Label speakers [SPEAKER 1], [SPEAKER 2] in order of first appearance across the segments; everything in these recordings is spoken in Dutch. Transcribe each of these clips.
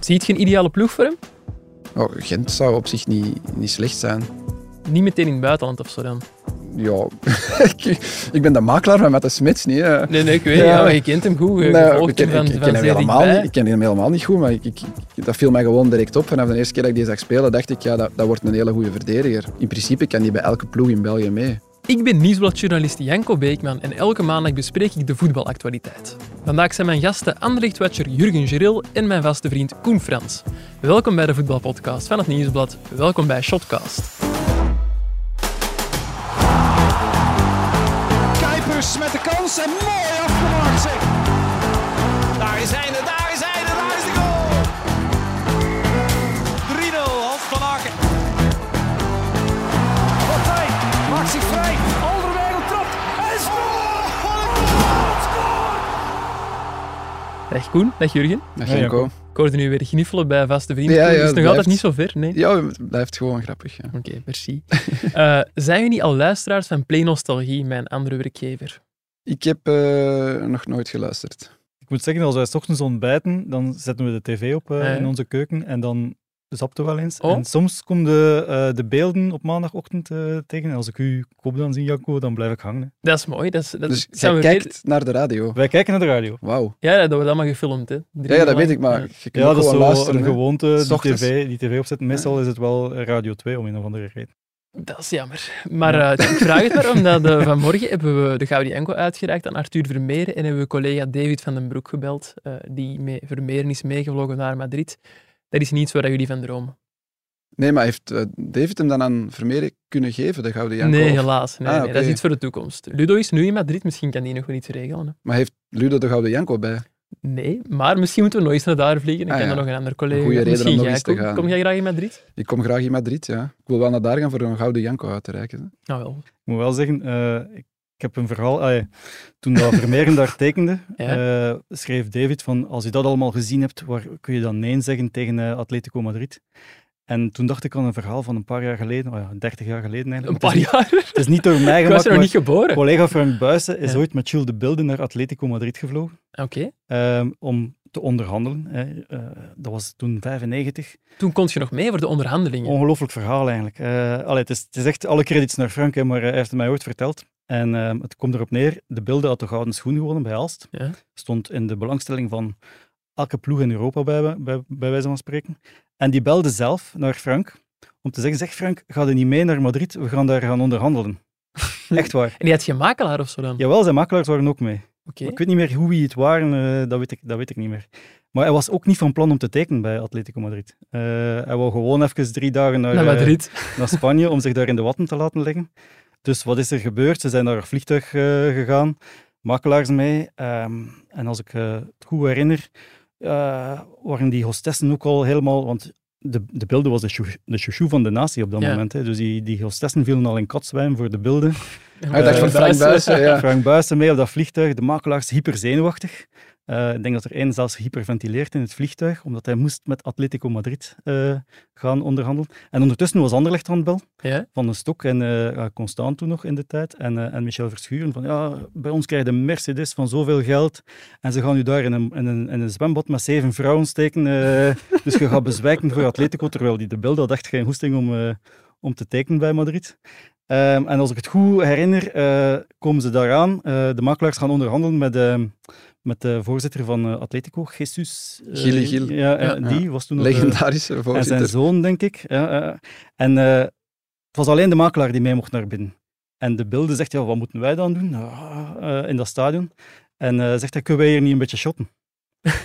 [SPEAKER 1] Ziet je een ideale ploeg voor hem?
[SPEAKER 2] Oh, Gent zou op zich niet, niet slecht zijn.
[SPEAKER 1] Niet meteen in het buitenland of zo dan?
[SPEAKER 2] Ja, ik, ik ben de makelaar van Matte Smets, niet? hè.
[SPEAKER 1] Nee, nee, ik weet
[SPEAKER 2] Ja.
[SPEAKER 1] ja. maar je kent hem goed. Je
[SPEAKER 2] Nee,
[SPEAKER 1] volgt
[SPEAKER 2] ik, ken,
[SPEAKER 1] hem van,
[SPEAKER 2] ik- ik
[SPEAKER 1] van
[SPEAKER 2] ken hem
[SPEAKER 1] zeer
[SPEAKER 2] helemaal
[SPEAKER 1] dichtbij.
[SPEAKER 2] niet, ik ken hem helemaal niet goed, maar ik, ik, ik- dat viel mij gewoon direct op. Vanaf de eerste keer dat ik die zag spelen, dacht ik, ja, dat, dat wordt een hele goede verdediger. In principe kan die bij elke ploeg in België mee.
[SPEAKER 1] Ik ben nieuwsbladjournalist Janko Beekman en elke maandag bespreek ik de voetbalactualiteit. Vandaag zijn mijn gasten Anderlecht-watcher Jurgen Geril en mijn vaste vriend Koen Frans. Welkom bij de voetbalpodcast van het Nieuwsblad. Welkom bij Shotcast.
[SPEAKER 3] Kuipers met de kans en mooi afgemaakt zeg. Daar is hij, daar is hij, daar is de goal. 3-0, Hans van Aken. Partij, maakt zich vrij, Alderweireld trapt en scoort! Wat een goal! Scoort!
[SPEAKER 1] Dag Koen, dag Jurgen.
[SPEAKER 2] Dat Genko.
[SPEAKER 1] Ik hoorde nu weer gniffelen bij vaste vrienden.
[SPEAKER 2] Ja, ja,
[SPEAKER 1] Koen, is
[SPEAKER 2] het
[SPEAKER 1] het nog
[SPEAKER 2] blijft.
[SPEAKER 1] altijd niet zo ver? Nee?
[SPEAKER 2] Ja, het blijft gewoon grappig. Ja.
[SPEAKER 1] Oké, merci. Eh, zijn jullie al luisteraars van Play Nostalgie, mijn andere werkgever?
[SPEAKER 2] Ik heb eh, nog nooit geluisterd.
[SPEAKER 4] Ik moet zeggen, als wij 's ochtends ontbijten, dan zetten we de tv op eh,
[SPEAKER 1] Ja, ja.
[SPEAKER 4] in onze keuken en dan zapt er wel eens.
[SPEAKER 1] Oh.
[SPEAKER 4] En soms komen de, eh, de beelden op maandagochtend eh, tegen. En als ik u koop dan zie, Jacco, dan blijf ik hangen. hè.
[SPEAKER 1] Dat is mooi. Dat is, dat
[SPEAKER 2] Dus
[SPEAKER 1] zijn
[SPEAKER 2] jij
[SPEAKER 1] we
[SPEAKER 2] kijkt naar de radio.
[SPEAKER 4] Wij kijken naar de radio.
[SPEAKER 2] Wauw.
[SPEAKER 1] weer- Ja, dat wordt allemaal gefilmd. Hè. Drie
[SPEAKER 2] Ja, ja, dat
[SPEAKER 1] uur lang.
[SPEAKER 2] weet ik, maar
[SPEAKER 1] Ja.
[SPEAKER 2] je kunt
[SPEAKER 4] Ja,
[SPEAKER 2] ook
[SPEAKER 4] dat is
[SPEAKER 2] gewoon
[SPEAKER 4] zo een
[SPEAKER 2] luisteren. hè.
[SPEAKER 4] gewoonte, die
[SPEAKER 2] Ochtends.
[SPEAKER 4] tv, die tv opzetten. Meestal is het wel eh, Radio 2, om een of andere reden.
[SPEAKER 1] Dat is jammer. Maar eh, ik vraag het maar, omdat eh, vanmorgen hebben we de Gaudi Enko uitgereikt aan Arthur Vermeeren en hebben we collega David van den Broek gebeld, eh, die mee, Vermeeren is meegevlogen naar Madrid. Dat is niets waar jullie van dromen.
[SPEAKER 2] Nee, maar heeft eh, David hem dan aan Vermeer kunnen geven, de Gouden Janko?
[SPEAKER 1] nee,
[SPEAKER 2] Of-
[SPEAKER 1] helaas. Nee,
[SPEAKER 2] Ah,
[SPEAKER 1] nee, dat is
[SPEAKER 2] oké.
[SPEAKER 1] iets voor de toekomst. Ludo is nu in Madrid, misschien kan die nog wel iets regelen. hè.
[SPEAKER 2] Maar heeft Ludo de Gouden Janko bij?
[SPEAKER 1] Nee, maar misschien moeten we nog eens naar daar vliegen. Ik
[SPEAKER 2] Ah,
[SPEAKER 1] ken
[SPEAKER 2] ja.
[SPEAKER 1] er nog een ander collega.
[SPEAKER 2] Een goede reden om
[SPEAKER 1] Misschien
[SPEAKER 2] nog
[SPEAKER 1] jij,
[SPEAKER 2] eens te
[SPEAKER 1] Koen.
[SPEAKER 2] gaan.
[SPEAKER 1] Kom jij graag in Madrid?
[SPEAKER 2] Ik kom graag in Madrid, ja. Ik wil wel naar daar gaan voor een Gouden Janko uit te reiken. hè.
[SPEAKER 1] Nou wel.
[SPEAKER 4] Ik moet wel zeggen, eh, ik ik heb een verhaal. ah, ja. toen dat Vermeeren daar tekende, eh, schreef David van als je dat allemaal gezien hebt, waar kun je dan nee zeggen tegen eh, Atletico Madrid? En toen dacht ik aan een verhaal van een paar jaar geleden, oh ja, 30 jaar geleden eigenlijk.
[SPEAKER 1] Een
[SPEAKER 4] Het is
[SPEAKER 1] paar
[SPEAKER 4] niet-
[SPEAKER 1] jaar.
[SPEAKER 4] Het is niet door
[SPEAKER 1] Ik was
[SPEAKER 4] mij
[SPEAKER 1] er
[SPEAKER 4] gemaakt,
[SPEAKER 1] nog
[SPEAKER 4] maar
[SPEAKER 1] niet geboren. Oké.
[SPEAKER 4] collega Frank Buijsen is
[SPEAKER 1] Ja.
[SPEAKER 4] ooit met Jules de Bilde naar Atletico Madrid gevlogen ehm, om te onderhandelen. hè. Eh, dat was toen 95.
[SPEAKER 1] Toen kon je nog mee voor de onderhandelingen.
[SPEAKER 4] Ongelooflijk verhaal eigenlijk. Eh, allee, het, is, het is echt alle credits naar Frank, hè, maar eh, hij heeft het mij ooit verteld. En ehm, het komt erop neer, de beelden had de gouden schoen gewonnen bij Alst.
[SPEAKER 1] Ja.
[SPEAKER 4] Stond in de belangstelling van elke ploeg in Europa, bij, bij, bij wijze van spreken. En die belde zelf naar Frank om te zeggen, zeg Frank, ga je niet mee naar Madrid? We gaan daar gaan onderhandelen. echt waar.
[SPEAKER 1] En die had geen makelaar of zo dan?
[SPEAKER 4] Jawel, zijn makelaars waren ook mee.
[SPEAKER 1] Oké.
[SPEAKER 4] Maar Ik weet niet meer hoe wie het waren, eh, dat, weet ik, dat weet ik niet meer. Maar hij was ook niet van plan om te tekenen bij Atletico Madrid. Eh, hij wou gewoon even drie dagen naar,
[SPEAKER 1] Naar
[SPEAKER 4] eh,
[SPEAKER 1] Madrid.
[SPEAKER 4] naar Spanje om zich daar in de watten te laten liggen. Dus wat is er gebeurd? Ze zijn naar een vliegtuig eh, gegaan, makelaars mee. ehm, en als ik eh, het goed herinner, eh, waren die hostessen ook al helemaal... Want de, de beelden was de chou- de chouchou van de natie op dat
[SPEAKER 1] Ja.
[SPEAKER 4] moment. Hè. Dus die, die hostessen vielen al in katzwijn voor de beelden.
[SPEAKER 2] Hij dacht eh,
[SPEAKER 4] Eh,
[SPEAKER 1] Eh,
[SPEAKER 2] van Frank Buijsen, ja.
[SPEAKER 4] Frank Buijsen mee op dat vliegtuig. De makelaars hyper zenuwachtig. Eh, ik denk dat er één zelfs hyperventileert in het vliegtuig, omdat hij moest met Atletico Madrid eh, gaan onderhandelen. En ondertussen was Anderlecht aan het bel
[SPEAKER 1] Ja?
[SPEAKER 4] van den Stok en eh Constant toen nog in de tijd. En, eh, en Michel Verschuren van, ja, bij ons krijg je een Mercedes van zoveel geld. En ze gaan u daar in een, in een, in een zwembad met zeven vrouwen steken. eh, dus je gaat bezwijken voor Atletico, terwijl die de beelden had echt geen hoesting om, eh, om te tekenen bij Madrid. Ehm, en als ik het goed herinner, eh, komen ze daaraan. Eh, de makelaars gaan onderhandelen met, ehm, met de voorzitter van eh, Atletico, Jesus. eh,
[SPEAKER 2] Gilles Gil.
[SPEAKER 4] Ja, eh,
[SPEAKER 1] Ja.
[SPEAKER 4] die was toen nog, eh,
[SPEAKER 2] Legendarische
[SPEAKER 4] en zijn
[SPEAKER 2] voorzitter.
[SPEAKER 4] zoon, denk ik. Ja, eh, en eh, het was alleen de makelaar die mee mocht naar binnen. En de beelden zegt, ja, wat moeten wij dan doen Ah, eh, in dat stadion? En eh, zegt hij, kunnen wij hier niet een beetje shotten?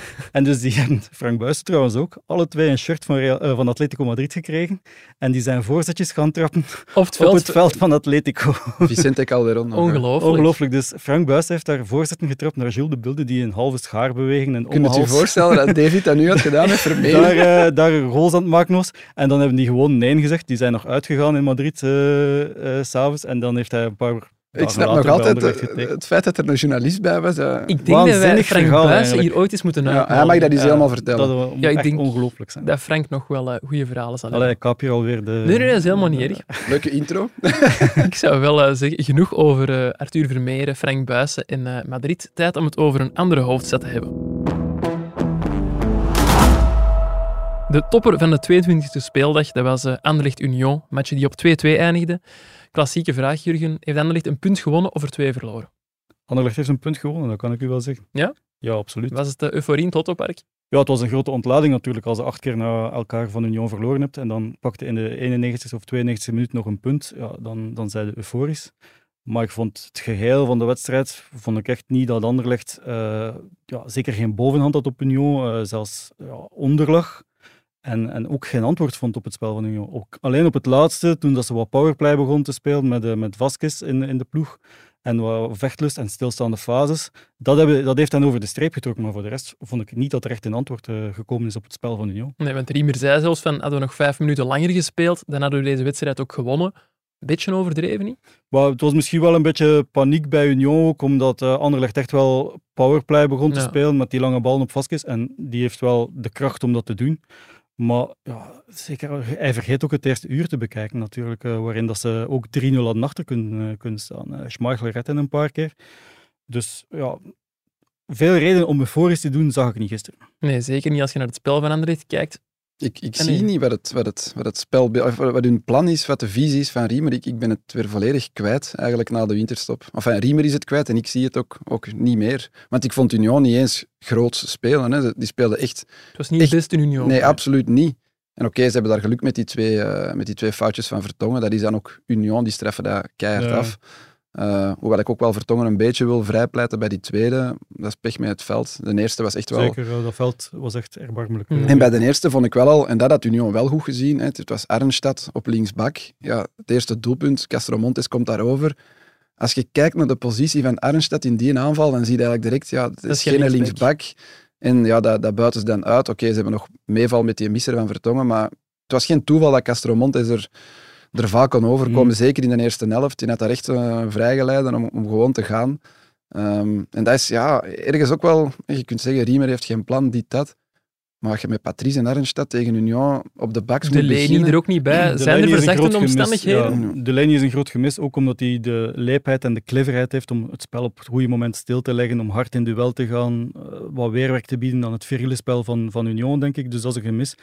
[SPEAKER 4] en dus die hebben, Frank Buijs trouwens ook, alle twee een shirt van, Real- eh, van Atletico Madrid gekregen. En die zijn voorzetjes gaan trappen
[SPEAKER 1] Of het
[SPEAKER 4] op
[SPEAKER 1] veld.
[SPEAKER 4] het veld van Atletico.
[SPEAKER 2] Vicente Calderon. nog, hè.
[SPEAKER 1] Ongelooflijk.
[SPEAKER 4] Ongelooflijk. Dus Frank Buijs heeft daar voorzetten getrapt naar Jules de Bilde, die een halve schaarbeweging en
[SPEAKER 2] Kun je het je
[SPEAKER 4] omhals-
[SPEAKER 2] voorstellen dat David dat nu had gedaan met Vermeer?
[SPEAKER 4] daar, eh, daar goals aan het maken was. En dan hebben die gewoon nee gezegd. Die zijn nog uitgegaan in Madrid eh, eh, s s'avonds. En dan heeft hij een paar
[SPEAKER 2] Ik
[SPEAKER 4] dagen
[SPEAKER 2] snap nog
[SPEAKER 4] later bij
[SPEAKER 2] altijd
[SPEAKER 4] Anderlecht
[SPEAKER 2] eh,
[SPEAKER 4] getekend.
[SPEAKER 2] het feit dat er een journalist bij was. eh,
[SPEAKER 1] Ik denk dat wij
[SPEAKER 4] Waanzinnig
[SPEAKER 1] Frank
[SPEAKER 4] verhaal,
[SPEAKER 1] Buijsen
[SPEAKER 4] eigenlijk.
[SPEAKER 1] hier ooit eens moeten
[SPEAKER 2] ja, hij
[SPEAKER 1] uitnodigen.
[SPEAKER 2] mag dat eens
[SPEAKER 4] Ja,
[SPEAKER 2] helemaal
[SPEAKER 4] Dat
[SPEAKER 2] vertellen.
[SPEAKER 4] moet
[SPEAKER 1] Ja, ik
[SPEAKER 4] echt
[SPEAKER 1] denk-
[SPEAKER 4] ongelooflijk zijn.
[SPEAKER 1] Dat Frank nog wel eh, goede verhalen zal
[SPEAKER 4] Allee,
[SPEAKER 1] hebben.
[SPEAKER 4] ik kap hier alweer de...
[SPEAKER 1] Nee, nee, dat is helemaal niet erg.
[SPEAKER 2] Leuke intro.
[SPEAKER 1] Ik zou wel eh, zeggen, genoeg over eh, Arthur Vermeeren, Frank Buijsen en eh, Madrid. Tijd om het over een andere hoofdstad te hebben. De topper van de 22e speeldag, dat was eh, Anderlecht-Union, match die op 2-2 eindigde. Klassieke vraag, Jurgen. Heeft Anderlecht een punt gewonnen of er twee verloren?
[SPEAKER 4] Anderlecht heeft een punt gewonnen, dat kan ik u wel zeggen.
[SPEAKER 1] Ja?
[SPEAKER 4] Ja, absoluut.
[SPEAKER 1] Was het de euforie in het Lottopark?
[SPEAKER 4] Ja, het was een grote ontlading natuurlijk als je acht keer na elkaar van Union verloren hebt en dan pakte in de 91 of 92 minuut nog een punt, ja, dan, dan zijn ze euforisch. Maar ik vond het geheel van de wedstrijd vond ik echt niet dat Anderlecht eh, ja, zeker geen bovenhand had op Union, eh, zelfs ja, onderlag. En, en ook geen antwoord vond op het spel van Union. Ook alleen op het laatste, toen dat ze wat powerplay begon te spelen met, eh, met Vasquez in, in de ploeg en wat vechtlust en stilstaande fases, dat, hebben, dat heeft hen over de streep getrokken, maar voor de rest vond ik niet dat er echt een antwoord eh, gekomen is op het spel van Union.
[SPEAKER 1] Nee, want Riemer zei zelfs van, hadden we nog vijf minuten langer gespeeld, dan hadden we deze wedstrijd ook gewonnen. Een beetje overdreven, niet?
[SPEAKER 4] Maar het was misschien wel een beetje paniek bij Union ook, omdat eh, Anderlecht echt wel powerplay begon te
[SPEAKER 1] Ja.
[SPEAKER 4] spelen met die lange ballen op Vasquez. En die heeft wel de kracht om dat te doen. Maar ja, zeker, hij vergeet ook het eerste uur te bekijken natuurlijk, eh, waarin dat ze ook 3-0 hadden achter kunnen, eh, kunnen staan. Eh, Schmeichel redde een paar keer. Dus ja, veel redenen om euforisch te doen zag ik niet gisteren.
[SPEAKER 1] Nee, zeker niet als je naar het spel van Anderlecht kijkt.
[SPEAKER 2] Ik, ik
[SPEAKER 1] En
[SPEAKER 2] zie
[SPEAKER 1] u?
[SPEAKER 2] niet wat het, wat, het, wat het spel, of wat hun plan is, wat de visie is van Riemer. Ik, ik ben het weer volledig kwijt, eigenlijk na de winterstop. Enfin, Riemer is het kwijt en ik zie het ook, ook niet meer. Want ik vond Union niet eens groot spelen. Hè. Ze- Die speelden echt...
[SPEAKER 1] Het was niet het
[SPEAKER 2] Echt?
[SPEAKER 1] beste Union.
[SPEAKER 2] Nee, absoluut niet. En oké, ze hebben daar geluk met die twee, eh, met die twee foutjes van Vertongen. Dat is dan ook Union, die straffen dat keihard
[SPEAKER 4] Ja.
[SPEAKER 2] af. Eh, hoewel ik ook wel Vertongen een beetje wil vrijpleiten bij die tweede. Dat is pech met het veld. De eerste was echt wel...
[SPEAKER 4] Zeker, eh, dat veld was echt erbarmelijk.
[SPEAKER 1] Mm.
[SPEAKER 2] En bij de eerste vond ik wel al, en dat had Union wel goed gezien, hè, het was Arnstad op linksbak. Ja, het eerste doelpunt, Castromontes komt daarover. Als je kijkt naar de positie van Arnstad in die aanval, dan zie je eigenlijk direct, ja, het is,
[SPEAKER 1] is geen
[SPEAKER 2] geen
[SPEAKER 1] linksback.
[SPEAKER 2] linksbak. En ja, dat, dat buiten ze dan uit. Oké, ze hebben nog meeval met die misser van Vertongen, maar het was geen toeval dat Castromontes er, er vaak kon overkomen,
[SPEAKER 4] Mm.
[SPEAKER 2] zeker in de eerste helft. Die had daar echt eh, vrijgeleiden om, om gewoon te gaan. Ehm, en dat is ja, ergens ook wel, je kunt zeggen, Riemer heeft geen plan, dit, dat. Maar als je met Patrice en Arnstad tegen Union op de bak
[SPEAKER 1] De
[SPEAKER 2] moet
[SPEAKER 1] Leni
[SPEAKER 2] beginnen...
[SPEAKER 1] er ook niet bij.
[SPEAKER 4] De
[SPEAKER 1] Zijn er
[SPEAKER 4] Lenny is een groot
[SPEAKER 1] verzachtende
[SPEAKER 4] gemis,
[SPEAKER 1] omstandigheden?
[SPEAKER 4] ja. de Lenny is een groot gemis, ook omdat hij de leepheid en de cleverheid heeft om het spel op het goede moment stil te leggen, om hard in duel te gaan, eh, wat weerwerk te bieden aan het virile spel van, van Union, denk ik. Dus dat is een gemis.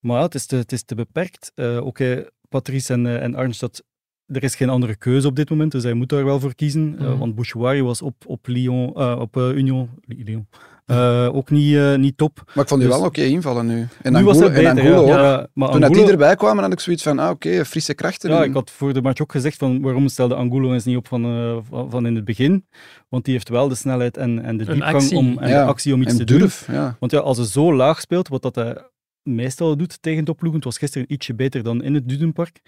[SPEAKER 4] Maar ja, het is te, het is te beperkt. Eh, Oké, Patrice en, eh, en Arnstad, er is geen andere keuze op dit moment, dus hij moet daar wel voor kiezen. Eh,
[SPEAKER 1] Mhm.
[SPEAKER 4] want Bouchouari was op, op, Lyon, eh, op eh, Union, Lyon eh, ook niet, eh, niet top.
[SPEAKER 2] Maar ik vond die
[SPEAKER 4] Dus-
[SPEAKER 2] wel oké invallen nu. En
[SPEAKER 4] nu was
[SPEAKER 2] Angulo,
[SPEAKER 4] hij beter,
[SPEAKER 2] en Angulo ook.
[SPEAKER 4] ja. Ja, maar
[SPEAKER 2] Toen dat
[SPEAKER 4] Angulo-
[SPEAKER 2] die erbij kwamen, had ik zoiets van, ah, oké, frisse krachten.
[SPEAKER 4] Ja,
[SPEAKER 2] En-
[SPEAKER 4] ik had voor de match ook gezegd van waarom stelde Angulo eens niet op van, eh, van van in het begin. Want die heeft wel de snelheid en, en de
[SPEAKER 1] Een
[SPEAKER 4] diepgang
[SPEAKER 1] actie.
[SPEAKER 4] om, en
[SPEAKER 2] Ja,
[SPEAKER 4] de actie om iets
[SPEAKER 2] en
[SPEAKER 4] te doen. Eh,
[SPEAKER 2] durf, ja.
[SPEAKER 4] Want ja, als hij zo laag speelt, wat dat hij meestal doet tegen topploegen, het was gisteren ietsje beter dan in het Dudenpark.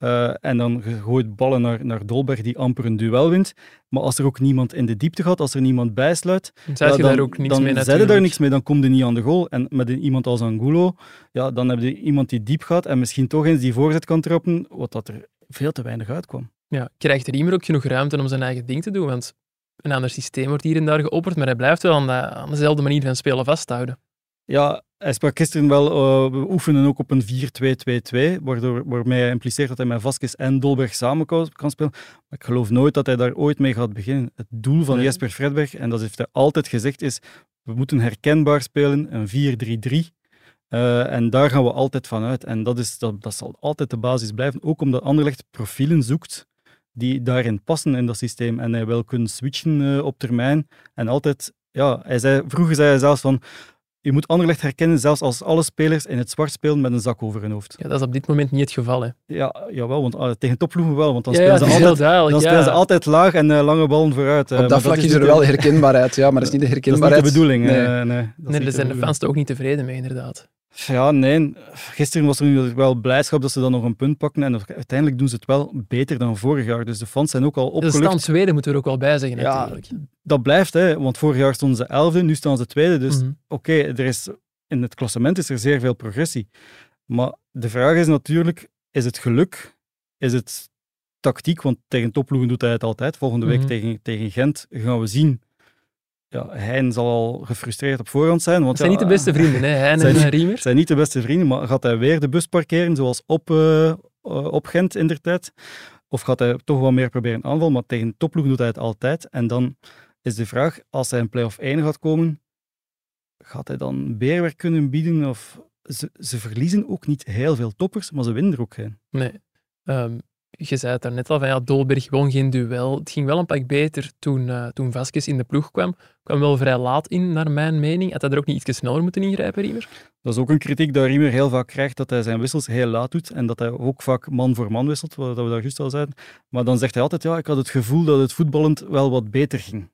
[SPEAKER 4] eh, en dan ge- gooit ballen naar, naar Dolberg die amper een duel wint. Maar als er ook niemand in de diepte gaat, als er niemand bijsluit,
[SPEAKER 1] Dan zei
[SPEAKER 4] ja,
[SPEAKER 1] je
[SPEAKER 4] dan,
[SPEAKER 1] daar ook niks
[SPEAKER 4] dan
[SPEAKER 1] mee
[SPEAKER 4] zei je
[SPEAKER 1] natuurlijk.
[SPEAKER 4] daar niks mee, dan kom je niet aan de goal. En met een- iemand als Angulo, ja, dan heb je iemand die diep gaat en misschien toch eens die voorzet kan trappen, wat dat er veel te weinig uitkwam.
[SPEAKER 1] Ja, krijgt Riemer ook genoeg ruimte om zijn eigen ding te doen? Want een ander systeem wordt hier en daar geopperd, maar hij blijft wel aan, de, aan dezelfde manier van spelen vasthouden.
[SPEAKER 4] Ja, hij sprak gisteren wel, eh, we oefenen ook op een 4-2-2-2, waardoor, waarmee hij impliceert dat hij met Vasquez en Dolberg samen kan, kan spelen. Maar ik geloof nooit dat hij daar ooit mee gaat beginnen. Het doel van
[SPEAKER 1] Nee.
[SPEAKER 4] Jesper Fredberg, en dat heeft hij altijd gezegd, is we moeten herkenbaar spelen, een 4-3-3. Eh, en daar gaan we altijd van uit. En dat, is, dat, dat zal altijd de basis blijven. Ook omdat Anderlecht profielen zoekt die daarin passen in dat systeem. En hij wil kunnen switchen eh, op termijn. En altijd, ja, hij zei, vroeger zei hij zelfs van. Je moet Anderlecht herkennen, zelfs als alle spelers in het zwart spelen met een zak over hun hoofd.
[SPEAKER 1] Ja, dat is op dit moment niet het geval. Hè.
[SPEAKER 4] Ja, jawel, want ah, tegen topploegen wel, want dan
[SPEAKER 1] ja, ja,
[SPEAKER 4] spelen
[SPEAKER 1] dat
[SPEAKER 4] ze
[SPEAKER 1] is
[SPEAKER 4] altijd
[SPEAKER 1] heel duidelijk.
[SPEAKER 4] dan
[SPEAKER 1] ja.
[SPEAKER 4] spelen ze altijd laag en eh, lange ballen vooruit. eh,
[SPEAKER 2] Op
[SPEAKER 4] maar
[SPEAKER 2] dat vlak is er
[SPEAKER 4] niet
[SPEAKER 2] wel
[SPEAKER 4] de-
[SPEAKER 2] herkenbaarheid, ja, maar dat is niet de
[SPEAKER 4] Dat is niet
[SPEAKER 2] herkenbaarheid.
[SPEAKER 4] de bedoeling.
[SPEAKER 2] Nee.
[SPEAKER 4] eh, nee, dat is
[SPEAKER 1] Nee, daar
[SPEAKER 4] niet de
[SPEAKER 1] zijn de
[SPEAKER 4] bedoeling.
[SPEAKER 1] fans er ook niet tevreden mee, inderdaad.
[SPEAKER 4] Ja, nee. Gisteren was er nu wel blijdschap dat ze dan nog een punt pakken. En uiteindelijk doen ze het wel beter dan vorig jaar. Dus de fans zijn ook al
[SPEAKER 1] De
[SPEAKER 4] opgelucht.
[SPEAKER 1] stand Zweden moeten we er ook wel bij zeggen,
[SPEAKER 4] Ja,
[SPEAKER 1] natuurlijk.
[SPEAKER 4] Dat blijft, hè. Want vorig jaar stonden ze elfde, nu staan ze tweede. Dus
[SPEAKER 1] Mhm.
[SPEAKER 4] oké, er is in het klassement is er zeer veel progressie. Maar de vraag is natuurlijk, is het geluk? Is het tactiek? Want tegen topploegen doet hij het altijd. Volgende week
[SPEAKER 1] Mhm.
[SPEAKER 4] tegen, tegen Gent gaan we zien. Ja, Hein zal al gefrustreerd op voorhand zijn.
[SPEAKER 1] Het
[SPEAKER 4] Want
[SPEAKER 1] zijn
[SPEAKER 4] ja,
[SPEAKER 1] niet de beste vrienden, hè, Hein en
[SPEAKER 4] Zijn-
[SPEAKER 1] eh,
[SPEAKER 4] het
[SPEAKER 1] Riemer.
[SPEAKER 4] zijn niet de beste vrienden, maar gaat hij weer de bus parkeren zoals op, eh, eh, op Gent in der tijd? Of gaat hij toch wel meer proberen aanval? Maar tegen topploeg doet hij het altijd. En dan is de vraag, als hij in play-off 1 gaat komen, gaat hij dan weerwerk kunnen bieden? Of ze, ze verliezen ook niet heel veel toppers, maar ze winnen er ook geen.
[SPEAKER 1] Nee. Ehm, je zei het daarnet al, van, ja, Dolberg won geen duel. Het ging wel een pak beter toen, eh toen Vasquez in de ploeg kwam. Kwam wel vrij laat in, naar mijn mening. Had hij er ook niet iets sneller moeten ingrijpen, Riemer?
[SPEAKER 4] Dat is ook een kritiek dat Riemer heel vaak krijgt, dat hij zijn wissels heel laat doet en dat hij ook vaak man voor man wisselt, wat we daar juist al zeiden. Maar dan zegt hij altijd, ja, ik had het gevoel dat het voetballend wel wat beter ging.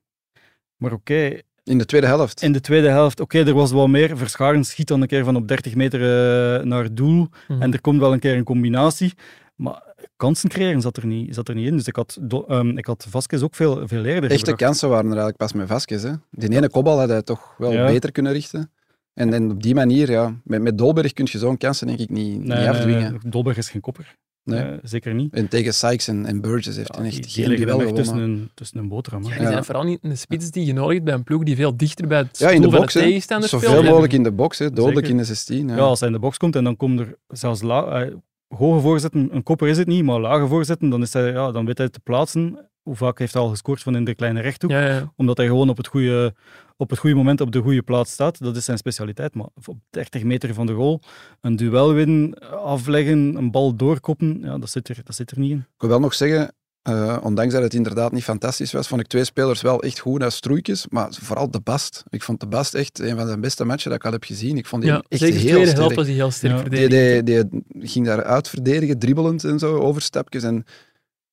[SPEAKER 4] Maar oké,
[SPEAKER 2] In de tweede helft.
[SPEAKER 4] in de tweede helft, oké, er was wel meer. Verscharen schiet dan een keer van op 30 meter eh, naar het doel
[SPEAKER 1] Mhm.
[SPEAKER 4] en er komt wel een keer een combinatie. Maar kansen creëren zat er niet, zat er niet in. Dus ik had, Do- ehm, ik had Vasquez ook veel, veel eerder
[SPEAKER 2] Echte
[SPEAKER 4] gebracht.
[SPEAKER 2] kansen waren er eigenlijk pas met Vasquez. Hè. Die ene kopbal had hij toch wel
[SPEAKER 4] Ja.
[SPEAKER 2] beter kunnen richten. En, en op die manier, ja, met, met Dolberg kun je zo'n kansen denk ik niet,
[SPEAKER 4] Nee,
[SPEAKER 2] niet
[SPEAKER 4] nee,
[SPEAKER 2] afdwingen.
[SPEAKER 4] nee, Dolberg is geen kopper.
[SPEAKER 2] Nee.
[SPEAKER 4] Eh, zeker niet.
[SPEAKER 2] En tegen Sykes en, en Burgess heeft hij
[SPEAKER 4] Ja,
[SPEAKER 2] echt
[SPEAKER 4] die- die
[SPEAKER 2] geen
[SPEAKER 4] liggen
[SPEAKER 2] duel
[SPEAKER 4] hem echt tussen
[SPEAKER 2] gewonnen.
[SPEAKER 4] een, tussen een boterham. hè.
[SPEAKER 1] Ja, die
[SPEAKER 2] Ja.
[SPEAKER 1] zijn vooral niet een spits die je nodig hebt bij een ploeg die veel dichter bij het
[SPEAKER 2] Ja, in de
[SPEAKER 1] doel van
[SPEAKER 2] box.
[SPEAKER 1] de
[SPEAKER 2] hè.
[SPEAKER 1] tegenstander
[SPEAKER 2] Zoveel
[SPEAKER 1] speelt.
[SPEAKER 2] mogelijk in de box, hè. dodelijk
[SPEAKER 4] Zeker.
[SPEAKER 2] in de 16. Ja.
[SPEAKER 4] Ja, als hij in de box komt en dan komt er zelfs la- eh, hoge voorzetten, een kopper is het niet, maar lage voorzetten, dan, is hij, ja, dan weet hij het te plaatsen. Hoe vaak heeft hij al gescoord van in de kleine rechthoek?
[SPEAKER 1] Ja, ja, ja.
[SPEAKER 4] Omdat hij gewoon op het, goede, op het goede moment op de goede plaats staat. Dat is zijn specialiteit. Maar op 30 meter van de goal, een duel winnen, afleggen, een bal doorkoppen, ja, dat, zit er, dat zit er niet in.
[SPEAKER 2] Ik wil wel nog zeggen, eh, ondanks dat het inderdaad niet fantastisch was, vond ik twee spelers wel echt goed als stroeikjes, maar vooral de Bast. Ik vond de Bast echt een van zijn beste matchen dat ik al heb gezien. Ik vond die
[SPEAKER 1] Ja,
[SPEAKER 2] echt
[SPEAKER 1] zeker de
[SPEAKER 2] heel
[SPEAKER 1] tweede helft
[SPEAKER 2] sterk.
[SPEAKER 1] was hij heel sterk
[SPEAKER 4] Ja.
[SPEAKER 1] verdedigd.
[SPEAKER 2] Die, die, die ging daar uitverdedigen, dribbelend en zo, overstapjes. En,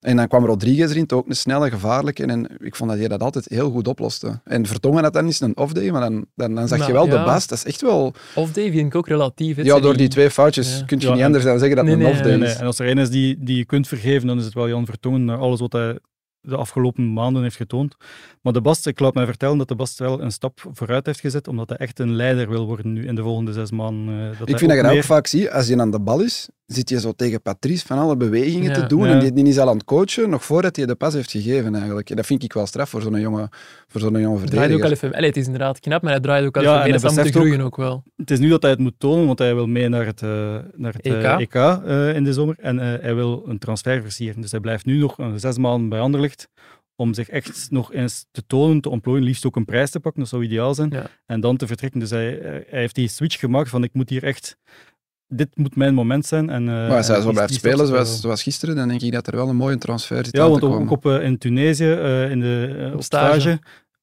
[SPEAKER 2] en dan kwam Rodriguez erin, toch ook een snelle, gevaarlijke. En ik vond dat hij dat altijd heel goed oploste. En Vertongen had dan eens een off-day, maar dan, dan, dan zag
[SPEAKER 1] Maar
[SPEAKER 2] je wel
[SPEAKER 1] Nou, ja.
[SPEAKER 2] de Bast. Dat is echt wel...
[SPEAKER 1] Of Dave vind ik ook relatief. hè. Het
[SPEAKER 2] Ja,
[SPEAKER 1] zijn
[SPEAKER 2] door die twee foutjes
[SPEAKER 1] Ja.
[SPEAKER 2] kun je
[SPEAKER 4] Ja,
[SPEAKER 2] niet
[SPEAKER 4] en-
[SPEAKER 2] anders dan zeggen dat
[SPEAKER 1] Nee,
[SPEAKER 2] het
[SPEAKER 1] nee,
[SPEAKER 2] een off-day
[SPEAKER 4] Nee,
[SPEAKER 1] Dus-
[SPEAKER 4] nee.
[SPEAKER 2] is.
[SPEAKER 4] En als er één is die, die je kunt vergeven, dan is het wel Jan Vertongen. Naar alles wat hij de afgelopen maanden heeft getoond. Maar de Bast, ik laat mij vertellen dat de Bast wel een stap vooruit heeft gezet, omdat hij echt een leider wil worden nu in de volgende zes maanden. eh, dat
[SPEAKER 2] Ik vind
[SPEAKER 4] hij
[SPEAKER 2] dat je dat
[SPEAKER 4] meer-
[SPEAKER 2] ook vaak ziet. Als je aan de bal is, zit je zo tegen Patrice van alle bewegingen
[SPEAKER 1] Ja.
[SPEAKER 2] te doen.
[SPEAKER 4] Ja.
[SPEAKER 2] En die, die is al aan het coachen, nog voordat hij de pas heeft gegeven eigenlijk. En dat vind ik wel straf voor zo'n jonge, voor zo'n jonge
[SPEAKER 1] Hij draaide ook
[SPEAKER 2] verdediger.
[SPEAKER 1] al even... Allee, het is inderdaad knap, maar hij draaide ook al
[SPEAKER 4] Ja,
[SPEAKER 1] even
[SPEAKER 4] en
[SPEAKER 1] mee.
[SPEAKER 4] hij
[SPEAKER 1] Dat zou moeten
[SPEAKER 4] beseft ook-
[SPEAKER 1] groeien ook wel.
[SPEAKER 4] Het is nu dat hij het moet tonen, want hij wil mee naar het, eh, naar het eh,
[SPEAKER 1] EK.
[SPEAKER 4] EK, eh, in de zomer. En eh, hij wil een transfer versieren. Dus hij blijft nu nog eh, zes maanden bij Anderlecht om zich echt nog eens te tonen, te ontplooien, liefst ook een prijs te pakken, dat zou ideaal zijn.
[SPEAKER 1] Ja.
[SPEAKER 4] En dan te vertrekken. Dus hij, eh, hij heeft die switch gemaakt van ik moet hier echt... Dit moet mijn moment zijn. En, eh,
[SPEAKER 2] Maar als hij
[SPEAKER 4] en
[SPEAKER 2] zo
[SPEAKER 4] die-
[SPEAKER 2] blijft
[SPEAKER 4] die stap
[SPEAKER 2] spelen
[SPEAKER 4] zetten we
[SPEAKER 2] zoals,
[SPEAKER 4] wel.
[SPEAKER 2] zoals gisteren, dan denk ik dat er wel een mooie transfer zit
[SPEAKER 4] eh, Ja,
[SPEAKER 2] aan
[SPEAKER 4] want
[SPEAKER 2] te
[SPEAKER 4] ook,
[SPEAKER 2] komen.
[SPEAKER 4] ook op, eh, in Tunesië, eh, in de, eh, op
[SPEAKER 1] stage.
[SPEAKER 4] stage.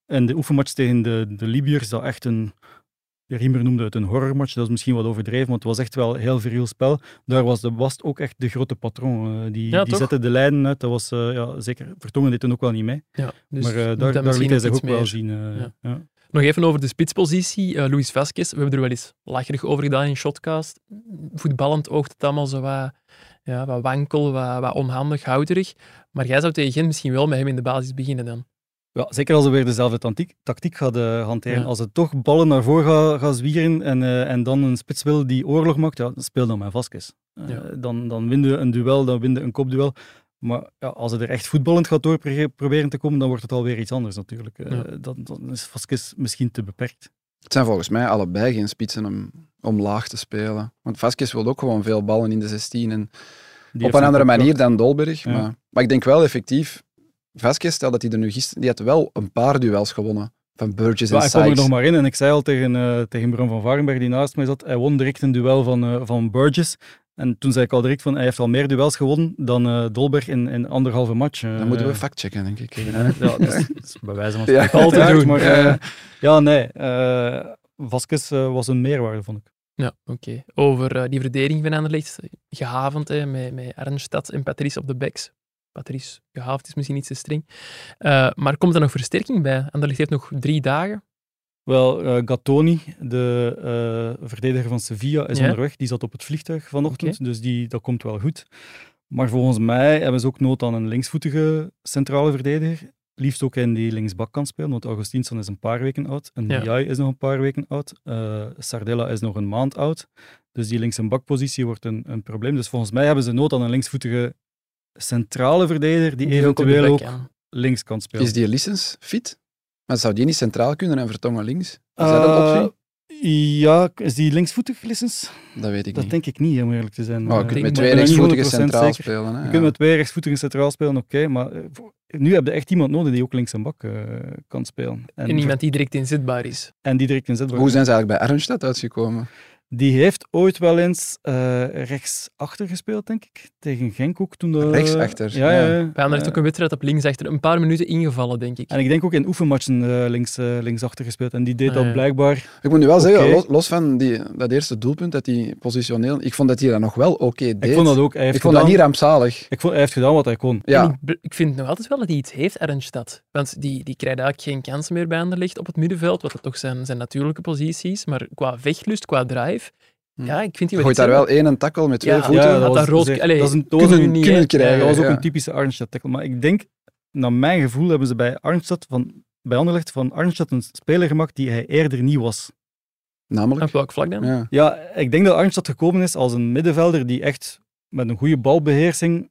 [SPEAKER 4] en de oefenmatch tegen de, de Libiërs, dat echt een... Riemer noemde het een horrormatch, dat is misschien wat overdreven, want het was echt wel een heel viriel spel. Daar was de Bast ook echt de grote patroon. eh, die
[SPEAKER 1] Ja,
[SPEAKER 4] die
[SPEAKER 1] toch?
[SPEAKER 4] zette de lijnen uit, dat was eh, ja, zeker... Vertongen deed toen ook wel niet mee,
[SPEAKER 1] Ja, dus
[SPEAKER 4] maar eh,
[SPEAKER 1] moet dat
[SPEAKER 4] daar, daar liet
[SPEAKER 1] misschien
[SPEAKER 4] hij zich
[SPEAKER 1] nog
[SPEAKER 4] ook
[SPEAKER 1] iets
[SPEAKER 4] wel
[SPEAKER 1] meer.
[SPEAKER 4] zien. eh,
[SPEAKER 1] Ja.
[SPEAKER 4] ja.
[SPEAKER 1] Nog even over de spitspositie. eh Luis Vasquez, we hebben er wel eens lacherig over gedaan in Shotcast. Voetballend oogt het allemaal zo wat, ja, wat wankel, wat, wat onhandig, houterig. Maar jij zou tegen Gent misschien wel met hem in de basis beginnen dan.
[SPEAKER 4] Ja, zeker als ze weer dezelfde tantiek- tactiek gaat eh, hanteren.
[SPEAKER 1] Ja.
[SPEAKER 4] Als ze toch ballen naar voren gaan gaan zwieren en, eh, en dan een spits wil die oorlog maakt, ja, speel dan met Vasquez. Eh,
[SPEAKER 1] Ja.
[SPEAKER 4] dan, dan win je een duel, dan win je een kopduel. Maar ja, als het er echt voetballend gaat door pro- proberen te komen, dan wordt het alweer iets anders natuurlijk. Eh,
[SPEAKER 1] Ja.
[SPEAKER 4] dan, dan is Vasquez misschien te beperkt.
[SPEAKER 2] Het zijn volgens mij allebei geen spitsen om, om laag te spelen. Want Vasquez wil ook gewoon veel ballen in de 16. En
[SPEAKER 4] Die
[SPEAKER 2] op
[SPEAKER 4] heeft
[SPEAKER 2] een andere
[SPEAKER 4] contract.
[SPEAKER 2] manier dan Dolberg.
[SPEAKER 4] Ja.
[SPEAKER 2] Maar, maar ik denk wel effectief, Vasquez, stel dat hij er nu gisteren... Die had wel een paar duels gewonnen. Van Burgess
[SPEAKER 4] Ja,
[SPEAKER 2] en
[SPEAKER 4] hij kwam er
[SPEAKER 2] Sykes.
[SPEAKER 4] nog maar in en ik zei al tegen, eh tegen Bram van Varenberg, die naast mij zat, hij won direct een duel van, eh, van Burgess. En toen zei ik al direct van, hij heeft al meer duels gewonnen dan eh, Dolberg in, in anderhalve match. eh.
[SPEAKER 2] Dan moeten we factchecken, denk ik.
[SPEAKER 4] Ja, dat is, dat is bij wijze van
[SPEAKER 2] Ja.
[SPEAKER 4] spreken altijd
[SPEAKER 2] Ja,
[SPEAKER 4] doen. Maar,
[SPEAKER 2] ja, ja.
[SPEAKER 4] eh, ja, nee. eh Vasquez eh, was een meerwaarde, vond ik.
[SPEAKER 1] Ja, oké. Over eh, die verdediging van Anderlecht, gehavend hè, met, met Arnstad en Patrice op de backs. Patrice, gehavend is misschien iets te streng. Eh, maar komt er nog versterking bij? Anderlecht heeft nog drie dagen.
[SPEAKER 4] Wel, eh, Gattoni, de eh, verdediger van Sevilla, is
[SPEAKER 1] Ja.
[SPEAKER 4] onderweg. Die zat op het vliegtuig vanochtend, dus die, dat komt wel goed. Maar volgens mij hebben ze ook nood aan een linksvoetige centrale verdediger. Liefst ook in die linksbak kan spelen, want Augustinsson is een paar weken oud. En
[SPEAKER 1] Ja.
[SPEAKER 4] Ndiaye is nog een paar weken oud. eh, Sardella is nog een maand oud. Dus die links- en bakpositie wordt een, een probleem. Dus volgens mij hebben ze nood aan een linksvoetige centrale verdediger die,
[SPEAKER 1] ook op de
[SPEAKER 4] eventueel
[SPEAKER 1] back
[SPEAKER 4] ook,
[SPEAKER 1] kan.
[SPEAKER 4] links kan spelen.
[SPEAKER 2] Is die license fit? Maar zou die niet centraal kunnen en vertongen links? Is dat een
[SPEAKER 4] Eh,
[SPEAKER 2] optie?
[SPEAKER 4] ja, is die linksvoetig, Lissens?
[SPEAKER 2] Dat weet ik
[SPEAKER 4] Dat
[SPEAKER 2] niet.
[SPEAKER 4] denk ik niet, om eerlijk te zijn.
[SPEAKER 2] Maar je
[SPEAKER 4] Eh,
[SPEAKER 2] kunt
[SPEAKER 1] ik
[SPEAKER 2] met
[SPEAKER 1] ben
[SPEAKER 2] twee
[SPEAKER 4] er niet
[SPEAKER 2] rechtsvoetigen
[SPEAKER 4] 100%
[SPEAKER 2] centraal
[SPEAKER 4] zeker.
[SPEAKER 2] spelen. Hè?
[SPEAKER 4] Je
[SPEAKER 2] ja.
[SPEAKER 4] kunt met twee rechtsvoetigen centraal spelen, oké, maar eh, voor- nu heb je echt iemand nodig die ook links en bak eh, kan spelen.
[SPEAKER 1] En iemand die direct inzetbaar is.
[SPEAKER 4] en die direct inzetbaar
[SPEAKER 2] Hoe
[SPEAKER 4] is.
[SPEAKER 2] zijn ze eigenlijk bij Arnstad uitgekomen?
[SPEAKER 4] Die heeft ooit wel eens eh, rechtsachter gespeeld, denk ik. Tegen Genk ook toen... dat-
[SPEAKER 2] Rechtsachter,
[SPEAKER 4] Ja,
[SPEAKER 2] ja.
[SPEAKER 4] ja. ja.
[SPEAKER 1] Bij Anderlecht
[SPEAKER 4] Eh,
[SPEAKER 1] ook een wedstrijd op linksachter. Een paar minuten ingevallen, denk ik.
[SPEAKER 4] En ik denk ook in oefenmatchen eh, links, eh, linksachter gespeeld. En die deed
[SPEAKER 1] Ah,
[SPEAKER 4] dat
[SPEAKER 1] ja.
[SPEAKER 4] blijkbaar...
[SPEAKER 2] Ik moet nu wel
[SPEAKER 4] Oké.
[SPEAKER 2] zeggen, los, los van die, dat eerste doelpunt, dat hij positioneel... Ik vond dat hij dat nog wel oké deed.
[SPEAKER 4] Ik vond dat ook. Hij heeft,
[SPEAKER 2] Ik vond dat
[SPEAKER 4] gedaan,
[SPEAKER 2] niet rampzalig.
[SPEAKER 4] ik vond, hij heeft gedaan wat hij kon.
[SPEAKER 1] En
[SPEAKER 2] Ja,
[SPEAKER 1] ik, be- ik vind nog altijd wel dat hij iets heeft, Ernstad. Want die, die krijgt eigenlijk geen kansen meer bij Anderlecht op het middenveld, wat dat toch zijn, zijn natuurlijke positie is. Maar qua vechtlust, qua drive,
[SPEAKER 2] Hm.
[SPEAKER 1] ja, ik vind die wel
[SPEAKER 2] gooit
[SPEAKER 1] iets
[SPEAKER 2] daar
[SPEAKER 1] hebben.
[SPEAKER 2] wel één een tackle met twee
[SPEAKER 1] Ja,
[SPEAKER 2] voeten.
[SPEAKER 1] had dat
[SPEAKER 4] was
[SPEAKER 1] rood-
[SPEAKER 4] zeer-
[SPEAKER 1] allee,
[SPEAKER 4] dat is een, dat was
[SPEAKER 2] kunnen,
[SPEAKER 1] nu niet,
[SPEAKER 2] kunnen
[SPEAKER 1] hè.
[SPEAKER 2] krijgen.
[SPEAKER 4] Dat was ook
[SPEAKER 2] ja.
[SPEAKER 4] een typische Arnstad-tackle. Maar ik denk, naar mijn gevoel, hebben ze bij Arnstad van, bij Anderlecht van Arnstad een speler gemaakt die hij eerder niet was.
[SPEAKER 2] Namelijk.
[SPEAKER 1] Op welk vlak dan?
[SPEAKER 2] Ja.
[SPEAKER 4] Ja, ik denk dat Arnstad gekomen is als een middenvelder die echt met een goede balbeheersing,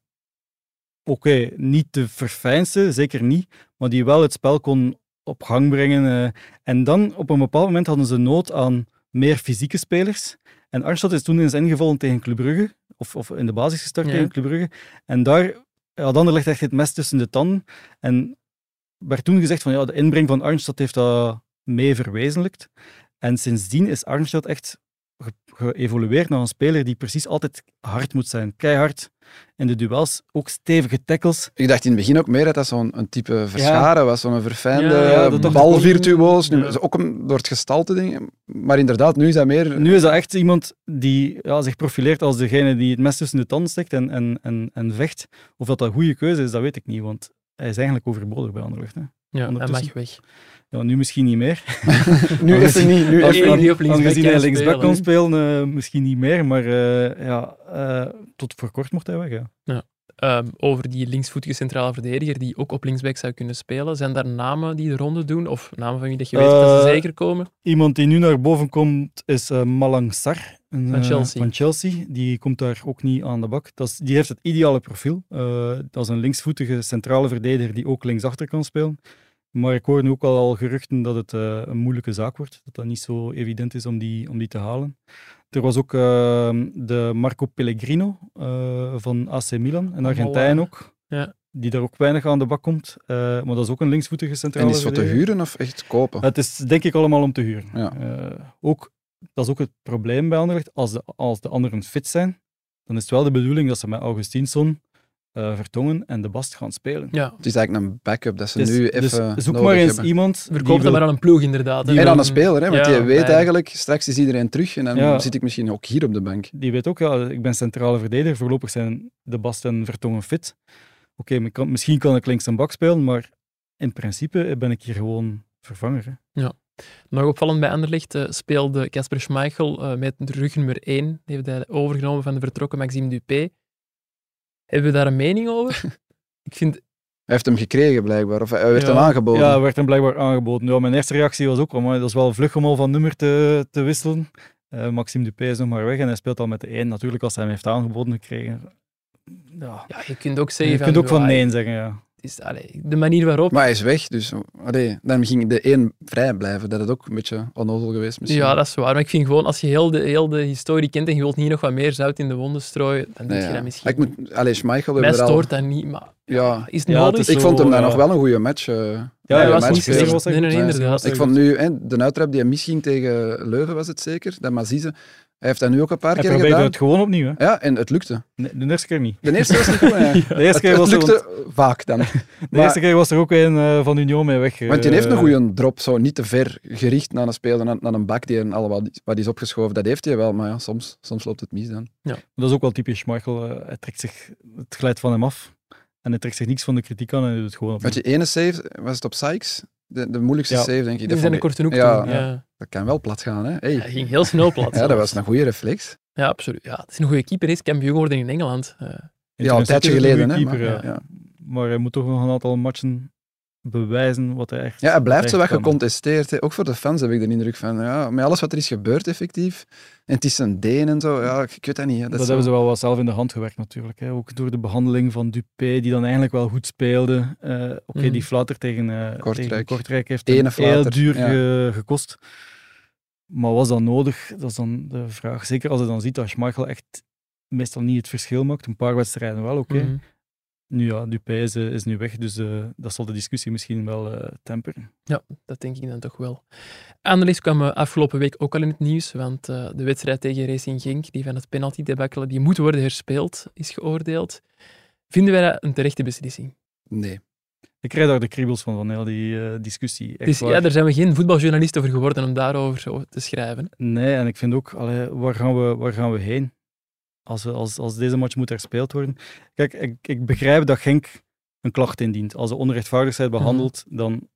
[SPEAKER 4] oké, niet de verfijnste, zeker niet, maar die wel het spel kon op gang brengen. eh. en dan, op een bepaald moment, hadden ze nood aan meer fysieke spelers. En Arnstad is toen eens ingevallen tegen Club Brugge, of, of in de basis gestart
[SPEAKER 1] Ja.
[SPEAKER 4] tegen Club Brugge. En daar had Anderlecht echt het mes tussen de tanden. En werd toen gezegd van, ja, de inbreng van Arnstad heeft dat mee verwezenlijkt. En sindsdien is Arnstad echt ge- geëvolueerd naar een speler die precies altijd hard moet zijn. Keihard in de duels, ook stevige tackles.
[SPEAKER 2] Ik dacht in het begin ook meer dat dat zo'n een type verscharen was, zo'n verfijnde
[SPEAKER 1] Ja,
[SPEAKER 4] ja, dat dacht ik
[SPEAKER 2] balvirtuoos.
[SPEAKER 1] ook.
[SPEAKER 2] Nu,
[SPEAKER 1] Ja.
[SPEAKER 2] Ook om- door het gestalte dingen. Maar inderdaad, nu is dat meer...
[SPEAKER 4] Nu is dat echt iemand die ja, zich profileert als degene die het mes tussen de tanden steekt en, en, en, en vecht. Of dat dat een goede keuze is, dat weet ik niet, want hij is eigenlijk overbodig bij Anderlecht. Hè.
[SPEAKER 1] Ja, hij
[SPEAKER 4] ondertussen.
[SPEAKER 1] mag weg.
[SPEAKER 4] Ja, nu misschien niet meer.
[SPEAKER 2] nu even niet. Nu
[SPEAKER 1] Als-
[SPEAKER 2] even
[SPEAKER 1] Eén
[SPEAKER 2] niet.
[SPEAKER 1] die op linksback
[SPEAKER 4] Aangezien
[SPEAKER 1] kan
[SPEAKER 4] hij linksback
[SPEAKER 1] spelen,
[SPEAKER 4] kon
[SPEAKER 1] hè.
[SPEAKER 4] spelen, eh, misschien niet meer, maar eh, ja, eh, tot voor kort mocht hij weg. Ja.
[SPEAKER 1] Ehm, over die linksvoetige centrale verdediger die ook op linksback zou kunnen spelen. Zijn daar namen die de ronde doen? Of namen van wie dat je weet dat ze
[SPEAKER 4] Eh,
[SPEAKER 1] zeker komen?
[SPEAKER 4] Iemand die nu naar boven komt is eh, Malang Sar een,
[SPEAKER 1] Van
[SPEAKER 4] eh,
[SPEAKER 1] Chelsea.
[SPEAKER 4] van Chelsea. Die komt daar ook niet aan de bak. Dat is, die heeft het ideale profiel. Eh, dat is een linksvoetige centrale verdediger die ook linksachter kan spelen. Maar ik hoor nu ook al, al geruchten dat het eh, een moeilijke zaak wordt. Dat dat niet zo evident is om die, om die te halen. Er was ook eh, de Marco Pellegrino eh, van AC Milan, een Argentijn
[SPEAKER 1] eh,
[SPEAKER 4] ook.
[SPEAKER 1] ja.
[SPEAKER 4] Die daar ook weinig aan de bak komt. Eh, maar dat is ook een linksvoetige
[SPEAKER 2] En
[SPEAKER 4] centrale
[SPEAKER 2] is het wat te
[SPEAKER 4] verdediger.
[SPEAKER 2] huren of echt kopen?
[SPEAKER 4] Het is denk ik allemaal om te huren.
[SPEAKER 2] Ja.
[SPEAKER 4] Eh, ook, dat is ook het probleem bij Anderlecht. Als de, als de anderen fit zijn, dan is het wel de bedoeling dat ze met Augustinsson, eh, Vertongen en De Bast gaan spelen.
[SPEAKER 1] Ja,
[SPEAKER 2] Het is eigenlijk een backup dat ze
[SPEAKER 4] Dus-
[SPEAKER 2] nu
[SPEAKER 4] dus
[SPEAKER 2] even
[SPEAKER 4] zoek
[SPEAKER 2] nodig
[SPEAKER 4] maar eens
[SPEAKER 2] hebben.
[SPEAKER 4] iemand die
[SPEAKER 1] verkoopt
[SPEAKER 4] wil-
[SPEAKER 1] dat maar aan een ploeg inderdaad. hè.
[SPEAKER 4] die
[SPEAKER 2] En
[SPEAKER 1] Dan-
[SPEAKER 2] aan een speler, hè, want
[SPEAKER 1] Ja,
[SPEAKER 2] je weet
[SPEAKER 1] bij-
[SPEAKER 2] eigenlijk, straks is iedereen terug en dan
[SPEAKER 4] Ja.
[SPEAKER 2] zit ik misschien ook hier op de bank.
[SPEAKER 4] die weet ook, ja, ik ben centrale verdediger. Voorlopig zijn De Bast en Vertongen fit. Oké, maar ik kan- misschien kan ik links en bak spelen, maar in principe ben ik hier gewoon vervanger. Hè.
[SPEAKER 1] Nog opvallend bij Anderlecht eh, speelde Casper Schmeichel eh, met de rug nummer 1. Die heeft hij overgenomen van de vertrokken Maxime Dupé. Hebben we daar een mening over? ik vind...
[SPEAKER 2] Hij heeft hem gekregen blijkbaar, of hij werd
[SPEAKER 1] Ja.
[SPEAKER 2] hem aangeboden.
[SPEAKER 4] Ja, werd hem blijkbaar aangeboden. Ja, mijn eerste reactie was ook, maar dat is wel vlug om al van nummer te, te wisselen. Eh, Maxime Dupé is nog maar weg en hij speelt al met de 1. Natuurlijk, als hij hem heeft aangeboden gekregen. Ja.
[SPEAKER 1] Ja, je kunt ook zeggen
[SPEAKER 4] Je
[SPEAKER 1] van...
[SPEAKER 4] kunt ook van
[SPEAKER 1] ah, "Ja,
[SPEAKER 4] nee zeggen, ja.
[SPEAKER 1] het Is, allee, de manier waarop...
[SPEAKER 2] Maar hij is weg, dus allee, dan ging de één vrij blijven. Dat is ook een beetje onnozel geweest misschien.
[SPEAKER 1] Ja, dat is waar. Maar ik vind gewoon, als je heel de, heel de historie kent en je wilt niet nog wat meer zout in de wonden strooien, dan doe
[SPEAKER 2] Nee,
[SPEAKER 1] je
[SPEAKER 2] ja.
[SPEAKER 1] dat misschien
[SPEAKER 2] Ik moet, allee, Schmeichel we
[SPEAKER 1] Mij
[SPEAKER 2] hebben er al...
[SPEAKER 1] stoort dat niet, maar
[SPEAKER 2] Ja.
[SPEAKER 1] is het
[SPEAKER 4] Ja, het
[SPEAKER 1] nodig?
[SPEAKER 4] is
[SPEAKER 2] Ik
[SPEAKER 4] Zo,
[SPEAKER 2] vond hem daar
[SPEAKER 4] ja.
[SPEAKER 2] nog wel een goede match. eh,
[SPEAKER 1] hij
[SPEAKER 2] goede
[SPEAKER 1] was
[SPEAKER 2] match
[SPEAKER 1] niet
[SPEAKER 2] spelen.
[SPEAKER 1] slecht. Nee, nee, nee, inderdaad.
[SPEAKER 2] Ik vond nu, hè, de uittrap die hij misging tegen Leuven was het zeker, dat Mazize. Hij heeft dat nu ook een paar
[SPEAKER 4] Hij
[SPEAKER 2] keer
[SPEAKER 4] probeerde
[SPEAKER 2] gedaan.
[SPEAKER 4] het gewoon opnieuw, hè.
[SPEAKER 2] Ja, en het lukte.
[SPEAKER 4] Nee, De eerste keer niet.
[SPEAKER 2] De eerste was niet goed, hè.
[SPEAKER 4] De eerste
[SPEAKER 2] Het,
[SPEAKER 4] keer
[SPEAKER 2] het
[SPEAKER 4] was er, want-
[SPEAKER 2] lukte vaak dan.
[SPEAKER 4] de eerste
[SPEAKER 2] Maar,
[SPEAKER 4] keer was er ook een eh, van Union mee weg.
[SPEAKER 2] want die
[SPEAKER 4] eh,
[SPEAKER 2] heeft een goede drop, zo niet te ver gericht naar een speler, naar, naar een bak die een allemaal wat is opgeschoven. Dat heeft hij wel, maar ja, soms, soms loopt het mis dan.
[SPEAKER 4] Dat is ook wel typisch Michael. eh, hij trekt zich, het glijdt van hem af. En hij trekt zich niks van de kritiek aan en hij doet het gewoon opnieuw.
[SPEAKER 2] Want je ene save, was het op Sykes? De, de moeilijkste
[SPEAKER 4] Ja.
[SPEAKER 2] save, denk ik.
[SPEAKER 1] Die
[SPEAKER 2] Dat,
[SPEAKER 1] zijn een
[SPEAKER 2] vond ik-
[SPEAKER 1] korte hoek
[SPEAKER 2] Ja,
[SPEAKER 1] toen.
[SPEAKER 4] ja.
[SPEAKER 1] Ja.
[SPEAKER 2] dat kan wel plat gaan, hè? Hey.
[SPEAKER 1] Hij ging heel snel plat.
[SPEAKER 2] Ja, dat
[SPEAKER 1] zelfs.
[SPEAKER 2] was een goede reflex.
[SPEAKER 1] Ja, absoluut. Ja, het is een goede keeper. Hij is kampioen geworden in Engeland. Eh,
[SPEAKER 2] Ja, een tijdje
[SPEAKER 4] Intercept is
[SPEAKER 2] geleden, hè?
[SPEAKER 4] goede keeper, eh,
[SPEAKER 2] maar-
[SPEAKER 4] ja.
[SPEAKER 2] ja.
[SPEAKER 4] Maar hij moet toch nog een aantal matchen bewijzen wat hij echt...
[SPEAKER 2] Ja, hij blijft zo wat
[SPEAKER 4] terecht kan.
[SPEAKER 2] gecontesteerd. Hè. Ook voor de fans heb ik de indruk van, ja, met alles wat er is gebeurd effectief, en het is een Deen en zo, ja, ik, ik weet dat niet. hè.
[SPEAKER 4] Dat,
[SPEAKER 2] Dat, is zo-
[SPEAKER 4] hebben ze wel wat zelf in de hand gewerkt natuurlijk. Hè. Ook door de behandeling van Dupé, die dan eigenlijk wel goed speelde. Eh, Oké,
[SPEAKER 1] Mhm.
[SPEAKER 4] die flater tegen, eh,
[SPEAKER 2] Kortrijk.
[SPEAKER 4] tegen Kortrijk heeft
[SPEAKER 2] Ene
[SPEAKER 4] hem heel
[SPEAKER 2] flater,
[SPEAKER 4] duur
[SPEAKER 2] ja.
[SPEAKER 4] ge- gekost. Maar was dat nodig? Dat is dan de vraag. Zeker als je dan ziet dat Schmeichel echt meestal niet het verschil maakt. Een paar wedstrijden wel, oké.
[SPEAKER 1] mhm.
[SPEAKER 4] Nu ja, Dupé is, eh, is nu weg, dus eh, dat zal de discussie misschien wel eh, temperen.
[SPEAKER 1] Dat denk ik dan toch wel. Anderlecht kwam eh, afgelopen week ook al in het nieuws, want eh, de wedstrijd tegen Racing Genk, die van het penalty debakkelen, die moet worden herspeeld, is geoordeeld. Vinden wij dat een terechte beslissing?
[SPEAKER 2] Nee.
[SPEAKER 4] Ik krijg daar de kriebels van, van heel die eh, discussie. Echt
[SPEAKER 1] Dus, ja,
[SPEAKER 4] waar.
[SPEAKER 1] daar zijn we geen voetbaljournalist over geworden om daarover zo te schrijven.
[SPEAKER 4] Nee, en ik vind ook, allee, waar, gaan we, waar gaan we heen? Als, we, als, als deze match moet herspeeld worden. Kijk, ik, ik begrijp dat Genk een klacht indient. Als ze onrechtvaardig zijn behandeld, dan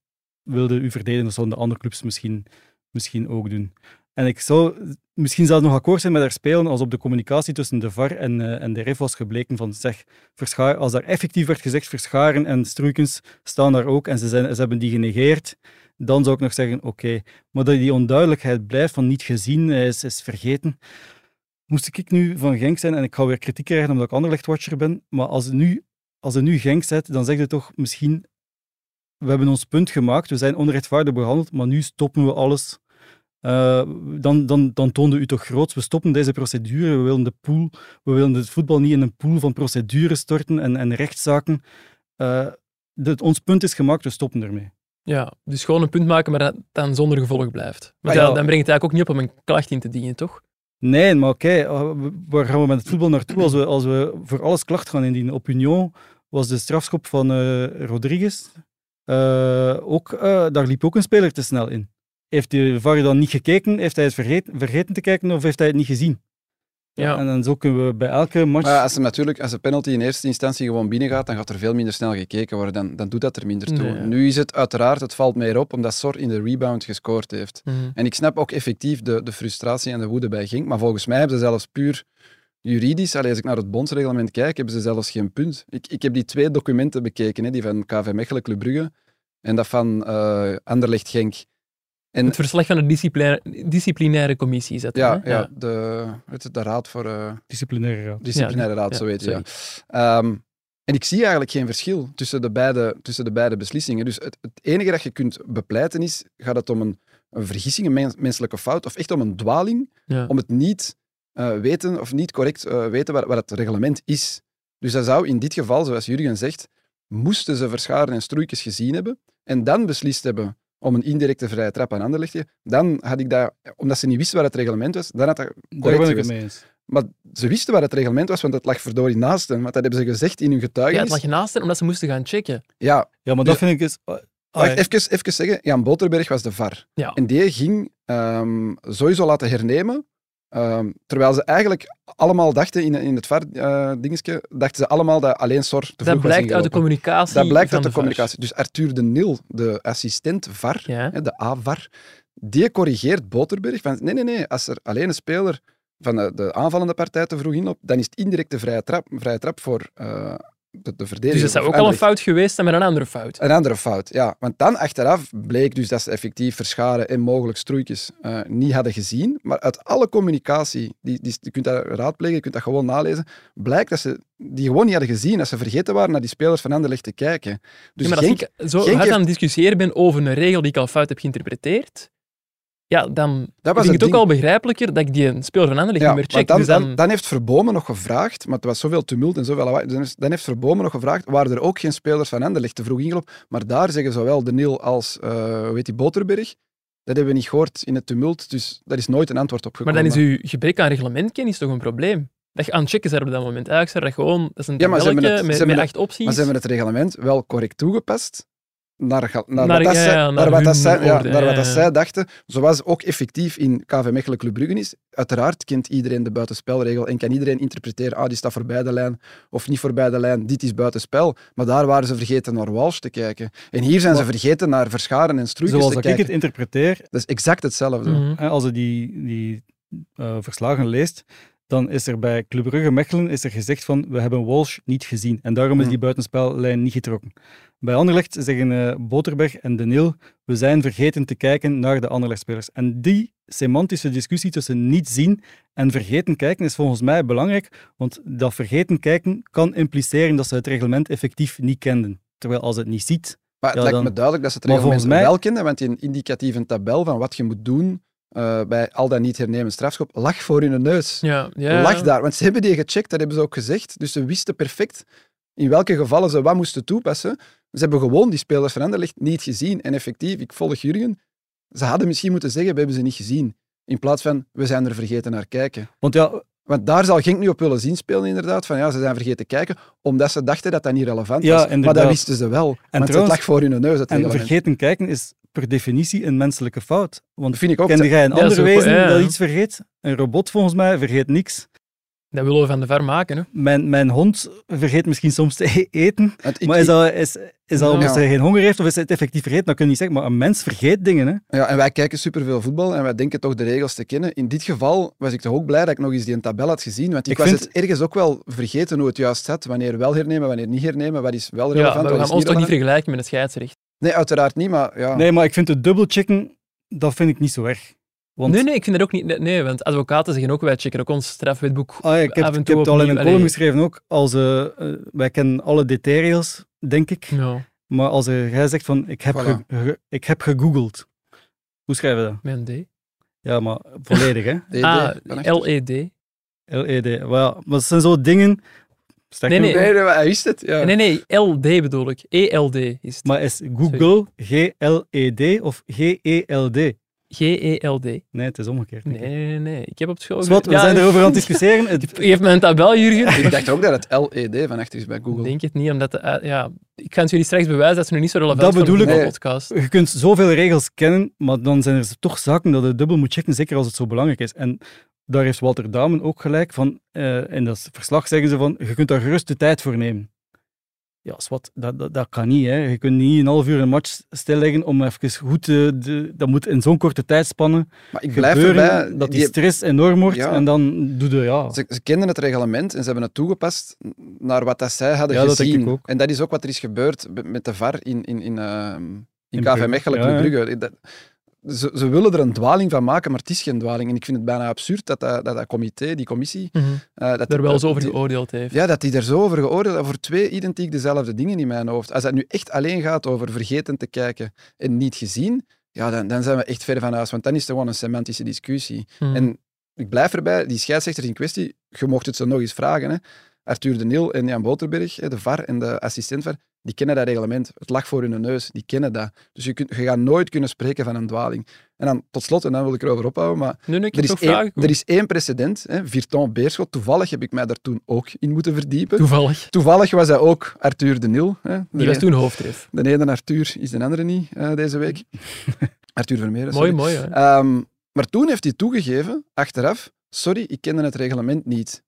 [SPEAKER 4] wilde u verdedigen. Dat zullen de andere clubs misschien, misschien ook doen. En ik zou misschien zelfs nog akkoord zijn met haar spelen als op de communicatie tussen de VAR en, eh, en de RIF was gebleken van zeg, verschaar, als daar effectief werd gezegd verscharen en stroeikens staan daar ook en ze, zijn, ze hebben die genegeerd, dan zou ik nog zeggen oké. Maar dat die onduidelijkheid blijft van niet gezien, hij is, is vergeten. Moest ik nu van Genk zijn, en ik ga weer kritiek krijgen omdat ik Anderlecht-watcher ben, maar als het nu, als het nu Genk zet, dan zegt het toch misschien we hebben ons punt gemaakt, we zijn onrechtvaardig behandeld, maar nu stoppen we alles. Eh, dan, dan, dan toonde u toch groots, we stoppen deze procedure, we willen, de pool, we willen het voetbal niet in een pool van procedures storten en, en rechtszaken. Eh, dat, ons punt is gemaakt, we stoppen ermee.
[SPEAKER 1] Ja, dus gewoon een punt maken, maar dat dan zonder gevolg blijft. Maar
[SPEAKER 4] Ah,
[SPEAKER 1] ja,
[SPEAKER 4] ja.
[SPEAKER 1] dan brengt het eigenlijk ook niet op om een klacht in te dienen, toch?
[SPEAKER 4] Nee, maar oké, eh, waar gaan we met het voetbal naartoe als we, als we voor alles klacht gaan indienen? Op Union was de strafschop van eh Rodriguez eh, ook, eh, daar liep ook een speler te snel in. Heeft de VAR dan niet gekeken? Heeft hij het vergeten, vergeten te kijken of heeft hij het niet gezien?
[SPEAKER 1] Ja.
[SPEAKER 4] En dan zo kunnen we bij elke match...
[SPEAKER 2] Maar als ze natuurlijk, als de penalty in eerste instantie gewoon binnengaat, dan gaat er veel minder snel gekeken worden. Dan, dan doet dat er minder toe.
[SPEAKER 1] Nee, ja.
[SPEAKER 2] Nu is het uiteraard, het valt meer op, omdat Sor in de rebound gescoord heeft.
[SPEAKER 1] Mhm.
[SPEAKER 2] En ik snap ook effectief de, de frustratie en de woede bij Genk, maar volgens mij hebben ze zelfs puur juridisch, allee, als ik naar het bondsreglement kijk, hebben ze zelfs geen punt. Ik, ik heb die twee documenten bekeken, hè, die van KV Mechelen, Club Brugge, en dat van eh, Anderlecht Genk. En
[SPEAKER 1] Het verslag van de disciplinaire, disciplinaire commissie zetten.
[SPEAKER 2] ja, ja, De, weet het, de raad voor eh,
[SPEAKER 4] Disciplinaire raad.
[SPEAKER 2] disciplinaire raad,
[SPEAKER 1] ja,
[SPEAKER 2] zo heet het, ja. Ehm, en ik zie eigenlijk geen verschil tussen de beide, tussen de beide beslissingen. Dus het, het enige dat je kunt bepleiten is, gaat het om een, een vergissing, een mens- menselijke fout, of echt om een dwaling?
[SPEAKER 1] Ja.
[SPEAKER 2] om het niet eh, weten of niet correct eh, weten wat, wat het reglement is. Dus dat zou in dit geval, zoals Jurgen zegt, moesten ze verscharen en stroeikens gezien hebben en dan beslist hebben om een indirecte vrije trap aan Anderlecht te geven, dan had ik dat, omdat ze niet wisten wat het reglement was, dan had dat,
[SPEAKER 4] Daar ben ik het
[SPEAKER 2] geweest.
[SPEAKER 4] mee eens.
[SPEAKER 2] maar ze wisten wat het reglement was, want dat lag verdorie naast hen, want dat hebben ze gezegd in hun
[SPEAKER 1] Ja,
[SPEAKER 2] getuigenis.
[SPEAKER 1] het lag naast hen, omdat ze moesten gaan checken.
[SPEAKER 2] Ja,
[SPEAKER 4] Ja, maar
[SPEAKER 2] Dus-
[SPEAKER 4] dat vind ik dus... ah, ah,
[SPEAKER 2] Wacht, even, even zeggen, Jan Boterberg was de VAR.
[SPEAKER 1] Ja.
[SPEAKER 2] En die ging ehm, sowieso laten hernemen, ehm, terwijl ze eigenlijk allemaal dachten, in, in het VAR-dingetje, dachten ze allemaal dat alleen Sor te vroeg
[SPEAKER 1] Dat
[SPEAKER 2] was
[SPEAKER 1] blijkt uit de
[SPEAKER 2] ingelopen.
[SPEAKER 1] communicatie.
[SPEAKER 2] Dat blijkt
[SPEAKER 1] van
[SPEAKER 2] uit de
[SPEAKER 1] VAR.
[SPEAKER 2] communicatie. Dus Arthur de Nil, de assistent VAR,
[SPEAKER 1] Ja.
[SPEAKER 2] hè, de A-VAR, die corrigeert Boterberg van nee, nee, nee, als er alleen een speler van de, de aanvallende partij te vroeg inloopt, dan is het indirect de vrije trap, vrije trap voor eh, de, de
[SPEAKER 1] Dus
[SPEAKER 2] verdediging.
[SPEAKER 1] dat zou
[SPEAKER 2] of
[SPEAKER 1] ook al een
[SPEAKER 2] Anderlecht.
[SPEAKER 1] fout geweest zijn met een andere fout.
[SPEAKER 2] Een andere fout, ja. Want dan achteraf bleek dus dat ze effectief verscharen en mogelijk stroeikjes eh, niet hadden gezien. Maar uit alle communicatie, die, die, je kunt dat raadplegen, je kunt dat gewoon nalezen, blijkt dat ze die gewoon niet hadden gezien, dat ze vergeten waren naar die spelers van Anderlecht te kijken. Dus
[SPEAKER 1] Ja, maar als
[SPEAKER 2] Genk-
[SPEAKER 1] ik zo
[SPEAKER 2] Genk
[SPEAKER 1] hard
[SPEAKER 2] heeft-
[SPEAKER 1] aan het discussiëren ben over een regel die ik al fout heb geïnterpreteerd, ja, dan
[SPEAKER 2] dat
[SPEAKER 1] vind
[SPEAKER 2] was
[SPEAKER 1] ik
[SPEAKER 2] het
[SPEAKER 1] het
[SPEAKER 2] ding.
[SPEAKER 1] ook al begrijpelijker dat ik die speler van Anderlecht
[SPEAKER 2] Ja,
[SPEAKER 1] niet meer
[SPEAKER 2] want
[SPEAKER 1] check.
[SPEAKER 2] dan,
[SPEAKER 1] dus
[SPEAKER 2] dan, dan heeft Verbomen nog gevraagd, maar er was zoveel tumult en zoveel lawaai, dus dan heeft Verbomen nog gevraagd, waren er ook geen spelers van Anderlecht te vroeg ingelopen? Maar daar zeggen zowel De Nil als, eh, hoe weet die, Boterberg, dat hebben we niet gehoord in het tumult, dus daar is nooit een antwoord op
[SPEAKER 1] maar
[SPEAKER 2] gekomen.
[SPEAKER 1] dan is uw gebrek aan reglementkennis toch een probleem? Dat je aan het checken bent op dat moment. Eigenlijk zou dat gewoon... Dat is een
[SPEAKER 2] Ja, maar ze
[SPEAKER 1] tabelletje
[SPEAKER 2] hebben het-
[SPEAKER 1] met,
[SPEAKER 2] ze hebben
[SPEAKER 1] met
[SPEAKER 2] het-
[SPEAKER 1] acht opties.
[SPEAKER 2] Maar ze hebben het reglement wel correct toegepast naar, ga- naar,
[SPEAKER 1] Naar-
[SPEAKER 2] wat, dat
[SPEAKER 1] ja,
[SPEAKER 2] zij,
[SPEAKER 1] ja,
[SPEAKER 2] naar,
[SPEAKER 1] naar
[SPEAKER 2] wat, dat
[SPEAKER 1] hun
[SPEAKER 2] zij, ja,
[SPEAKER 1] oordeel,
[SPEAKER 2] naar wat
[SPEAKER 1] ja,
[SPEAKER 2] dat
[SPEAKER 1] ja.
[SPEAKER 2] zij dachten. Zoals ook effectief in KV Mechelen Club Brugge is. Uiteraard kent iedereen de buitenspelregel en kan iedereen interpreteren ah, die staat voorbij de lijn of niet voorbij de lijn, dit is buitenspel. Maar daar waren ze vergeten naar Walsh te kijken. En hier zijn ze vergeten naar Verscharen en Stroeikens
[SPEAKER 4] Zoals
[SPEAKER 2] te
[SPEAKER 4] dat ik
[SPEAKER 2] kijken.
[SPEAKER 4] het Mm. interpreteer,
[SPEAKER 2] Dat is exact hetzelfde.
[SPEAKER 1] Mhm.
[SPEAKER 4] Hè, als je die, die eh, verslagen leest, dan is er bij Club Brugge Mechelen is er gezegd van we hebben Walsh niet gezien. En daarom is
[SPEAKER 2] Hm.
[SPEAKER 4] die buitenspellijn niet getrokken. Bij Anderlecht zeggen eh, Boterberg en De Nil, we zijn vergeten te kijken naar de Anderlecht-spelers. En die semantische discussie tussen niet zien en vergeten kijken is volgens mij belangrijk, want dat vergeten kijken kan impliceren dat ze het reglement effectief niet kenden. Terwijl als het niet ziet,
[SPEAKER 2] Maar het
[SPEAKER 4] Ja,
[SPEAKER 2] lijkt
[SPEAKER 4] dan-
[SPEAKER 2] me duidelijk dat ze het
[SPEAKER 4] Maar
[SPEAKER 2] reglement
[SPEAKER 4] volgens mij-
[SPEAKER 2] wel kenden, want die indicatieve tabel van wat je moet doen eh, bij al dat niet hernemen strafschop lag voor hun neus.
[SPEAKER 1] Ja, ja.
[SPEAKER 2] lag daar. Want ze hebben die gecheckt, dat hebben ze ook gezegd. Dus ze wisten perfect in welke gevallen ze wat moesten toepassen. Ze hebben gewoon die spelers van Anderlecht niet gezien. En effectief, ik volg Jurgen, ze hadden misschien moeten zeggen, we hebben ze niet gezien. In plaats van, we zijn er vergeten naar kijken.
[SPEAKER 4] Want ja,
[SPEAKER 2] Want daar zal Genk nu op willen zinspelen, inderdaad. Van ja, ze zijn vergeten kijken, omdat ze dachten dat dat niet relevant
[SPEAKER 4] Ja,
[SPEAKER 2] was. Maar
[SPEAKER 4] inderdaad.
[SPEAKER 2] dat wisten ze wel. want
[SPEAKER 4] trouwens-
[SPEAKER 2] het lag voor hun neus. Dat
[SPEAKER 4] en
[SPEAKER 2] reglement.
[SPEAKER 4] vergeten kijken is per definitie een menselijke fout. Want
[SPEAKER 2] Dat vind ik ook.
[SPEAKER 4] kende jij een
[SPEAKER 1] Ja,
[SPEAKER 4] ander
[SPEAKER 1] zo-
[SPEAKER 4] wezen
[SPEAKER 1] ja, ja.
[SPEAKER 4] dat iets vergeet? Een robot volgens mij vergeet niks.
[SPEAKER 1] Dat willen we van de ver maken. Hè.
[SPEAKER 4] Mijn, mijn hond vergeet misschien soms te e- eten.
[SPEAKER 2] Want ik-
[SPEAKER 4] maar is dat, is, is dat
[SPEAKER 1] Ja.
[SPEAKER 4] omdat hij geen honger heeft of is het effectief vergeten? Dat kun je niet zeggen. Maar een mens vergeet dingen. Hè?
[SPEAKER 2] Ja, en wij kijken superveel voetbal en wij denken toch de regels te kennen. In dit geval was ik toch ook blij dat ik nog eens die tabel had gezien. Want ik,
[SPEAKER 4] Ik
[SPEAKER 2] was
[SPEAKER 4] vind-
[SPEAKER 2] het ergens ook wel vergeten hoe het juist zat. Wanneer wel hernemen, wanneer niet hernemen. Wat is wel
[SPEAKER 1] Ja,
[SPEAKER 2] relevant,
[SPEAKER 1] maar we
[SPEAKER 2] wat
[SPEAKER 1] gaan
[SPEAKER 2] is
[SPEAKER 1] ons toch niet
[SPEAKER 2] relevant.
[SPEAKER 1] vergelijken met het scheidsrecht.
[SPEAKER 2] Nee, uiteraard niet, maar ja.
[SPEAKER 4] Nee, maar ik vind het dubbelchecken, dat vind ik niet zo erg. Want
[SPEAKER 1] Nee, nee, ik vind dat ook niet. nee, Nee, want advocaten zeggen ook, wij checken ook ons strafwetboek.
[SPEAKER 4] Ah, ja, ik heb,
[SPEAKER 1] Af en
[SPEAKER 4] ik
[SPEAKER 1] toe
[SPEAKER 4] heb het al in een
[SPEAKER 1] opnieuw,
[SPEAKER 4] column
[SPEAKER 1] allee.
[SPEAKER 4] geschreven ook. Als, eh, eh, wij kennen alle details, denk ik.
[SPEAKER 1] Ja,
[SPEAKER 4] Maar als eh, jij zegt van ik heb,
[SPEAKER 2] Voilà.
[SPEAKER 4] ge- ge- ik heb gegoogeld. Hoe schrijven we dat?
[SPEAKER 1] mijn D.
[SPEAKER 4] Ja, maar volledig, hè?
[SPEAKER 2] DD,
[SPEAKER 1] Ah,
[SPEAKER 2] van achter.
[SPEAKER 1] LED.
[SPEAKER 4] LED. Maar ja, E maar dat zijn zo dingen. Sterk
[SPEAKER 1] Nee,
[SPEAKER 4] genoeg,
[SPEAKER 1] nee.
[SPEAKER 2] Nee, nee, maar hij wist het. Ja.
[SPEAKER 1] Nee, nee, LD bedoel ik. ELD is het.
[SPEAKER 4] Maar is Google G-L-E-D of G-E-L-D?
[SPEAKER 1] G-E-L-D. Nee,
[SPEAKER 4] Nee, het is omgekeerd.
[SPEAKER 1] E nee, nee, nee. Ik heb op school...
[SPEAKER 4] Dus wat, we
[SPEAKER 1] Ja,
[SPEAKER 4] zijn erover aan het discussiëren. Het-
[SPEAKER 1] Geef me een tabel, Jurgen.
[SPEAKER 2] Ik dacht ook dat het LED van achter is bij
[SPEAKER 1] Ik
[SPEAKER 2] Google.
[SPEAKER 1] denk het niet, omdat... De, uit- ja, ik ga het jullie straks bewijzen dat ze nu niet zo relevant
[SPEAKER 4] Dat
[SPEAKER 1] zijn
[SPEAKER 4] bedoel
[SPEAKER 1] voor
[SPEAKER 2] ik.
[SPEAKER 1] de
[SPEAKER 2] Nee.
[SPEAKER 1] podcast.
[SPEAKER 4] je kunt zoveel regels kennen, maar dan zijn er toch zaken dat je dubbel moet checken, zeker als het zo belangrijk is. En daar heeft Walter Damen ook gelijk van. eh, in dat verslag zeggen ze van, je kunt daar gerust de tijd voor nemen. Ja, zwart, dat, dat, dat kan niet. Hè. Je kunt niet een half uur een match stilleggen om even goed... eh, de, dat moet in zo'n korte tijdspanne
[SPEAKER 2] Maar ik blijf
[SPEAKER 4] gebeuren,
[SPEAKER 2] erbij.
[SPEAKER 4] dat die,
[SPEAKER 2] die-
[SPEAKER 4] stress enorm wordt.
[SPEAKER 2] Ja.
[SPEAKER 4] En dan doe je, ja...
[SPEAKER 2] Ze, ze kenden het reglement en ze hebben het toegepast naar wat dat zij hadden
[SPEAKER 4] Ja, dat
[SPEAKER 2] gezien.
[SPEAKER 4] denk ik ook.
[SPEAKER 2] En dat is ook wat er is gebeurd be- met de VAR in, in, in, ehm, in,
[SPEAKER 4] In
[SPEAKER 2] KV
[SPEAKER 4] Brugge.
[SPEAKER 2] Mechelen,
[SPEAKER 4] Ja,
[SPEAKER 2] Club
[SPEAKER 4] ja.
[SPEAKER 2] Brugge. Eh, Dat- ze, ze willen er een dwaling van maken, maar het is geen dwaling. En ik vind het bijna absurd dat dat, dat, dat comité, die commissie...
[SPEAKER 1] Mhm.
[SPEAKER 2] eh, dat die-
[SPEAKER 1] Daar wel eens over
[SPEAKER 2] die-
[SPEAKER 1] geoordeeld heeft.
[SPEAKER 2] Ja, dat die er zo over geoordeeld hebben, voor twee identiek dezelfde dingen in mijn hoofd. Als dat nu echt alleen gaat over vergeten te kijken en niet gezien, ja, dan, dan zijn we echt ver van huis, want dan is het gewoon een semantische discussie.
[SPEAKER 1] Mhm.
[SPEAKER 2] En ik blijf erbij, die scheidsrechters in kwestie, je mocht het ze nog eens vragen. Hè. Arthur de Niel en Jan Boterberg, hè, de VAR en de assistent VAR, die kennen dat reglement. Het lag voor hun neus, die kennen dat. Dus je, kunt, je gaat nooit kunnen spreken van een dwaling. En dan tot slot, en dan wil ik erover ophouden, maar
[SPEAKER 1] Nee, nee, ik
[SPEAKER 2] er
[SPEAKER 1] heb
[SPEAKER 2] is,
[SPEAKER 1] toch
[SPEAKER 2] één,
[SPEAKER 1] vragen.
[SPEAKER 2] er is één precedent, hè, Virton Beerschot. Toevallig heb ik mij daar toen ook in moeten verdiepen.
[SPEAKER 1] Toevallig.
[SPEAKER 2] Toevallig was hij ook Arthur de Niel. Hè. De,
[SPEAKER 1] Die was
[SPEAKER 2] e-
[SPEAKER 1] toen hoofdref.
[SPEAKER 2] de ene Arthur is de andere niet eh, deze week. Arthur Vermeer.
[SPEAKER 1] Mooi,
[SPEAKER 2] sorry.
[SPEAKER 1] mooi. Hè?
[SPEAKER 2] Ehm, maar toen heeft hij toegegeven, achteraf, sorry, ik kende het reglement niet.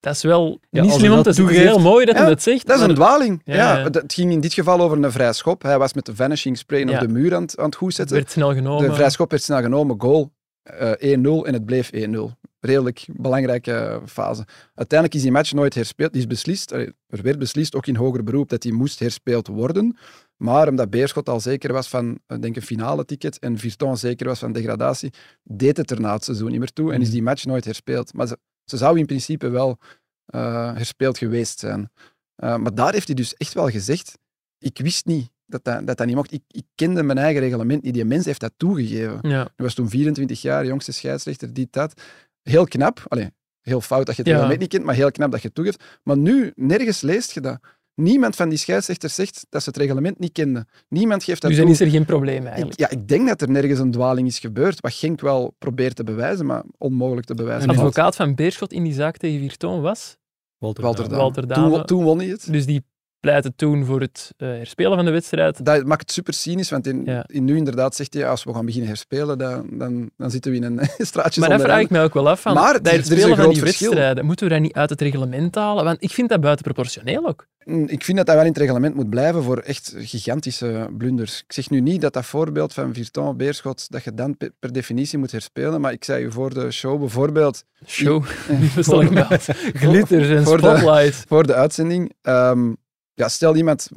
[SPEAKER 1] Dat is wel
[SPEAKER 4] Ja,
[SPEAKER 1] niet
[SPEAKER 4] als
[SPEAKER 1] slim
[SPEAKER 4] je
[SPEAKER 1] om
[SPEAKER 4] dat
[SPEAKER 1] te zeggen. Het is
[SPEAKER 4] toegeeft-
[SPEAKER 1] heel mooi dat
[SPEAKER 2] Ja,
[SPEAKER 1] hij dat zegt.
[SPEAKER 2] Dat is een
[SPEAKER 1] maar-
[SPEAKER 2] dwaling.
[SPEAKER 1] Ja,
[SPEAKER 2] Ja,
[SPEAKER 1] ja.
[SPEAKER 2] Het het ging in dit geval over een vrij schop. Hij was met de vanishing spray
[SPEAKER 1] Ja.
[SPEAKER 2] op de muur aan het, aan het goed
[SPEAKER 1] Het
[SPEAKER 2] zetten.
[SPEAKER 1] werd snel genomen.
[SPEAKER 2] de vrij schop werd snel genomen, goal eh, 1-0 en het bleef 1-0. Redelijk belangrijke eh, fase. Uiteindelijk is die match nooit herspeeld. Die is beslist, eh, er werd beslist, ook in hoger beroep, dat die moest herspeeld worden. Maar omdat Beerschot al zeker was van eh, denk een finale ticket en Virton zeker was van degradatie, deed het er na het seizoen niet meer toe en is die match nooit herspeeld. Maar ze, ze zou in principe wel eh, herspeeld geweest zijn. Eh, maar daar heeft hij dus echt wel gezegd, ik wist niet dat dat, dat, dat niet mocht. Ik, ik kende mijn eigen reglement niet. Die mens heeft dat toegegeven.
[SPEAKER 1] Ja.
[SPEAKER 2] Hij was toen 24 jaar, jongste scheidsrechter, dit, dat. Heel knap. Allee, heel fout dat je het
[SPEAKER 1] Ja.
[SPEAKER 2] reglement niet kent, maar heel knap dat je het toegeeft. Maar nu, nergens leest je dat. Niemand van die scheidsrechters zegt dat ze het reglement niet kenden. Niemand geeft dat
[SPEAKER 1] Dus
[SPEAKER 2] toe.
[SPEAKER 1] dan is er geen probleem
[SPEAKER 2] Ik-
[SPEAKER 1] eigenlijk.
[SPEAKER 2] ja, ik denk dat er nergens een dwaling is gebeurd, wat Genk wel probeert te bewijzen, maar onmogelijk te bewijzen.
[SPEAKER 4] En
[SPEAKER 2] valt.
[SPEAKER 1] Advocaat van Beerschot in die zaak tegen Virton was.
[SPEAKER 4] Walter,
[SPEAKER 2] Walter
[SPEAKER 4] Damen.
[SPEAKER 2] Dame.
[SPEAKER 1] Walter Dame.
[SPEAKER 2] Toen, wo- toen won hij het.
[SPEAKER 1] Dus die pleitte toen voor het eh, herspelen van de wedstrijd.
[SPEAKER 2] Dat maakt het super cynisch, want in,
[SPEAKER 1] Ja.
[SPEAKER 2] in nu inderdaad zegt hij, als we gaan beginnen herspelen, dan, dan, dan zitten we in een straatje
[SPEAKER 1] Maar
[SPEAKER 2] zonder
[SPEAKER 1] dat vraag
[SPEAKER 2] ramen.
[SPEAKER 1] ik mij ook wel af. Van,
[SPEAKER 2] Maar
[SPEAKER 1] dat
[SPEAKER 2] er- er is
[SPEAKER 1] herspelen
[SPEAKER 2] een
[SPEAKER 1] van
[SPEAKER 2] groot
[SPEAKER 1] die
[SPEAKER 2] verschil.
[SPEAKER 1] wedstrijden, moeten we dat niet uit het reglement halen? Want ik vind dat buitenproportioneel ook.
[SPEAKER 2] Mm, Ik vind dat dat wel in het reglement moet blijven voor echt gigantische blunders. Ik zeg nu niet dat dat voorbeeld van Virton Beerschot, dat je dan pe- per definitie moet herspelen, maar ik zei u voor de show bijvoorbeeld,
[SPEAKER 1] Show, stel ik me uit. Glitters en
[SPEAKER 2] voor de-
[SPEAKER 1] spotlight.
[SPEAKER 2] voor de uitzending, ehm, ja, stel iemand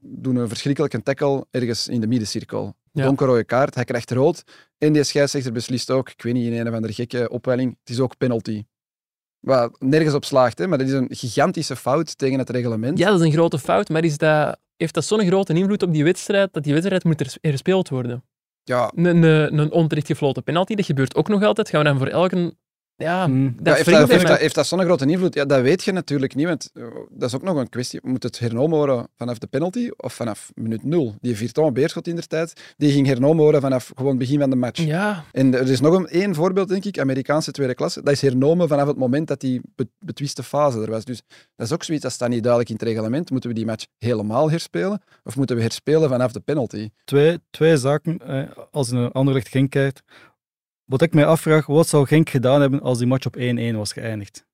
[SPEAKER 2] doet een verschrikkelijke tackle ergens in de middencirkel.
[SPEAKER 1] Ja.
[SPEAKER 2] Donkerrode kaart, hij krijgt rood en die scheidsrechter beslist ook, ik weet niet, in een of andere gekke opwelling, het is ook penalty. Waar nergens op slaagt, hè, maar dat is een gigantische fout tegen het reglement.
[SPEAKER 1] Ja, dat is een grote fout, maar is dat, heeft dat zo'n grote invloed op die wedstrijd dat die wedstrijd moet hers- herspeeld worden?
[SPEAKER 2] ja
[SPEAKER 1] Een, een, een onterecht gefloten penalty, dat gebeurt ook nog altijd. Gaan we dan voor elke Ja,
[SPEAKER 4] Hmm.
[SPEAKER 1] dat
[SPEAKER 2] heeft,
[SPEAKER 1] wringt
[SPEAKER 2] dat,
[SPEAKER 1] in
[SPEAKER 2] heeft,
[SPEAKER 1] mij.
[SPEAKER 2] dat, heeft dat zo'n grote invloed? Ja, dat weet je natuurlijk niet, want eh, dat is ook nog een kwestie. Moet het hernomen worden vanaf de penalty of vanaf minuut nul? Die Virton Beerschot in der tijd, die ging hernomen worden vanaf gewoon begin van de match.
[SPEAKER 1] Ja,
[SPEAKER 2] En er is nog een, één voorbeeld, denk ik, Amerikaanse tweede klasse. Dat is hernomen vanaf het moment dat die be- betwiste fase er was. Dus dat is ook zoiets, dat staat niet duidelijk in het reglement. Moeten we die match helemaal herspelen? Of moeten we herspelen vanaf de penalty?
[SPEAKER 4] twee, twee zaken eh, als je naar Anderlecht Genk kijkt. Wat ik mij afvraag, wat zou Genk gedaan hebben als die match op 1-1 was geëindigd?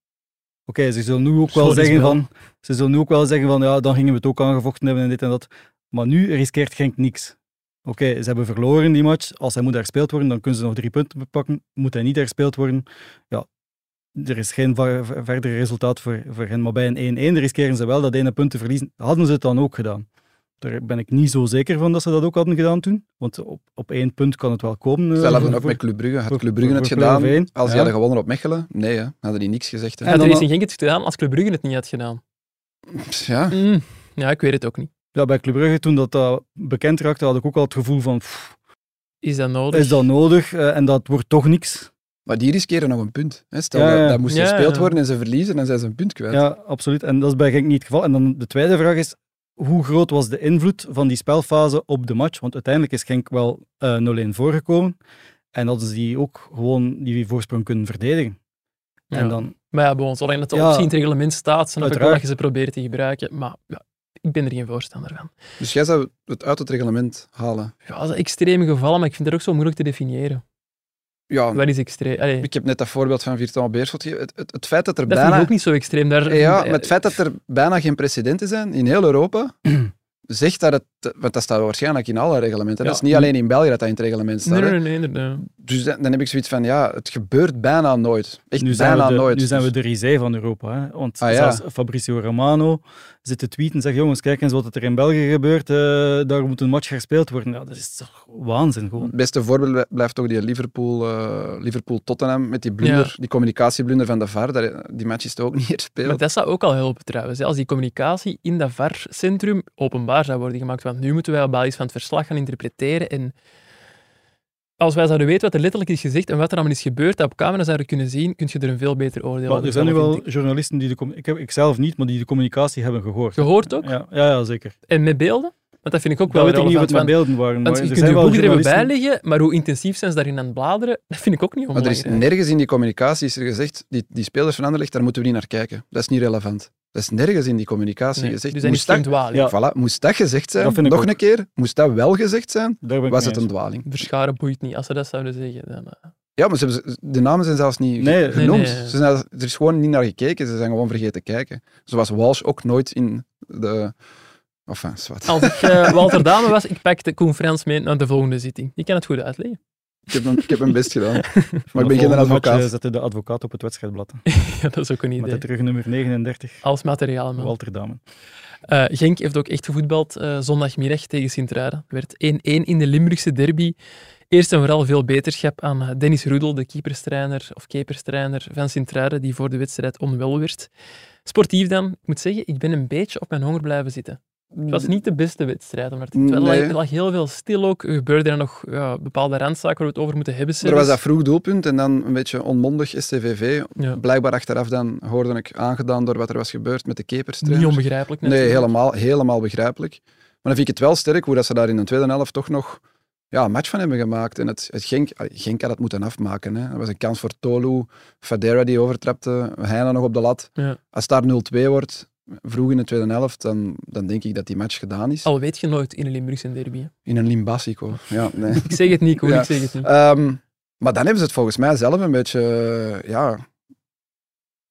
[SPEAKER 4] Oké, ze zullen nu ook wel
[SPEAKER 1] Schoon
[SPEAKER 4] zeggen
[SPEAKER 1] spel.
[SPEAKER 4] van, ze zullen nu ook wel zeggen van, ja, dan gingen we het ook aangevochten hebben en dit en dat. Maar nu riskeert Genk niks. Oké, ze hebben verloren die match. Als hij moet herspeeld worden, dan kunnen ze nog drie punten pakken. Moet hij niet herspeeld worden, ja, er is geen va- ver- verder resultaat voor, voor hen. Maar bij een 1-1 riskeren ze wel dat ene punt te verliezen. Hadden ze het dan ook gedaan? Daar ben ik niet zo zeker van dat ze dat ook hadden gedaan toen. Want op, op één punt kan het wel komen. eh,
[SPEAKER 2] Ze hadden
[SPEAKER 4] voor-
[SPEAKER 2] ook
[SPEAKER 4] voor-
[SPEAKER 2] met Club Brugge. Had
[SPEAKER 4] voor-
[SPEAKER 2] Club Brugge
[SPEAKER 4] voor-
[SPEAKER 2] het
[SPEAKER 4] voor play-off
[SPEAKER 2] gedaan
[SPEAKER 4] één,
[SPEAKER 2] als die
[SPEAKER 4] ja.
[SPEAKER 2] hadden gewonnen op Mechelen? Nee, hè. hadden die niks gezegd. Hè.
[SPEAKER 1] had
[SPEAKER 4] dan
[SPEAKER 1] er eens
[SPEAKER 4] al-
[SPEAKER 1] in Genk het gedaan als Club Brugge het niet had gedaan.
[SPEAKER 2] Pff, Ja.
[SPEAKER 1] Mm, Ja, ik weet het ook niet.
[SPEAKER 4] Ja, bij Club Brugge, toen dat dat bekend raakte, had ik ook al het gevoel van, pff,
[SPEAKER 1] Is dat nodig?
[SPEAKER 4] is dat nodig? Eh, en dat wordt toch niks.
[SPEAKER 2] Maar die riskeren nog een punt. Hè. Stel,
[SPEAKER 4] Ja, ja.
[SPEAKER 2] dat, dat moest
[SPEAKER 1] Ja,
[SPEAKER 2] gespeeld
[SPEAKER 1] ja.
[SPEAKER 2] worden en ze verliezen, dan zijn ze een punt kwijt.
[SPEAKER 4] Ja, absoluut. En dat is bij Genk niet het geval. En dan de tweede vraag is, hoe groot was de invloed van die spelfase op de match? Want uiteindelijk is Genk wel eh 0-1 voorgekomen. En hadden ze die ook gewoon die voorsprong kunnen verdedigen.
[SPEAKER 1] Ja.
[SPEAKER 4] En dan,
[SPEAKER 1] Maar ja, bon, alleen dat de
[SPEAKER 4] Ja.
[SPEAKER 1] optie in het reglement staat, snap ik wel
[SPEAKER 4] Uiteraard.
[SPEAKER 1] dat je ze probeert te gebruiken. Maar ja, ik ben er geen voorstander van.
[SPEAKER 2] Dus jij zou het uit het reglement halen.
[SPEAKER 1] Ja, dat is extreme gevallen, maar ik vind dat ook zo moeilijk te definiëren.
[SPEAKER 2] Ja,
[SPEAKER 1] Wat is extreem? Allee,
[SPEAKER 2] ik heb net dat voorbeeld van Virtual Beerschot gegeven. Het, het, het feit dat er
[SPEAKER 1] dat vind
[SPEAKER 2] bijna...
[SPEAKER 1] ik ook niet zo extreem. Daar, Eh,
[SPEAKER 2] Ja, maar het feit dat er bijna geen precedenten zijn in heel Europa, zegt dat het... Want dat staat waarschijnlijk in alle reglementen.
[SPEAKER 1] Ja.
[SPEAKER 2] Dat is niet alleen in België dat dat in het reglement staat.
[SPEAKER 1] Nee,
[SPEAKER 2] hè.
[SPEAKER 1] nee, nee, inderdaad.
[SPEAKER 2] Dus dan, dan heb ik zoiets van, ja, het gebeurt bijna nooit. Echt
[SPEAKER 4] nu zijn,
[SPEAKER 2] bijna
[SPEAKER 4] we de,
[SPEAKER 2] nooit.
[SPEAKER 4] nu zijn we
[SPEAKER 2] Dus-
[SPEAKER 4] de risée van Europa. Hè? Want
[SPEAKER 2] Ah, ja.
[SPEAKER 4] zelfs Fabrizio Romano zit te tweeten en zegt, jongens, kijk eens wat er in België gebeurt. eh, daar moet een match gespeeld worden. Ja, dat is toch waanzin gewoon.
[SPEAKER 2] Het beste voorbeeld blij- blijft toch die Liverpool, eh, Liverpool-Tottenham met die blunder, die communicatieblunder van de VAR. daar- die match is toch ook niet
[SPEAKER 1] Maar
[SPEAKER 2] gespeeld.
[SPEAKER 1] dat zou ook al helpen trouwens. hè. Als die communicatie in dat VAR-centrum openbaar zou worden gemaakt. Want nu moeten wij op basis van het verslag gaan interpreteren. En als wij zouden weten wat er letterlijk is gezegd en wat er allemaal is gebeurd, dat op camera zouden kunnen zien, kun je er een veel beter oordeel
[SPEAKER 4] Maar
[SPEAKER 1] over
[SPEAKER 4] er zijn nu
[SPEAKER 1] vellen,
[SPEAKER 4] wel
[SPEAKER 1] vind ik.
[SPEAKER 4] journalisten die de... commu- Ik, heb, ik zelf niet, maar die de communicatie hebben gehoord.
[SPEAKER 1] Gehoord ook?
[SPEAKER 4] Ja, ja, ja, zeker.
[SPEAKER 1] En met beelden? Want dat vind ik ook
[SPEAKER 4] Dat
[SPEAKER 1] wel
[SPEAKER 4] weet ik niet wat
[SPEAKER 1] relevant,
[SPEAKER 4] mijn
[SPEAKER 1] want-
[SPEAKER 4] beelden waren. Maar
[SPEAKER 1] Want je
[SPEAKER 4] er
[SPEAKER 1] kunt
[SPEAKER 4] zijn
[SPEAKER 1] je
[SPEAKER 4] wel
[SPEAKER 1] boek er even bij
[SPEAKER 4] journalisten-
[SPEAKER 1] leggen, maar hoe intensief zijn ze daarin aan het bladeren, dat vind ik ook niet
[SPEAKER 2] Maar er is
[SPEAKER 1] onbelangrijk.
[SPEAKER 2] nergens in die communicatie is er gezegd, die, die spelers van Anderlecht, daar moeten we niet naar kijken. Dat is niet relevant. Dat is nergens in die communicatie
[SPEAKER 1] Nee,
[SPEAKER 2] gezegd.
[SPEAKER 1] Dus dat is
[SPEAKER 2] moest, dat,
[SPEAKER 1] geen dwaling.
[SPEAKER 4] Ja.
[SPEAKER 2] voilà, moest dat gezegd zijn,
[SPEAKER 4] Dat vind ik
[SPEAKER 2] nog
[SPEAKER 4] ook.
[SPEAKER 2] een keer, moest dat wel gezegd zijn,
[SPEAKER 4] Daar ben ik
[SPEAKER 2] was
[SPEAKER 4] mee
[SPEAKER 2] het een
[SPEAKER 4] eens.
[SPEAKER 2] dwaling.
[SPEAKER 1] Verscharen boeit niet, als ze dat zouden zeggen. Dan, eh.
[SPEAKER 2] Ja, maar ze hebben ze- de namen zijn zelfs niet
[SPEAKER 4] Nee, nee,
[SPEAKER 2] genoemd.
[SPEAKER 1] nee.
[SPEAKER 2] Ze zijn, er is gewoon niet naar gekeken, ze zijn gewoon vergeten kijken. Zoals Walsh ook nooit in de... Enfin, zwart.
[SPEAKER 1] Als ik eh, Walter Dame was, ik pakte Koen Frans mee naar de volgende zitting. Die kan het goed uitleggen.
[SPEAKER 2] Ik heb, mijn, ik heb mijn best gedaan. Maar ik
[SPEAKER 4] Van de
[SPEAKER 2] ben geen
[SPEAKER 4] volgende match,
[SPEAKER 2] advocaat.
[SPEAKER 4] eh, Zetten de advocaat op het wedstrijdblad.
[SPEAKER 1] ja, dat is ook een
[SPEAKER 4] Met
[SPEAKER 1] idee.
[SPEAKER 4] de terugnummer 39,
[SPEAKER 1] Als materiaal, man.
[SPEAKER 4] Walter Damen.
[SPEAKER 1] Eh, Genk heeft ook echt gevoetbald eh, zondagmiddag tegen Sint-Truiden. Werd 1-1 in de Limburgse derby. Eerst en vooral veel beterschap aan eh, Dennis Rudel, de keeperstrainer of keeperstrainer van Sint-Truiden, die voor de wedstrijd onwel werd. Sportief dan, ik moet zeggen, ik ben een beetje op mijn honger blijven zitten. Het was niet de beste wedstrijd, maar het lag,
[SPEAKER 2] Nee.
[SPEAKER 1] er lag heel veel stil ook. Er gebeurde er nog ja, bepaalde randzaken waar we het over moeten hebben.
[SPEAKER 2] Er was
[SPEAKER 1] zelfs.
[SPEAKER 2] dat vroeg doelpunt en dan een beetje onmondig STVV.
[SPEAKER 1] Ja.
[SPEAKER 2] Blijkbaar achteraf dan hoorde ik aangedaan door wat er was gebeurd met de keepers.
[SPEAKER 1] Niet onbegrijpelijk.
[SPEAKER 2] Nee,
[SPEAKER 1] natuurlijk.
[SPEAKER 2] helemaal, helemaal begrijpelijk. Maar dan vind ik het wel sterk hoe dat ze daar in de tweede helft toch nog ja, een match van hebben gemaakt. En het, het Genk, allee, Genk had het moeten afmaken. Hè. Er was een kans voor Tolu, Fadera die overtrapte, Heijnen nog op de lat.
[SPEAKER 1] Ja.
[SPEAKER 2] Als daar 0-2 wordt, vroeg in de tweede helft, dan, dan denk ik dat die match gedaan is.
[SPEAKER 1] Al weet je nooit in een Limburgse derby. hè.
[SPEAKER 2] In een Limbasico. Ja, nee.
[SPEAKER 1] Ik zeg het niet, hoor.
[SPEAKER 2] Ja.
[SPEAKER 1] Ik zeg het niet.
[SPEAKER 2] Ehm, maar dan hebben ze het volgens mij zelf een beetje eh, ja,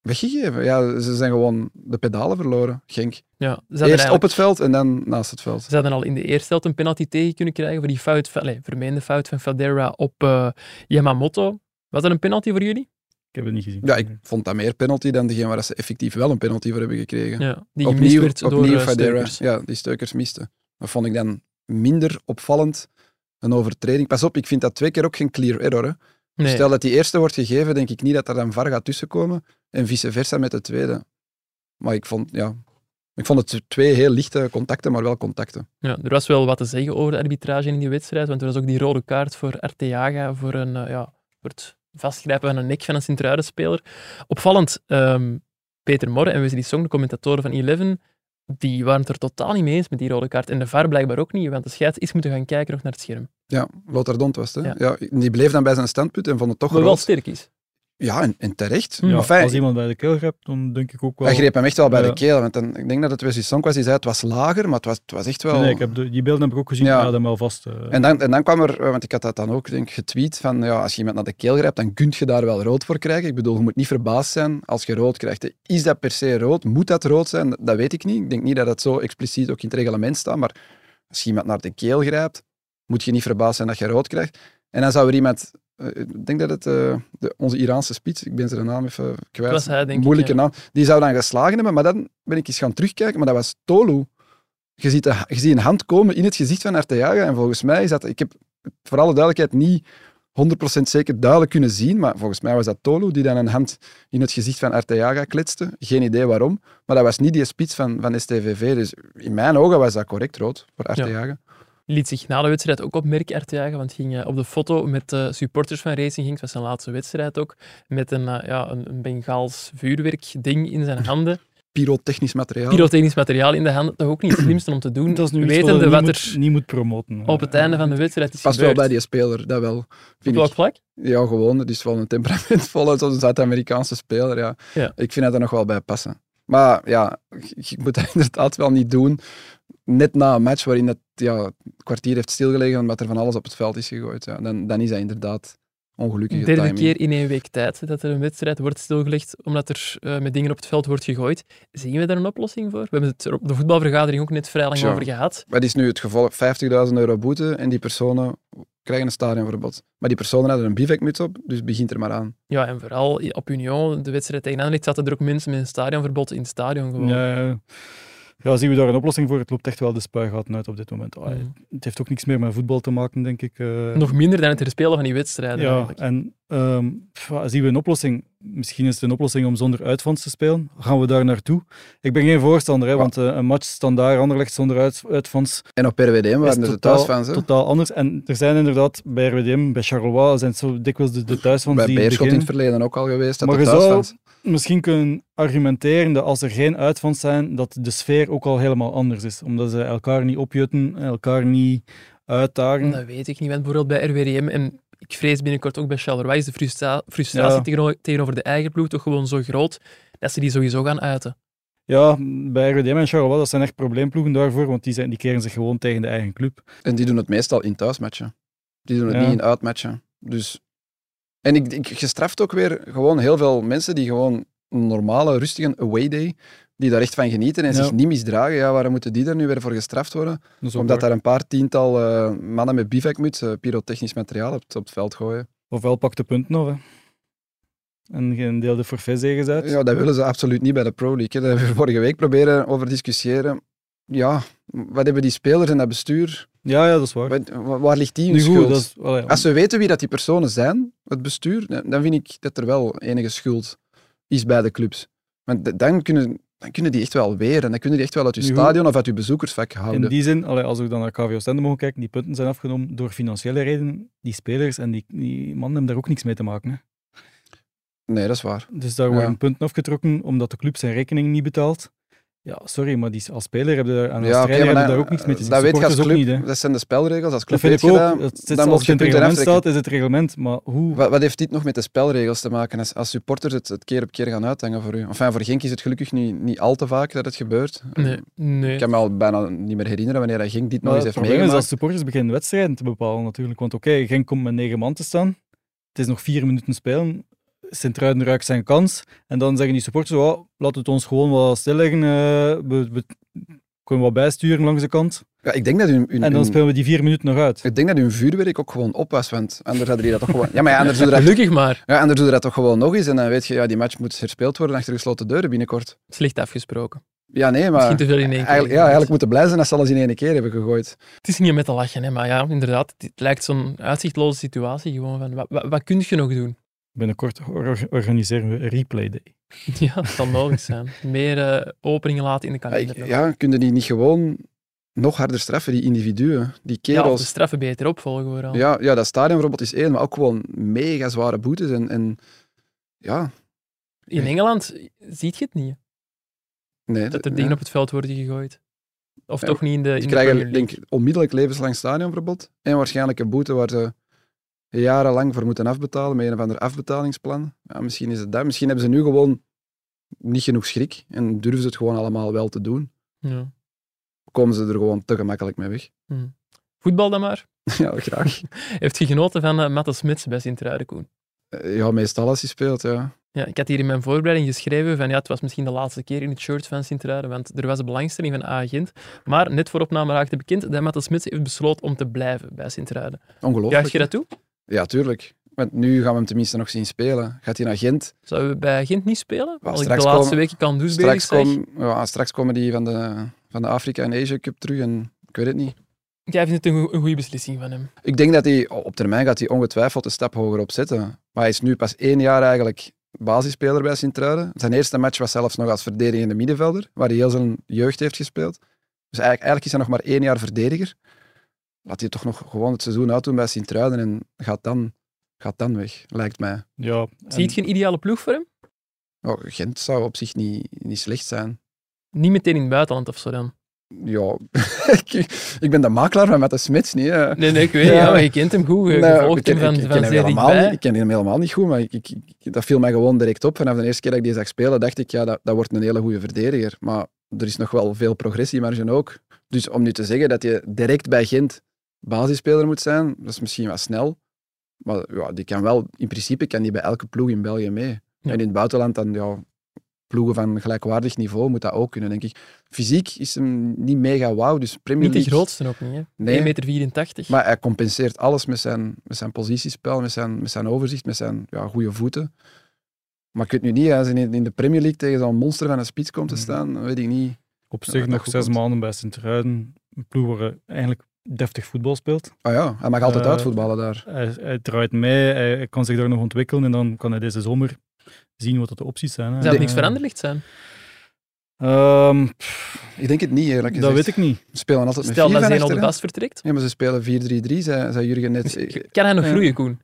[SPEAKER 2] weggegeven. Ja, ze zijn gewoon de pedalen verloren, Genk.
[SPEAKER 1] Ja, ze hadden
[SPEAKER 2] Eerst op
[SPEAKER 1] eigenlijk-
[SPEAKER 2] het veld en dan naast het veld.
[SPEAKER 1] Ze hadden al in de eerste helft een penalty tegen kunnen krijgen voor die fout, van- allee, vermeende fout van Fadera op eh, Yamamoto. Was dat een penalty voor jullie?
[SPEAKER 4] Ik heb het niet gezien.
[SPEAKER 2] Ja, ik
[SPEAKER 1] Hmm.
[SPEAKER 2] vond dat meer penalty dan degene waar ze effectief wel een penalty voor hebben gekregen.
[SPEAKER 1] Ja, die gemist
[SPEAKER 2] opnieuw
[SPEAKER 1] werd door
[SPEAKER 2] opnieuw
[SPEAKER 1] eh,
[SPEAKER 2] Fadera.
[SPEAKER 1] Steukers.
[SPEAKER 2] Ja, die steukers misten. Dat vond ik dan minder opvallend. Een overtreding. Pas op, ik vind dat twee keer ook geen clear error. Hè.
[SPEAKER 1] Nee,
[SPEAKER 2] Stel dat die eerste wordt gegeven, denk ik niet dat er dan VAR gaat tussenkomen. En vice versa met de tweede. Maar ik vond, ja, ik vond het twee heel lichte contacten, maar wel contacten.
[SPEAKER 1] ja, er was wel wat te zeggen over de arbitrage in die wedstrijd, want er was ook die rode kaart voor Arteaga voor, een, eh, ja, voor het vastgrijpen van de nek van een Sint-Truiden-speler. Opvallend, ehm, Peter Morre en Wesley Song, de commentatoren van Eleven, die waren het er totaal niet mee eens met die rode kaart. En de VAR blijkbaar ook niet, want de scheids is moeten gaan kijken nog naar het scherm.
[SPEAKER 2] Ja, Lothar Dont was het. hè?
[SPEAKER 1] Ja.
[SPEAKER 2] Ja. die bleef dan bij zijn standpunt en vond het toch
[SPEAKER 1] Maar wel
[SPEAKER 2] rood.
[SPEAKER 1] sterk is.
[SPEAKER 2] Ja, en, en terecht.
[SPEAKER 1] Ja,
[SPEAKER 2] Maar fijn,
[SPEAKER 4] Als iemand bij de keel grijpt, dan denk ik ook wel...
[SPEAKER 2] hij greep hem echt wel bij
[SPEAKER 4] Ja.
[SPEAKER 2] de keel. Want dan, ik denk dat het Wesley Song was die zei, het was lager, maar het was, het was echt wel...
[SPEAKER 4] Nee, ik heb de- die beelden heb ik ook gezien,
[SPEAKER 2] Ja.
[SPEAKER 4] ja. dat wel vast. eh.
[SPEAKER 2] En dan, en dan kwam er, eh, want ik had dat dan ook denk, ik, getweet, van ja, als je iemand naar de keel grijpt, dan kun je daar wel rood voor krijgen. Ik bedoel, je moet niet verbaasd zijn als je rood krijgt. hè. Is dat per se rood? Moet dat rood zijn? Dat weet ik niet. Ik denk niet dat dat zo expliciet ook in het reglement staat, maar als je iemand naar de keel grijpt, moet je niet verbaasd zijn dat je rood krijgt. En dan zou er iemand, eh, ik denk dat het eh, de, onze Iraanse spits, ik ben zijn naam even kwijt,
[SPEAKER 1] was hij, denk ik,
[SPEAKER 2] moeilijke
[SPEAKER 1] ja.
[SPEAKER 2] naam, die zou dan geslagen hebben, maar dan ben ik eens gaan terugkijken, maar dat was Tolu. Je ziet, de- je ziet een hand komen in het gezicht van Arteaga. En volgens mij is dat... Ik heb voor alle duidelijkheid niet 100% zeker duidelijk kunnen zien. Maar volgens mij was dat Tolu die dan een hand in het gezicht van Arteaga kletste. Geen idee waarom. Maar dat was niet die spits van, van STVV. Dus in mijn ogen was dat correct rood voor Arteaga.
[SPEAKER 1] Liet zich na de wedstrijd ook opmerken, Ertejagen, want ging eh, op de foto met eh, supporters van Racing Genk, het was zijn laatste wedstrijd ook, met een, eh, ja, een, een Bengaals vuurwerkding in zijn handen.
[SPEAKER 2] Pyrotechnisch materiaal.
[SPEAKER 1] Pyrotechnisch materiaal in de handen, toch ook niet het slimste om te doen.
[SPEAKER 4] dat is nu iets wat
[SPEAKER 1] wetende
[SPEAKER 4] je
[SPEAKER 1] wat
[SPEAKER 4] niet,
[SPEAKER 1] er
[SPEAKER 4] moet, niet moet promoten. eh.
[SPEAKER 1] op het einde van de wedstrijd is
[SPEAKER 2] Past wel
[SPEAKER 1] gebeurd.
[SPEAKER 2] bij die speler, dat wel.
[SPEAKER 1] Op
[SPEAKER 2] Vind
[SPEAKER 1] welk
[SPEAKER 2] ik.
[SPEAKER 1] vlak?
[SPEAKER 2] Ja, gewoon. Het is wel een temperamentvolle, zo'n Zuid-Amerikaanse speler. Ja.
[SPEAKER 1] Ja.
[SPEAKER 2] Ik vind dat er nog wel bij passen. Maar ja, je moet dat inderdaad wel niet doen. Net na een match waarin het ja, het kwartier heeft stilgelegen omdat er van alles op het veld is gegooid. Ja. Dan, dan is dat inderdaad ongelukkige
[SPEAKER 1] Derde
[SPEAKER 2] timing.
[SPEAKER 1] keer in één week tijd dat er een wedstrijd wordt stilgelegd omdat er eh, met dingen op het veld wordt gegooid. Zien we daar een oplossing voor? We hebben het er op de voetbalvergadering ook net vrij lang
[SPEAKER 2] Tja.
[SPEAKER 1] over gehad.
[SPEAKER 2] Wat is nu het gevolg? 50.000 euro boete en die personen krijgen een stadionverbod. Maar die personen hadden een bivakmuts op, dus begint er maar aan.
[SPEAKER 1] Ja, en vooral i- op Union, de wedstrijd tegen Anderlecht, zaten er ook mensen met een stadionverbod in het stadion gewoon. Mm.
[SPEAKER 4] Ja, ja, zien we daar een oplossing voor? Het loopt echt wel de spuigaten uit op dit moment. Ah,
[SPEAKER 1] Mhm.
[SPEAKER 4] Het heeft ook niks meer met voetbal te maken, denk ik. eh.
[SPEAKER 1] Nog minder dan het herspelen van die wedstrijden.
[SPEAKER 4] ja,
[SPEAKER 1] eigenlijk.
[SPEAKER 4] en ehm, pff, ja, zien we een oplossing? Misschien is het een oplossing om zonder uitvans te spelen. Gaan we daar naartoe? Ik ben geen voorstander, hè, want eh, een match standaard Anderlecht zonder uit, uitvans
[SPEAKER 2] En op RWDM
[SPEAKER 4] is
[SPEAKER 2] waren er de
[SPEAKER 4] totaal,
[SPEAKER 2] thuisfans. hè.
[SPEAKER 4] totaal anders. En er zijn inderdaad bij RWDM, bij Charleroi, zijn het zo dikwijls de, de thuisfans
[SPEAKER 2] Bij
[SPEAKER 4] die
[SPEAKER 2] Beerschot in
[SPEAKER 4] beginnen.
[SPEAKER 2] het verleden ook al geweest. Dat
[SPEAKER 4] Maar
[SPEAKER 2] de
[SPEAKER 4] je zou-
[SPEAKER 2] thuisfans...
[SPEAKER 4] misschien kunnen argumenteren dat als er geen uitvans zijn, dat de sfeer ook al helemaal anders is. Omdat ze elkaar niet opjutten, elkaar niet uitdagen.
[SPEAKER 1] Dat weet ik niet, want bijvoorbeeld bij RWDM en ik vrees binnenkort ook bij Charleroi is de frustra- frustratie
[SPEAKER 4] Ja.
[SPEAKER 1] tegenover, tegenover de eigen ploeg toch gewoon zo groot dat ze die sowieso gaan uiten.
[SPEAKER 4] Ja, bij RWDM en Charleroi, dat zijn echt probleemploegen daarvoor, want die, zijn, die keren zich gewoon tegen de eigen club.
[SPEAKER 2] En die doen het meestal in thuismatchen. Die doen het
[SPEAKER 4] Ja.
[SPEAKER 2] niet in uitmatchen. Dus... En ik, ik gestraft ook weer gewoon heel veel mensen die gewoon een normale, rustige away day, die daar echt van genieten en
[SPEAKER 4] Ja.
[SPEAKER 2] zich niet misdragen. Ja, waarom moeten die daar nu weer voor gestraft worden?
[SPEAKER 4] Dat is ook
[SPEAKER 2] Omdat
[SPEAKER 4] waar.
[SPEAKER 2] daar een paar tiental eh, mannen met bivakmutsen pyrotechnisch materiaal op, het- op het veld gooien.
[SPEAKER 4] Ofwel pak de punten af, hè. En geen deel de forfaitzegens uit.
[SPEAKER 2] Ja, dat willen ze absoluut niet bij de Pro League. Hè. Daar hebben we vorige week proberen over discussiëren. Ja, wat hebben die spelers en dat bestuur?
[SPEAKER 4] ja, ja, dat is waar.
[SPEAKER 2] Wat- wa- waar ligt die hun
[SPEAKER 4] Nu goed,
[SPEAKER 2] schuld?
[SPEAKER 4] dat is, allee,
[SPEAKER 2] Als we weten wie dat die personen zijn, het bestuur, dan dan vind ik dat er wel enige schuld is bij de clubs. Want d- dan kunnen, dan kunnen die echt wel weer en dan kunnen die echt wel uit je
[SPEAKER 4] Nu goed.
[SPEAKER 2] stadion of uit je bezoekersvak
[SPEAKER 4] in
[SPEAKER 2] houden.
[SPEAKER 4] die zin, allee, als we dan naar KVO Stende mogen kijken, die punten zijn afgenomen door financiële redenen. Die spelers en die, die mannen hebben daar ook niks mee te maken. Hè.
[SPEAKER 2] Nee, dat is waar.
[SPEAKER 4] Dus daar
[SPEAKER 2] Ja.
[SPEAKER 4] worden punten afgetrokken omdat de club zijn rekening niet betaalt. Ja, sorry, maar die, als speler hebben daar, en als
[SPEAKER 2] oké,
[SPEAKER 4] trainer hebben
[SPEAKER 2] dan-
[SPEAKER 4] daar ook niks mee te zien.
[SPEAKER 2] Dat weet je als
[SPEAKER 4] Supporters
[SPEAKER 2] club.
[SPEAKER 4] ook niet, hè.
[SPEAKER 2] dat zijn de spelregels. Als
[SPEAKER 4] Dat
[SPEAKER 2] club
[SPEAKER 4] vind ik
[SPEAKER 2] weet
[SPEAKER 4] ook.
[SPEAKER 2] je dat,
[SPEAKER 4] het zit,
[SPEAKER 2] dan
[SPEAKER 4] als
[SPEAKER 2] moet
[SPEAKER 4] het
[SPEAKER 2] je
[SPEAKER 4] in
[SPEAKER 2] het punten
[SPEAKER 4] het reglement
[SPEAKER 2] aftrekken.
[SPEAKER 4] staat, is het reglement. Maar hoe...
[SPEAKER 2] Wat, wat heeft dit nog met de spelregels te maken als, als supporters het, het keer op keer gaan uithangen voor u? Enfin, voor Genk is het gelukkig niet, niet al te vaak dat het gebeurt.
[SPEAKER 4] Mm.
[SPEAKER 1] Nee, nee.
[SPEAKER 2] Ik kan me al bijna niet meer herinneren wanneer dat Genk dit nog
[SPEAKER 4] Maar
[SPEAKER 2] eens
[SPEAKER 4] het
[SPEAKER 2] heeft
[SPEAKER 4] probleem is
[SPEAKER 2] meegemaakt.
[SPEAKER 4] dat supporters beginnen wedstrijden te bepalen natuurlijk. Want oké, Genk komt met negen man te staan. Het is nog vier minuten spelen. Sint-Truiden ruikt zijn kans. En dan zeggen die supporters, oh, laat het ons gewoon wel stilleggen. eh, we, we kunnen wat bijsturen langs de kant.
[SPEAKER 2] Ja, ik denk dat hun, hun,
[SPEAKER 4] En dan
[SPEAKER 2] hun-
[SPEAKER 4] spelen we die vier minuten nog uit.
[SPEAKER 2] Ik denk dat hun vuurwerk ook gewoon op was, want anders hadden die dat toch gewoon... Ja, maar ja, anders doen dat...
[SPEAKER 1] Gelukkig maar,
[SPEAKER 2] Ja, anders doen dat toch gewoon nog eens en dan weet je, ja, die match moet herspeeld worden achter gesloten deuren binnenkort.
[SPEAKER 1] slecht afgesproken.
[SPEAKER 2] Ja, nee, maar...
[SPEAKER 1] Misschien te veel in één keer.
[SPEAKER 2] Eigenlijk, ja, eigenlijk moeten blij zijn dat ze alles in één keer hebben gegooid.
[SPEAKER 1] Het is niet om met te lachen, hè, maar ja, inderdaad, het lijkt zo'n uitzichtloze situatie gewoon van, wat, wat, wat kun je nog doen?
[SPEAKER 4] Binnenkort or- organiseren we een replay day.
[SPEAKER 1] Ja, dat zal mogelijk zijn. Meer eh, openingen laten in de
[SPEAKER 2] Ja,
[SPEAKER 1] kalender.
[SPEAKER 2] ik- ja, kunnen die niet gewoon nog harder straffen, die individuen, die
[SPEAKER 1] Ja, of de
[SPEAKER 2] kerels.
[SPEAKER 1] straffen beter opvolgen vooral.
[SPEAKER 2] Ja, ja, dat stadionverbod is één, maar ook gewoon mega zware boetes. En, en ja,
[SPEAKER 1] In Engeland ziet je het niet,
[SPEAKER 2] nee.
[SPEAKER 1] dat
[SPEAKER 2] de-
[SPEAKER 1] er dingen
[SPEAKER 2] ja.
[SPEAKER 1] op het veld worden gegooid. Of
[SPEAKER 2] Ja,
[SPEAKER 1] toch niet in de, in
[SPEAKER 2] Ze
[SPEAKER 1] de Premier
[SPEAKER 2] krijgen
[SPEAKER 1] eh, League.
[SPEAKER 2] denk, ik, onmiddellijk levenslang stadionverbod en waarschijnlijk een boete waar ze jarenlang voor moeten afbetalen met een of ander afbetalingsplan. Ja, misschien is het dat. Misschien hebben ze nu gewoon niet genoeg schrik en durven ze het gewoon allemaal wel te doen.
[SPEAKER 1] Ja.
[SPEAKER 2] Komen ze er gewoon te gemakkelijk mee weg.
[SPEAKER 1] Voetbal dan maar.
[SPEAKER 2] ja, graag.
[SPEAKER 1] Heeft je genoten van eh Matte Smits bij Sint-Truidenkoen?
[SPEAKER 2] Eh, Ja, meestal als hij speelt, ja.
[SPEAKER 1] Ja, ik had hier in mijn voorbereiding geschreven van ja, het was misschien de laatste keer in het shirt van Sint-Truiden, want er was een belangstelling van agent. Maar net voor opname raakte bekend dat Matte Smits heeft besloten om te blijven bij Sint-Truiden.
[SPEAKER 2] Ongelooflijk.
[SPEAKER 1] Juich je dat toe?
[SPEAKER 2] Ja, tuurlijk. Want nu gaan we hem tenminste nog zien spelen. Gaat hij naar Gent?
[SPEAKER 1] Zou we bij Gent niet spelen? Als ik de
[SPEAKER 2] straks
[SPEAKER 1] laatste
[SPEAKER 2] komen-
[SPEAKER 1] weken kan doen,
[SPEAKER 2] Straks,
[SPEAKER 1] zeg.
[SPEAKER 2] kom, ja, straks komen die van de, van de Afrika en Asia Cup terug en ik weet het niet.
[SPEAKER 1] Jij vindt het een, goe- een goede beslissing van hem.
[SPEAKER 2] Ik denk dat hij op termijn gaat hij ongetwijfeld een stap hoger op zetten. Maar hij is nu pas één jaar eigenlijk basisspeler bij Sint-Truiden. Zijn eerste match was zelfs nog als verdedigende middenvelder, waar hij heel zijn jeugd heeft gespeeld. Dus eigenlijk, eigenlijk is hij nog maar één jaar verdediger. Laat hij toch nog gewoon het seizoen uitdoen bij Sint-Truiden en gaat dan, gaat dan weg, lijkt mij.
[SPEAKER 4] Ja,
[SPEAKER 1] Ziet je een ideale ploeg voor hem?
[SPEAKER 2] Oh, Gent zou op zich niet, niet slecht zijn.
[SPEAKER 1] Niet meteen in het buitenland of zo dan.
[SPEAKER 2] Ja, ik, ik ben de makelaar van Matt Smits niet. eh. hè.
[SPEAKER 1] Nee, nee, ik weet
[SPEAKER 2] Ja.
[SPEAKER 1] het. Ja, maar je kent hem goed. Je
[SPEAKER 2] Nee,
[SPEAKER 1] volgt hem van,
[SPEAKER 2] Nou, ik,
[SPEAKER 1] van
[SPEAKER 2] ken hem
[SPEAKER 1] zeer
[SPEAKER 2] helemaal niet,
[SPEAKER 1] dichtbij.
[SPEAKER 2] ik ken hem helemaal niet goed, maar ik, ik, ik- dat viel mij gewoon direct op. Vanaf de eerste keer dat ik die zag spelen, dacht ik, ja, dat, dat wordt een hele goede verdediger. Maar er is nog wel veel progressiemarge ook. Dus om nu te zeggen dat je direct bij Gent basisspeler moet zijn, dat is misschien wat snel. Maar ja, die kan wel, in principe kan die bij elke ploeg in België mee.
[SPEAKER 1] Ja.
[SPEAKER 2] En in het buitenland dan, ja, ploegen van gelijkwaardig niveau moet dat ook kunnen, denk ik. Fysiek is hem niet mega wauw, dus Premier
[SPEAKER 1] Niet de
[SPEAKER 2] League-
[SPEAKER 1] grootste ook niet, hè.
[SPEAKER 2] Nee.
[SPEAKER 1] 1,84 meter. 84.
[SPEAKER 2] maar hij compenseert alles met zijn, met zijn positiespel, met zijn, met zijn overzicht, met zijn ja, goede voeten. Maar ik weet nu niet, als hij in in de Premier League tegen zo'n monster van een spits komt te
[SPEAKER 1] Mm.
[SPEAKER 4] Mhm.
[SPEAKER 2] staan, dan weet ik niet.
[SPEAKER 4] op
[SPEAKER 2] Ja,
[SPEAKER 4] zich
[SPEAKER 2] dat
[SPEAKER 4] nog
[SPEAKER 2] goed
[SPEAKER 4] zes
[SPEAKER 2] komt.
[SPEAKER 4] maanden bij Sint-Truiden. Een ploeg waar hij eigenlijk deftig voetbal speelt.
[SPEAKER 2] Ah ja, hij mag altijd
[SPEAKER 4] Eh,
[SPEAKER 2] uitvoetballen daar.
[SPEAKER 4] Hij, hij draait mee, hij, hij kan zich daar nog ontwikkelen en dan kan hij deze zomer zien wat dat de opties zijn. hè.
[SPEAKER 1] Zou het
[SPEAKER 4] En,
[SPEAKER 1] niks
[SPEAKER 4] eh,
[SPEAKER 1] veranderd zijn?
[SPEAKER 4] ehm,
[SPEAKER 2] Ik denk het niet, eerlijk gezegd.
[SPEAKER 4] dat weet ik niet.
[SPEAKER 2] Ze spelen altijd met
[SPEAKER 1] Stel
[SPEAKER 2] vier
[SPEAKER 1] dat
[SPEAKER 2] van
[SPEAKER 1] Zenel de
[SPEAKER 2] achter, hè?
[SPEAKER 1] Bast vertrekt.
[SPEAKER 2] Ja, maar ze spelen 4-3-3, zei, zei Jurgen net. Eh,
[SPEAKER 1] Kan hij nog
[SPEAKER 2] Ja.
[SPEAKER 1] groeien, Koen?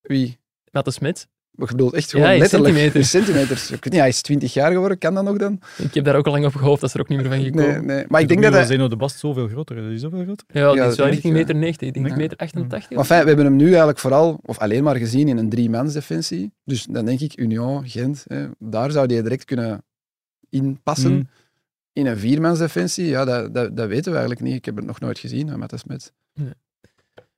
[SPEAKER 2] Wie?
[SPEAKER 1] Matte Smit.
[SPEAKER 2] Ik bedoel, echt gewoon
[SPEAKER 1] Ja, in
[SPEAKER 2] letterlijk.
[SPEAKER 1] centimeters.
[SPEAKER 2] in centimeters. Ik weet niet, hij is 20 jaar geworden, kan dat nog dan?
[SPEAKER 1] Ik heb daar ook al lang op gehoopt, dat is er ook niet meer van gekomen.
[SPEAKER 2] Nee, nee. Maar ik denk dat
[SPEAKER 4] hij...
[SPEAKER 2] hij...
[SPEAKER 4] Zeno nou de Bast zoveel groter is. Is hij zoveel groter?
[SPEAKER 1] Ja, die
[SPEAKER 2] Ja,
[SPEAKER 1] is wel
[SPEAKER 2] dat
[SPEAKER 1] richting
[SPEAKER 2] denk ik,
[SPEAKER 1] meter 90. Ik denk
[SPEAKER 2] Ja. Mm.
[SPEAKER 1] meter 88.
[SPEAKER 2] Maar fijn, we hebben hem nu eigenlijk vooral, of alleen maar gezien in een driemansdefensie. Dus dan denk ik Union, Gent, hè, daar zou die direct kunnen inpassen.
[SPEAKER 1] Hmm.
[SPEAKER 4] Mm.
[SPEAKER 2] In een viermansdefensie, ja, dat, dat, dat weten we eigenlijk niet. Ik heb het nog nooit gezien, hè, Matthias Smit.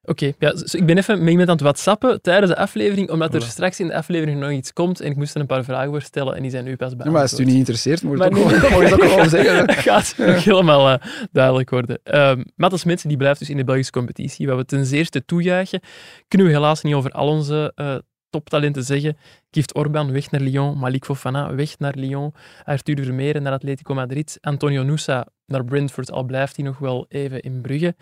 [SPEAKER 1] Oké, ja, dus ik ben even met iemand aan het whatsappen tijdens de aflevering, omdat er
[SPEAKER 4] Voilà.
[SPEAKER 1] straks in de aflevering nog iets komt en ik moest er een paar vragen voor stellen en die zijn nu pas
[SPEAKER 2] Ja, maar als het u
[SPEAKER 1] beantwoord.
[SPEAKER 2] niet interesseert, moet je het ook,
[SPEAKER 1] Maar
[SPEAKER 2] gewoon-
[SPEAKER 1] nee.
[SPEAKER 2] moet je het ook gewoon zeggen. hè.
[SPEAKER 1] Dat gaat nog helemaal eh, duidelijk worden. Ehm Matte Smits die blijft dus in de Belgische competitie, wat we ten zeerste toejuichen. Kunnen we helaas niet over al onze eh, toptalenten zeggen. Gift Orban weg naar Lyon, Malik Fofana weg naar Lyon, Arthur Vermeer naar Atletico Madrid, Antonio Nusa naar Brentford, al blijft hij nog wel even in Brugge.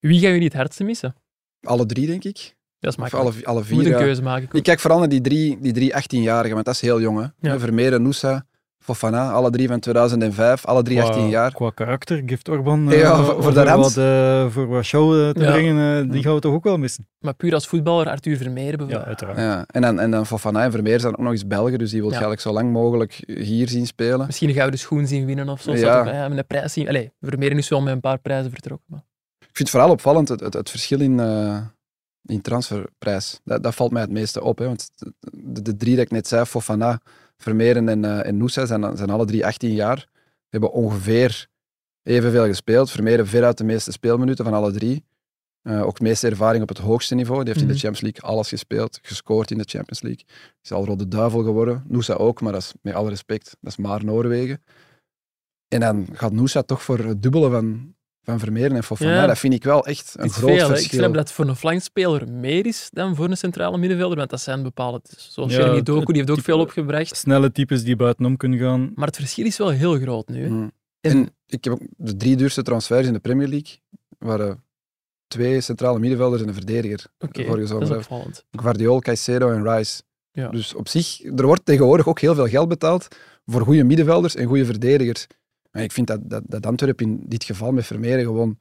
[SPEAKER 1] Wie gaan jullie het hardste missen?
[SPEAKER 2] Alle drie, denk ik.
[SPEAKER 1] Dat is
[SPEAKER 2] Of
[SPEAKER 1] makkelijk.
[SPEAKER 2] alle, alle
[SPEAKER 1] Je moet
[SPEAKER 2] vier.
[SPEAKER 1] een
[SPEAKER 2] ja.
[SPEAKER 1] keuze maken. Koen.
[SPEAKER 2] Ik kijk vooral naar die drie, die drie 18-jarigen, want dat is heel jong. Hè.
[SPEAKER 1] Ja.
[SPEAKER 2] Vermeer, Noosa, Fofana, alle drie van 2005, alle drie 18 jaar.
[SPEAKER 4] Qua karakter, Gift Orban,
[SPEAKER 2] Ja,
[SPEAKER 4] eh,
[SPEAKER 2] voor- voor
[SPEAKER 4] om
[SPEAKER 2] de
[SPEAKER 4] er
[SPEAKER 2] rand.
[SPEAKER 4] wat, eh, voor wat show eh, te
[SPEAKER 1] Ja.
[SPEAKER 4] brengen, eh, die gaan we toch ook wel missen?
[SPEAKER 1] Maar puur als voetballer, Arthur Vermeer
[SPEAKER 4] Ja,
[SPEAKER 1] bijvoorbeeld.
[SPEAKER 4] uiteraard.
[SPEAKER 2] Ja, en dan, en dan Fofana en Vermeer zijn ook nog eens Belgen, dus die wil je
[SPEAKER 1] Ja.
[SPEAKER 2] eigenlijk zo lang mogelijk hier zien spelen.
[SPEAKER 1] Misschien een gouden schoen zien winnen of zo.
[SPEAKER 2] Ja.
[SPEAKER 1] Ja. met een prijs zien. Allee, Vermeer is wel met een paar prijzen vertrokken. Maar...
[SPEAKER 2] Ik vind het vooral opvallend het, het, het verschil in, eh, in transferprijs. Dat, dat valt mij het meeste op. Hè, want de, de drie dat ik net zei, Fofana, Vermeer en, eh, en Noosa, zijn, zijn alle drie 18 jaar. Hebben ongeveer evenveel gespeeld. Vermeer veruit de meeste speelminuten van alle drie. Eh, ook de meeste ervaring op het hoogste niveau. Die heeft in
[SPEAKER 1] Mhm.
[SPEAKER 2] de Champions League alles gespeeld, gescoord in de Champions League. Is al rode duivel geworden. Noosa ook, maar dat is met alle respect, dat is maar Noorwegen. En dan gaat Noosa toch voor het dubbele van, van Vermeer en Fofana.
[SPEAKER 1] Ja.
[SPEAKER 2] Dat vind ik wel echt een
[SPEAKER 1] Het is
[SPEAKER 2] groot
[SPEAKER 1] veel, hè. Ik
[SPEAKER 2] verschil.
[SPEAKER 1] snap dat het voor een flankspeler meer is dan voor een centrale middenvelder, want dat zijn bepaalde. Zoals
[SPEAKER 4] Ja,
[SPEAKER 1] Jeremy
[SPEAKER 4] het-
[SPEAKER 1] Doku, die heeft ook
[SPEAKER 4] het-
[SPEAKER 1] veel opgebracht.
[SPEAKER 4] Snelle types die buitenom kunnen gaan.
[SPEAKER 1] Maar het verschil is wel heel groot nu. hè.
[SPEAKER 2] Mm. En ik heb ook de drie duurste transfers in de Premier League waren twee centrale middenvelders en een verdediger.
[SPEAKER 1] Oké,
[SPEAKER 2] Vorige
[SPEAKER 1] dat
[SPEAKER 2] zomer
[SPEAKER 1] is
[SPEAKER 2] hè.
[SPEAKER 1] opvallend.
[SPEAKER 2] Guardiol, Caicedo en Rice.
[SPEAKER 1] Ja.
[SPEAKER 2] Dus op zich, er wordt tegenwoordig ook heel veel geld betaald voor goede middenvelders en goede verdedigers. Maar ik vind dat, dat, dat Antwerpen in dit geval met Vermeer gewoon...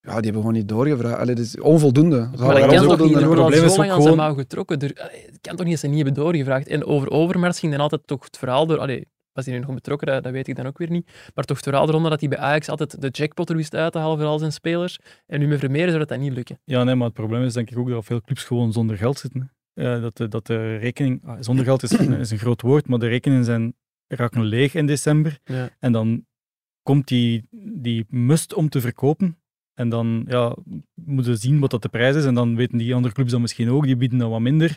[SPEAKER 2] Ja, die hebben gewoon niet doorgevraagd. Allee, dat is onvoldoende. Ze hadden
[SPEAKER 1] Maar dat
[SPEAKER 2] daar
[SPEAKER 1] kan toch
[SPEAKER 2] onvoldoende
[SPEAKER 1] niet? Er
[SPEAKER 2] aan-
[SPEAKER 1] wordt al
[SPEAKER 4] probleem
[SPEAKER 1] zo
[SPEAKER 4] is
[SPEAKER 1] lang
[SPEAKER 4] ook
[SPEAKER 1] aan zijn
[SPEAKER 4] gewoon-
[SPEAKER 1] mouw getrokken. Er, allee, het kan toch niet dat ze niet hebben doorgevraagd. En over Overmars ging dan altijd toch het verhaal door... Allee, was hij nu nog betrokken? Dat, dat weet ik dan ook weer niet. Maar toch het verhaal eronder dat hij bij Ajax altijd de jackpot er wist uit te halen voor al zijn spelers. En nu met Vermeer zou dat dat niet lukken.
[SPEAKER 4] Ja, nee, maar het probleem is denk ik ook dat veel clubs gewoon zonder geld zitten. hè. Eh, dat, de, dat de rekening... ah, zonder geld is, een- is een groot woord, maar de rekeningen zijn, raken leeg in december.
[SPEAKER 1] Ja.
[SPEAKER 4] En dan komt die, die must om te verkopen. En dan ja, moeten ze zien wat dat de prijs is. En dan weten die andere clubs dat misschien ook. Die bieden dan wat minder.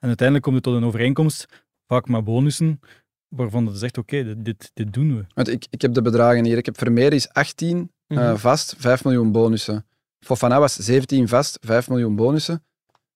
[SPEAKER 4] En uiteindelijk komt het tot een overeenkomst, vaak met bonussen, waarvan dat zegt, oké, dit, dit, dit doen we.
[SPEAKER 2] Want ik, ik heb de bedragen hier. Ik heb Vermeer is 18
[SPEAKER 1] Mhm.
[SPEAKER 2] Eh, vast, 5 miljoen bonussen. Fofana was 17 vast, 5 miljoen bonussen.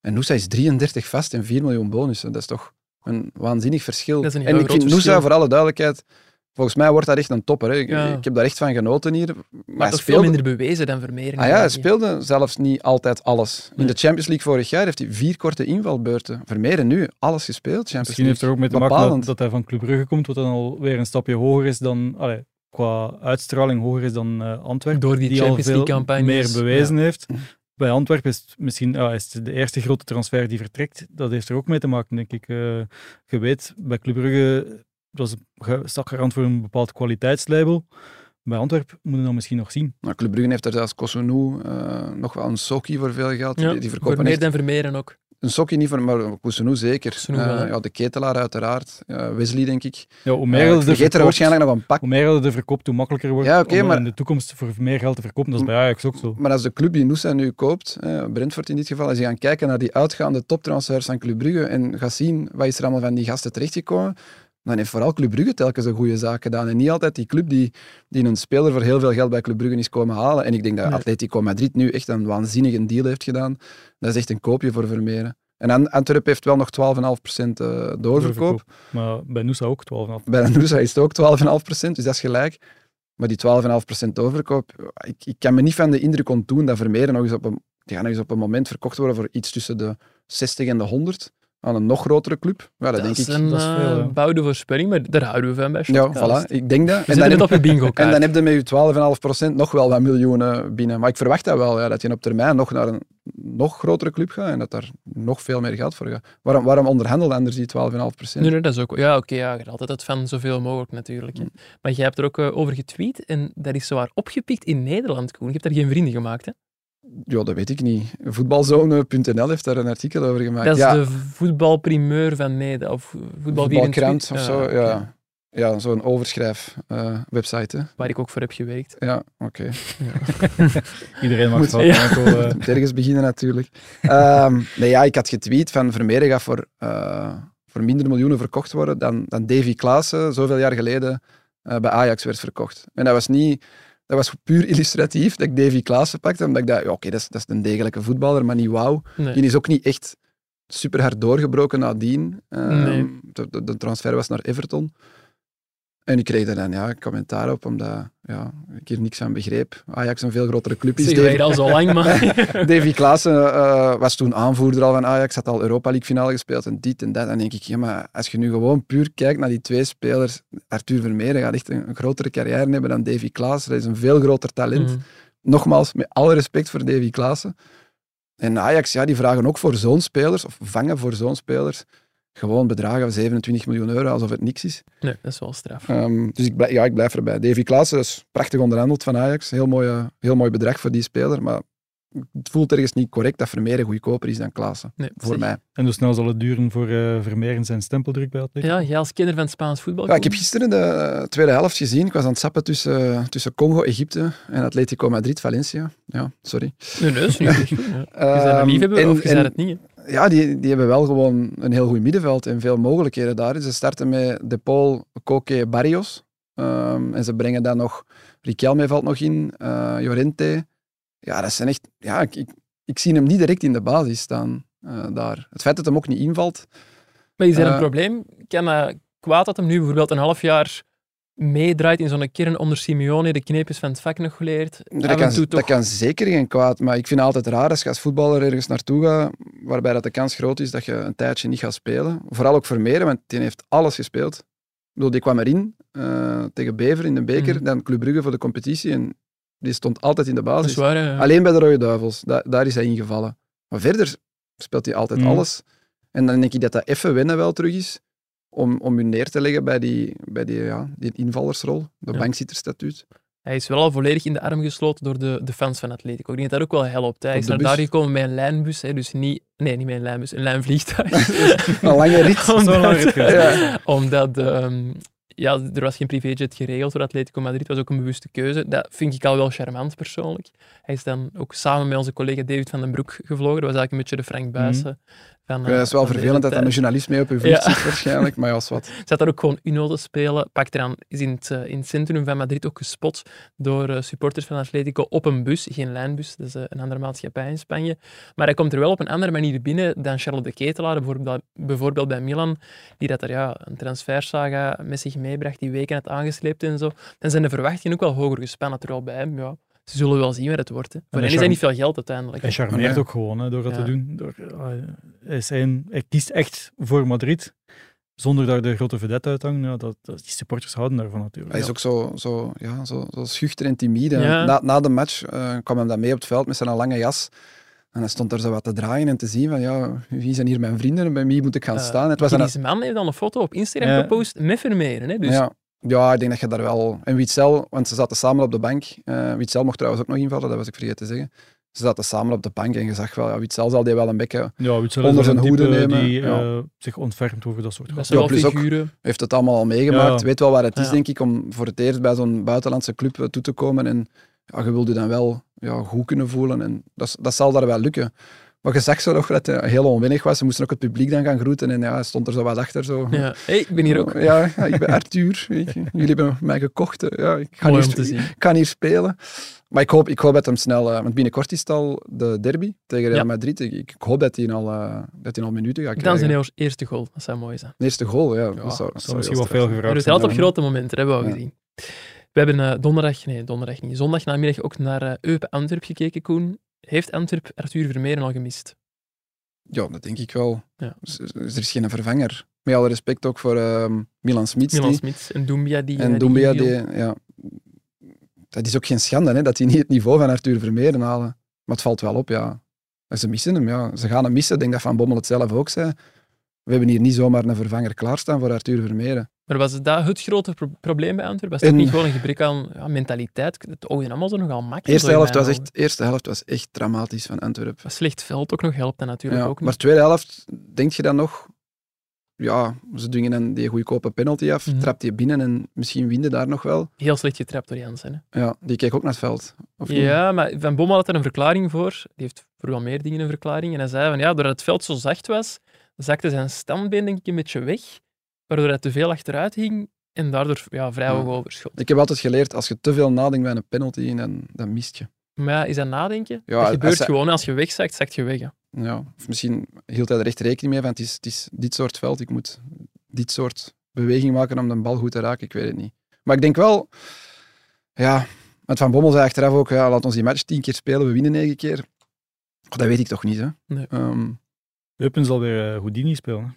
[SPEAKER 2] En Noosa is 33 vast en 4 miljoen bonussen. Dat is toch een waanzinnig verschil.
[SPEAKER 1] Dat is een heel
[SPEAKER 2] en ik
[SPEAKER 1] groot
[SPEAKER 2] vind Noosa,
[SPEAKER 1] verschil.
[SPEAKER 2] voor alle duidelijkheid, volgens mij wordt dat echt een topper. Hè. Ik,
[SPEAKER 1] Ja.
[SPEAKER 2] ik heb daar echt van genoten hier. Maar,
[SPEAKER 1] maar
[SPEAKER 2] hij
[SPEAKER 1] dat is veel
[SPEAKER 2] speelde-
[SPEAKER 1] minder bewezen dan Vermeer.
[SPEAKER 2] Ah ja, hij
[SPEAKER 1] inderdaad.
[SPEAKER 2] speelde zelfs niet altijd alles. In
[SPEAKER 1] Nee.
[SPEAKER 2] de Champions League vorig jaar heeft hij vier korte invalbeurten. Vermeer en nu alles gespeeld. Champions
[SPEAKER 4] Misschien heeft er
[SPEAKER 2] League.
[SPEAKER 4] ook mee te maken dat,
[SPEAKER 2] Dus Bepalend.
[SPEAKER 4] dat hij van Club Brugge komt, wat dan alweer een stapje hoger is dan... Allee, qua uitstraling hoger is dan eh, Antwerpen.
[SPEAKER 1] Door die,
[SPEAKER 4] die
[SPEAKER 1] Champions
[SPEAKER 4] al veel
[SPEAKER 1] League campagne.
[SPEAKER 4] meer
[SPEAKER 1] is.
[SPEAKER 4] bewezen
[SPEAKER 1] Ja.
[SPEAKER 4] heeft. Bij Antwerpen is het misschien ja, is het de eerste grote transfer die vertrekt. Dat heeft er ook mee te maken, denk ik. Eh, je weet, bij Club Brugge was stak garant voor een bepaald kwaliteitslabel. Bij Antwerpen moeten we dat misschien nog zien.
[SPEAKER 2] Nou, Club Brugge heeft er zelfs Kosunou, eh, nog wel een Soki voor veel geld.
[SPEAKER 1] Ja,
[SPEAKER 2] die, die
[SPEAKER 1] voor
[SPEAKER 2] verkopen
[SPEAKER 1] meer
[SPEAKER 2] echt
[SPEAKER 1] dan Vermeer en ook.
[SPEAKER 2] Een sokje niet voor, maar Koussenou zeker.
[SPEAKER 1] Koussenou wel,
[SPEAKER 2] Eh,
[SPEAKER 1] hè.
[SPEAKER 2] ja, de ketelaar uiteraard. Eh, Wesley, denk ik.
[SPEAKER 4] Ja, hoe
[SPEAKER 2] Eh,
[SPEAKER 4] meer
[SPEAKER 2] ik
[SPEAKER 4] dat er
[SPEAKER 2] vergeet er
[SPEAKER 4] verkoopt-
[SPEAKER 2] waarschijnlijk nog een pak.
[SPEAKER 4] hoe meer dat er verkoopt, hoe makkelijker wordt
[SPEAKER 2] Ja, oké,
[SPEAKER 4] om eh,
[SPEAKER 2] maar-
[SPEAKER 4] in de toekomst voor meer geld te verkopen. Dat is bij Ajax ook zo.
[SPEAKER 2] Maar als de club die Noosa nu koopt, eh, Brentford in dit geval, als je gaat kijken naar die uitgaande toptransfers van Club Brugge en gaat zien wat is er allemaal van die gasten terechtgekomen, dan heeft vooral Club Brugge telkens een goede zaak gedaan. En niet altijd die club die, die een speler voor heel veel geld bij Club Brugge is komen halen. En ik denk dat
[SPEAKER 1] Nee.
[SPEAKER 2] Atletico Madrid nu echt een waanzinnige deal heeft gedaan. Dat is echt een koopje voor Vermeeren. En Ant- Antwerp heeft wel nog 12,5% eh, doorverkoop.
[SPEAKER 4] Maar bij Noosa ook 12,5.
[SPEAKER 2] Bij Noosa is het ook 12,5%, dus dat is gelijk. Maar die 12,5% overkoop, ik, ik kan me niet van de indruk ontdoen dat Vermeer nog eens op een, die gaan nog eens op een moment verkocht worden voor iets tussen de 60 en de 100 aan een nog grotere club. Ja, dat, denk
[SPEAKER 1] is
[SPEAKER 2] ik.
[SPEAKER 1] een
[SPEAKER 4] dat is veel,
[SPEAKER 1] eh,
[SPEAKER 4] ja.
[SPEAKER 1] bouwde voorspelling, maar daar houden we van bij
[SPEAKER 2] Ja,
[SPEAKER 1] Shotcast.
[SPEAKER 2] voilà, ik denk dat.
[SPEAKER 1] We
[SPEAKER 2] En dan,
[SPEAKER 1] zitten
[SPEAKER 2] heb,
[SPEAKER 1] het op je bingo
[SPEAKER 2] en dan heb je met je 12,5% nog wel wat miljoenen binnen. Maar ik verwacht dat wel, ja, dat je op termijn nog naar een nog grotere club gaat en dat daar nog veel meer geld voor gaat. Waarom, waarom onderhandelen anders die 12,5%?
[SPEAKER 1] Nee, nee, dat is ook... Ja, oké, ja, je bent altijd het van zoveel mogelijk natuurlijk.
[SPEAKER 2] Mm.
[SPEAKER 1] hè. Maar jij hebt er ook eh, over getweet en dat is zwaar opgepikt in Nederland, Koen. Je hebt daar geen vrienden gemaakt, hè?
[SPEAKER 2] Ja, dat weet ik niet. Voetbalzone.nl heeft daar een artikel over gemaakt.
[SPEAKER 1] dat is
[SPEAKER 2] Ah, ja,
[SPEAKER 1] de voetbalprimeur van Nederland. Of voetbalkrant
[SPEAKER 2] voetbalkrant of
[SPEAKER 1] Ah,
[SPEAKER 2] zo. Ja, ja zo'n overschrijfwebsite. hè.
[SPEAKER 1] Waar ik ook voor heb gewerkt.
[SPEAKER 2] ja, oké.
[SPEAKER 4] Iedereen mag
[SPEAKER 2] Moet-
[SPEAKER 4] fouten
[SPEAKER 1] ja.
[SPEAKER 4] maken, hoor, eh.
[SPEAKER 2] Moet ergens beginnen natuurlijk. Ehm, nee, ja, ik had getweet van Vermeer gaat voor, eh, voor minder miljoenen verkocht worden dan, dan Davy Klaassen zoveel jaar geleden eh, bij Ajax werd verkocht. En dat was niet... Dat was puur illustratief dat ik Davy Klaassen pakte, omdat ik dacht, ja, oké, dat, is, dat is een degelijke voetballer, maar niet wauw.
[SPEAKER 1] Nee.
[SPEAKER 2] Die is ook niet echt super hard doorgebroken nadien. Ehm,
[SPEAKER 1] Nee.
[SPEAKER 2] de, de, de transfer was naar Everton. En ik kreeg daar dan ja, commentaar op, omdat ja, ik hier niks aan begreep. Ajax een veel grotere club is.
[SPEAKER 1] Zeg, dat
[SPEAKER 2] Davy,
[SPEAKER 1] hier al zo lang, maar...
[SPEAKER 2] Davy Klaassen eh, was toen aanvoerder al van Ajax, had al Europa League finale gespeeld en dit en dat. Dan denk ik, ja, maar als je nu gewoon puur kijkt naar die twee spelers, Arthur Vermeer gaat echt een, een grotere carrière hebben dan Davy Klaassen. Dat is een veel groter talent
[SPEAKER 1] Mm.
[SPEAKER 2] nogmaals, met alle respect voor Davy Klaassen. En Ajax, ja, die vragen ook voor zo'n spelers, of vangen voor zo'n spelers, gewoon bedragen van 27 miljoen euro, alsof het niks is.
[SPEAKER 1] Nee, dat is wel straf.
[SPEAKER 2] Ehm, dus ik blijf, ja, ik blijf erbij. Davy Klaassen is prachtig onderhandeld van Ajax. Heel, mooie, heel mooi bedrag voor die speler, maar het voelt ergens niet correct dat Vermeer goedkoper is dan Klaassen.
[SPEAKER 1] Nee,
[SPEAKER 2] Voor
[SPEAKER 1] zeg.
[SPEAKER 2] mij.
[SPEAKER 4] En hoe snel zal het duren voor eh Vermeer en zijn stempeldruk bij Atletico?
[SPEAKER 1] Ja, jij als kinder van het Spaans voetbal.
[SPEAKER 2] Ja, ik heb
[SPEAKER 1] Koen?
[SPEAKER 2] gisteren de eh, tweede helft gezien. Ik was aan het sappen tussen, tussen Congo, Egypte en Atletico Madrid, Valencia. Ja, sorry.
[SPEAKER 1] Nee, nee, dat is niet echt goed. ja. Je bent een
[SPEAKER 2] Ehm,
[SPEAKER 1] liefhebber
[SPEAKER 2] en-
[SPEAKER 1] of je
[SPEAKER 2] en-
[SPEAKER 1] bent het niet. hè?
[SPEAKER 2] Ja, die, die hebben wel gewoon een heel goed middenveld en veel mogelijkheden daar. Ze starten met De Paul, Koke, Barrios. Ehm, en ze brengen dan nog Riquelme valt nog in, eh Jorente. Ja, dat zijn echt... Ja, ik, ik, ik zie hem niet direct in de basis staan eh, daar. Het feit dat hem ook niet invalt...
[SPEAKER 1] Maar is er een
[SPEAKER 2] Eh,
[SPEAKER 1] probleem? Kan eh, kwaad dat hem nu bijvoorbeeld een half jaar meedraait in zo'n kern onder Simeone, de kneepjes van het vak nog geleerd? Af
[SPEAKER 2] Dat
[SPEAKER 1] en
[SPEAKER 2] kan,
[SPEAKER 1] toe
[SPEAKER 2] dat
[SPEAKER 1] toch-
[SPEAKER 2] kan zeker geen kwaad, maar ik vind het altijd raar als je als voetballer ergens naartoe gaat, waarbij dat de kans groot is dat je een tijdje niet gaat spelen. Vooral ook Vermeeren, want die heeft alles gespeeld. bedoel, die kwam erin eh, tegen Bever in de beker,
[SPEAKER 1] Mhm.
[SPEAKER 2] dan Club Brugge voor de competitie en die stond altijd in de
[SPEAKER 1] Dat
[SPEAKER 2] basis.
[SPEAKER 1] is waar, hè.
[SPEAKER 2] Alleen bij de Rode Duivels, da- daar is hij ingevallen. Maar verder speelt hij altijd
[SPEAKER 4] Mhm.
[SPEAKER 2] alles. En dan denk ik dat dat even wennen wel terug is, om, om je neer te leggen bij die, bij die, ja, die invallersrol, de
[SPEAKER 1] Ja.
[SPEAKER 2] bankzitterstatuut.
[SPEAKER 1] Hij is wel al volledig in de arm gesloten door de, de fans van Atletico. Ik denk dat dat ook wel helpt. hè. Hij
[SPEAKER 2] Op
[SPEAKER 1] is
[SPEAKER 2] de
[SPEAKER 1] naar
[SPEAKER 2] bus.
[SPEAKER 1] daar gekomen met een lijnbus, hè, dus niet... Nee, niet met een lijnbus, een lijnvliegtuig.
[SPEAKER 2] Een lange rit.
[SPEAKER 1] Omdat-
[SPEAKER 4] Zo'n lange rit geweest.
[SPEAKER 2] Ja.
[SPEAKER 1] Omdat ehm, ja, er was geen privéjet geregeld voor Atletico Madrid. Het was ook een bewuste keuze. Dat vind ik al wel charmant persoonlijk. Hij is dan ook samen met onze collega David van den Broek gevlogen. Dat was eigenlijk een beetje de Frank Buijsen. van,
[SPEAKER 2] Ja,
[SPEAKER 1] eh,
[SPEAKER 2] dat is
[SPEAKER 1] van
[SPEAKER 2] wel
[SPEAKER 1] deze
[SPEAKER 2] vervelend dat
[SPEAKER 1] tijd.
[SPEAKER 2] dan een journalist mee op je vlucht
[SPEAKER 1] Ja.
[SPEAKER 2] zit waarschijnlijk, maar ja, is wat.
[SPEAKER 1] Zat daar ook gewoon Uno te spelen. Pakt eraan, is in het, eh, in het centrum van Madrid ook gespot door eh, supporters van Atletico op een bus. Geen lijnbus, dat is eh, een andere maatschappij in Spanje. Maar hij komt er wel op een andere manier binnen dan Charles de Ketelaar, bijvoorbeeld, bijvoorbeeld bij Milan, die dat er ja, een transfersaga met zich meebracht, die weken had aangesleept en zo. Dan zijn de verwachtingen ook wel hoger gespannen, terwijl bij hem, ja, ze zullen wel zien waar het wordt. Hè. Voor hen is dat
[SPEAKER 4] Charles-
[SPEAKER 1] niet veel geld uiteindelijk.
[SPEAKER 4] Hij charmeert
[SPEAKER 2] Ja.
[SPEAKER 4] ook gewoon hè, door dat
[SPEAKER 1] Ja.
[SPEAKER 4] te doen. Door, eh, hij, is een- hij kiest echt voor Madrid, zonder daar de grote vedette uit te hangen. Ja, dat, dat, die supporters houden daarvan natuurlijk.
[SPEAKER 2] Hij is ook zo, zo, ja, zo, zo schuchter en timide.
[SPEAKER 1] Ja.
[SPEAKER 2] Na, na de match eh, kwam hem dan mee op het veld met zijn lange jas. En hij stond er zo wat te draaien en te zien van, ja, wie zijn hier mijn vrienden en bij wie moet ik gaan
[SPEAKER 1] Eh,
[SPEAKER 2] staan? Het was dan-
[SPEAKER 1] Deze man heeft dan een foto op Instagram
[SPEAKER 4] Ja.
[SPEAKER 1] gepost met Vermeeren. Hè. Dus
[SPEAKER 2] ja, ja, ik denk dat je daar wel... En Witzel, want ze zaten samen op de bank. Eh Witzel mocht trouwens ook nog invallen, dat was ik vergeten te zeggen. Ze zaten samen op de bank en je zag wel, ja, Witzel zal die wel een bek hebben.
[SPEAKER 4] Ja, Witsel is wel
[SPEAKER 2] Onder zijn
[SPEAKER 4] een
[SPEAKER 2] hoede
[SPEAKER 4] type
[SPEAKER 2] nemen,
[SPEAKER 4] Die
[SPEAKER 2] ja.
[SPEAKER 4] eh, zich ontfermt over dat soort
[SPEAKER 1] dat
[SPEAKER 4] gasten.
[SPEAKER 1] zijn
[SPEAKER 2] Ja,
[SPEAKER 1] wel
[SPEAKER 2] plus ook-
[SPEAKER 1] figuren.
[SPEAKER 2] heeft het allemaal al meegemaakt,
[SPEAKER 4] Ja.
[SPEAKER 2] weet wel waar het is,
[SPEAKER 1] Ja.
[SPEAKER 2] denk ik, om voor het eerst bij zo'n buitenlandse club eh, toe te komen. En ja, je wilt je dan wel ja, goed kunnen voelen. En dat, is- dat zal daar wel lukken. Maar je zag zo nog dat hij heel onwennig was. Ze moesten ook het publiek dan gaan groeten. En ja, hij stond er zo wat achter. Zo.
[SPEAKER 1] Ja. Hey, ik ben hier ook.
[SPEAKER 2] Ja, ja, ik ben Arthur. weet je. Jullie hebben mij gekocht. hè. Ja, ik ga
[SPEAKER 1] Mooi
[SPEAKER 2] hier,
[SPEAKER 1] om te zien.
[SPEAKER 2] ik kan hier spelen. Maar ik hoop, ik hoop dat hem snel... eh, want binnenkort is het al de derby tegen Real
[SPEAKER 1] Ja.
[SPEAKER 2] Madrid. Ik, ik hoop dat hij al, eh, dat hij al minuten gaat
[SPEAKER 1] Dan
[SPEAKER 2] krijgen.
[SPEAKER 1] zijn eeuws eerste goal. Dat zou mooi zijn.
[SPEAKER 2] De eerste goal, ja.
[SPEAKER 1] Ja,
[SPEAKER 2] dat zou, dat
[SPEAKER 4] Dat
[SPEAKER 2] zou
[SPEAKER 4] zou
[SPEAKER 2] heel
[SPEAKER 4] misschien wel veel
[SPEAKER 2] straf zijn.
[SPEAKER 1] Er
[SPEAKER 4] gevraagd
[SPEAKER 1] is
[SPEAKER 4] zijn
[SPEAKER 1] altijd op
[SPEAKER 4] daarvan.
[SPEAKER 1] grote momenten, dat hebben we al
[SPEAKER 2] Ja.
[SPEAKER 1] gezien. We hebben eh, donderdag, nee, donderdag niet, zondag namiddag ook naar eh Eupen Antwerp gekeken, Koen. Heeft Antwerp Arthur Vermeeren al gemist?
[SPEAKER 2] Ja, dat denk ik wel.
[SPEAKER 1] Ja.
[SPEAKER 2] Dus- dus Er is geen vervanger. Met alle respect ook voor ehm, Milan Smits.
[SPEAKER 1] Milan
[SPEAKER 2] die-
[SPEAKER 1] Smits en Doumbia die... eh,
[SPEAKER 2] En
[SPEAKER 1] die
[SPEAKER 2] Doumbia,
[SPEAKER 1] inviel.
[SPEAKER 2] die, ja, dat is ook geen schande hè, dat hij niet het niveau van Arthur Vermeeren halen. Maar het valt wel op, ja. En Ze missen hem, ja. Ze gaan hem missen. Ik denk dat Van Bommel het zelf ook zei. We hebben hier niet zomaar een vervanger klaarstaan voor Arthur Vermeeren.
[SPEAKER 1] Maar was dat het grote pro- probleem bij Antwerp? Was dat
[SPEAKER 2] En-
[SPEAKER 1] niet gewoon een gebrek aan ja, mentaliteit? Het oogde allemaal zo nogal makkelijk.
[SPEAKER 2] Eerste
[SPEAKER 1] zo in
[SPEAKER 2] helft,
[SPEAKER 1] mijn
[SPEAKER 2] was
[SPEAKER 1] ogen.
[SPEAKER 2] echt, eerste helft was echt dramatisch van Antwerpen.
[SPEAKER 1] Wat slecht veld ook nog helpt dat natuurlijk
[SPEAKER 2] Ja,
[SPEAKER 1] ook
[SPEAKER 2] maar
[SPEAKER 1] niet.
[SPEAKER 2] tweede helft, denk je dan nog? Ja, ze dwingen dan die goedkope penalty af,
[SPEAKER 1] Mhm.
[SPEAKER 2] trapt je binnen en misschien winnen daar nog wel.
[SPEAKER 1] Heel slecht getrapt door Jansen. hè.
[SPEAKER 2] Ja, die keek ook naar het veld. Of niet?
[SPEAKER 1] Ja, maar Van Bommel had er een verklaring voor. Die heeft voor wel meer dingen een verklaring. En hij zei van ja, doordat het veld zo zacht was, zakte zijn standbeen denk ik een beetje weg, waardoor hij te veel achteruit hing en daardoor ja, vrij
[SPEAKER 2] Ja.
[SPEAKER 1] hoog overschot.
[SPEAKER 2] Ik heb altijd geleerd, als je te veel nadenkt bij een penalty, dan, dan mist je.
[SPEAKER 1] Maar ja, is dat nadenken?
[SPEAKER 2] Ja,
[SPEAKER 1] dat
[SPEAKER 2] als
[SPEAKER 1] gebeurt
[SPEAKER 2] hij-
[SPEAKER 1] gewoon. Als je wegzakt, zakt je weg. hè.
[SPEAKER 2] Ja. Of misschien hield hij er echt rekening mee van, het is, het is dit soort veld, ik moet dit soort beweging maken om de bal goed te raken, ik weet het niet. Maar ik denk wel, ja, want Van Bommel zei achteraf ook, ja, laat ons die match tien keer spelen, we winnen negen keer. Oh, dat weet ik toch niet, hè.
[SPEAKER 1] Nee.
[SPEAKER 2] Ehm,
[SPEAKER 4] Eupen zal weer eh, Houdini spelen. hè.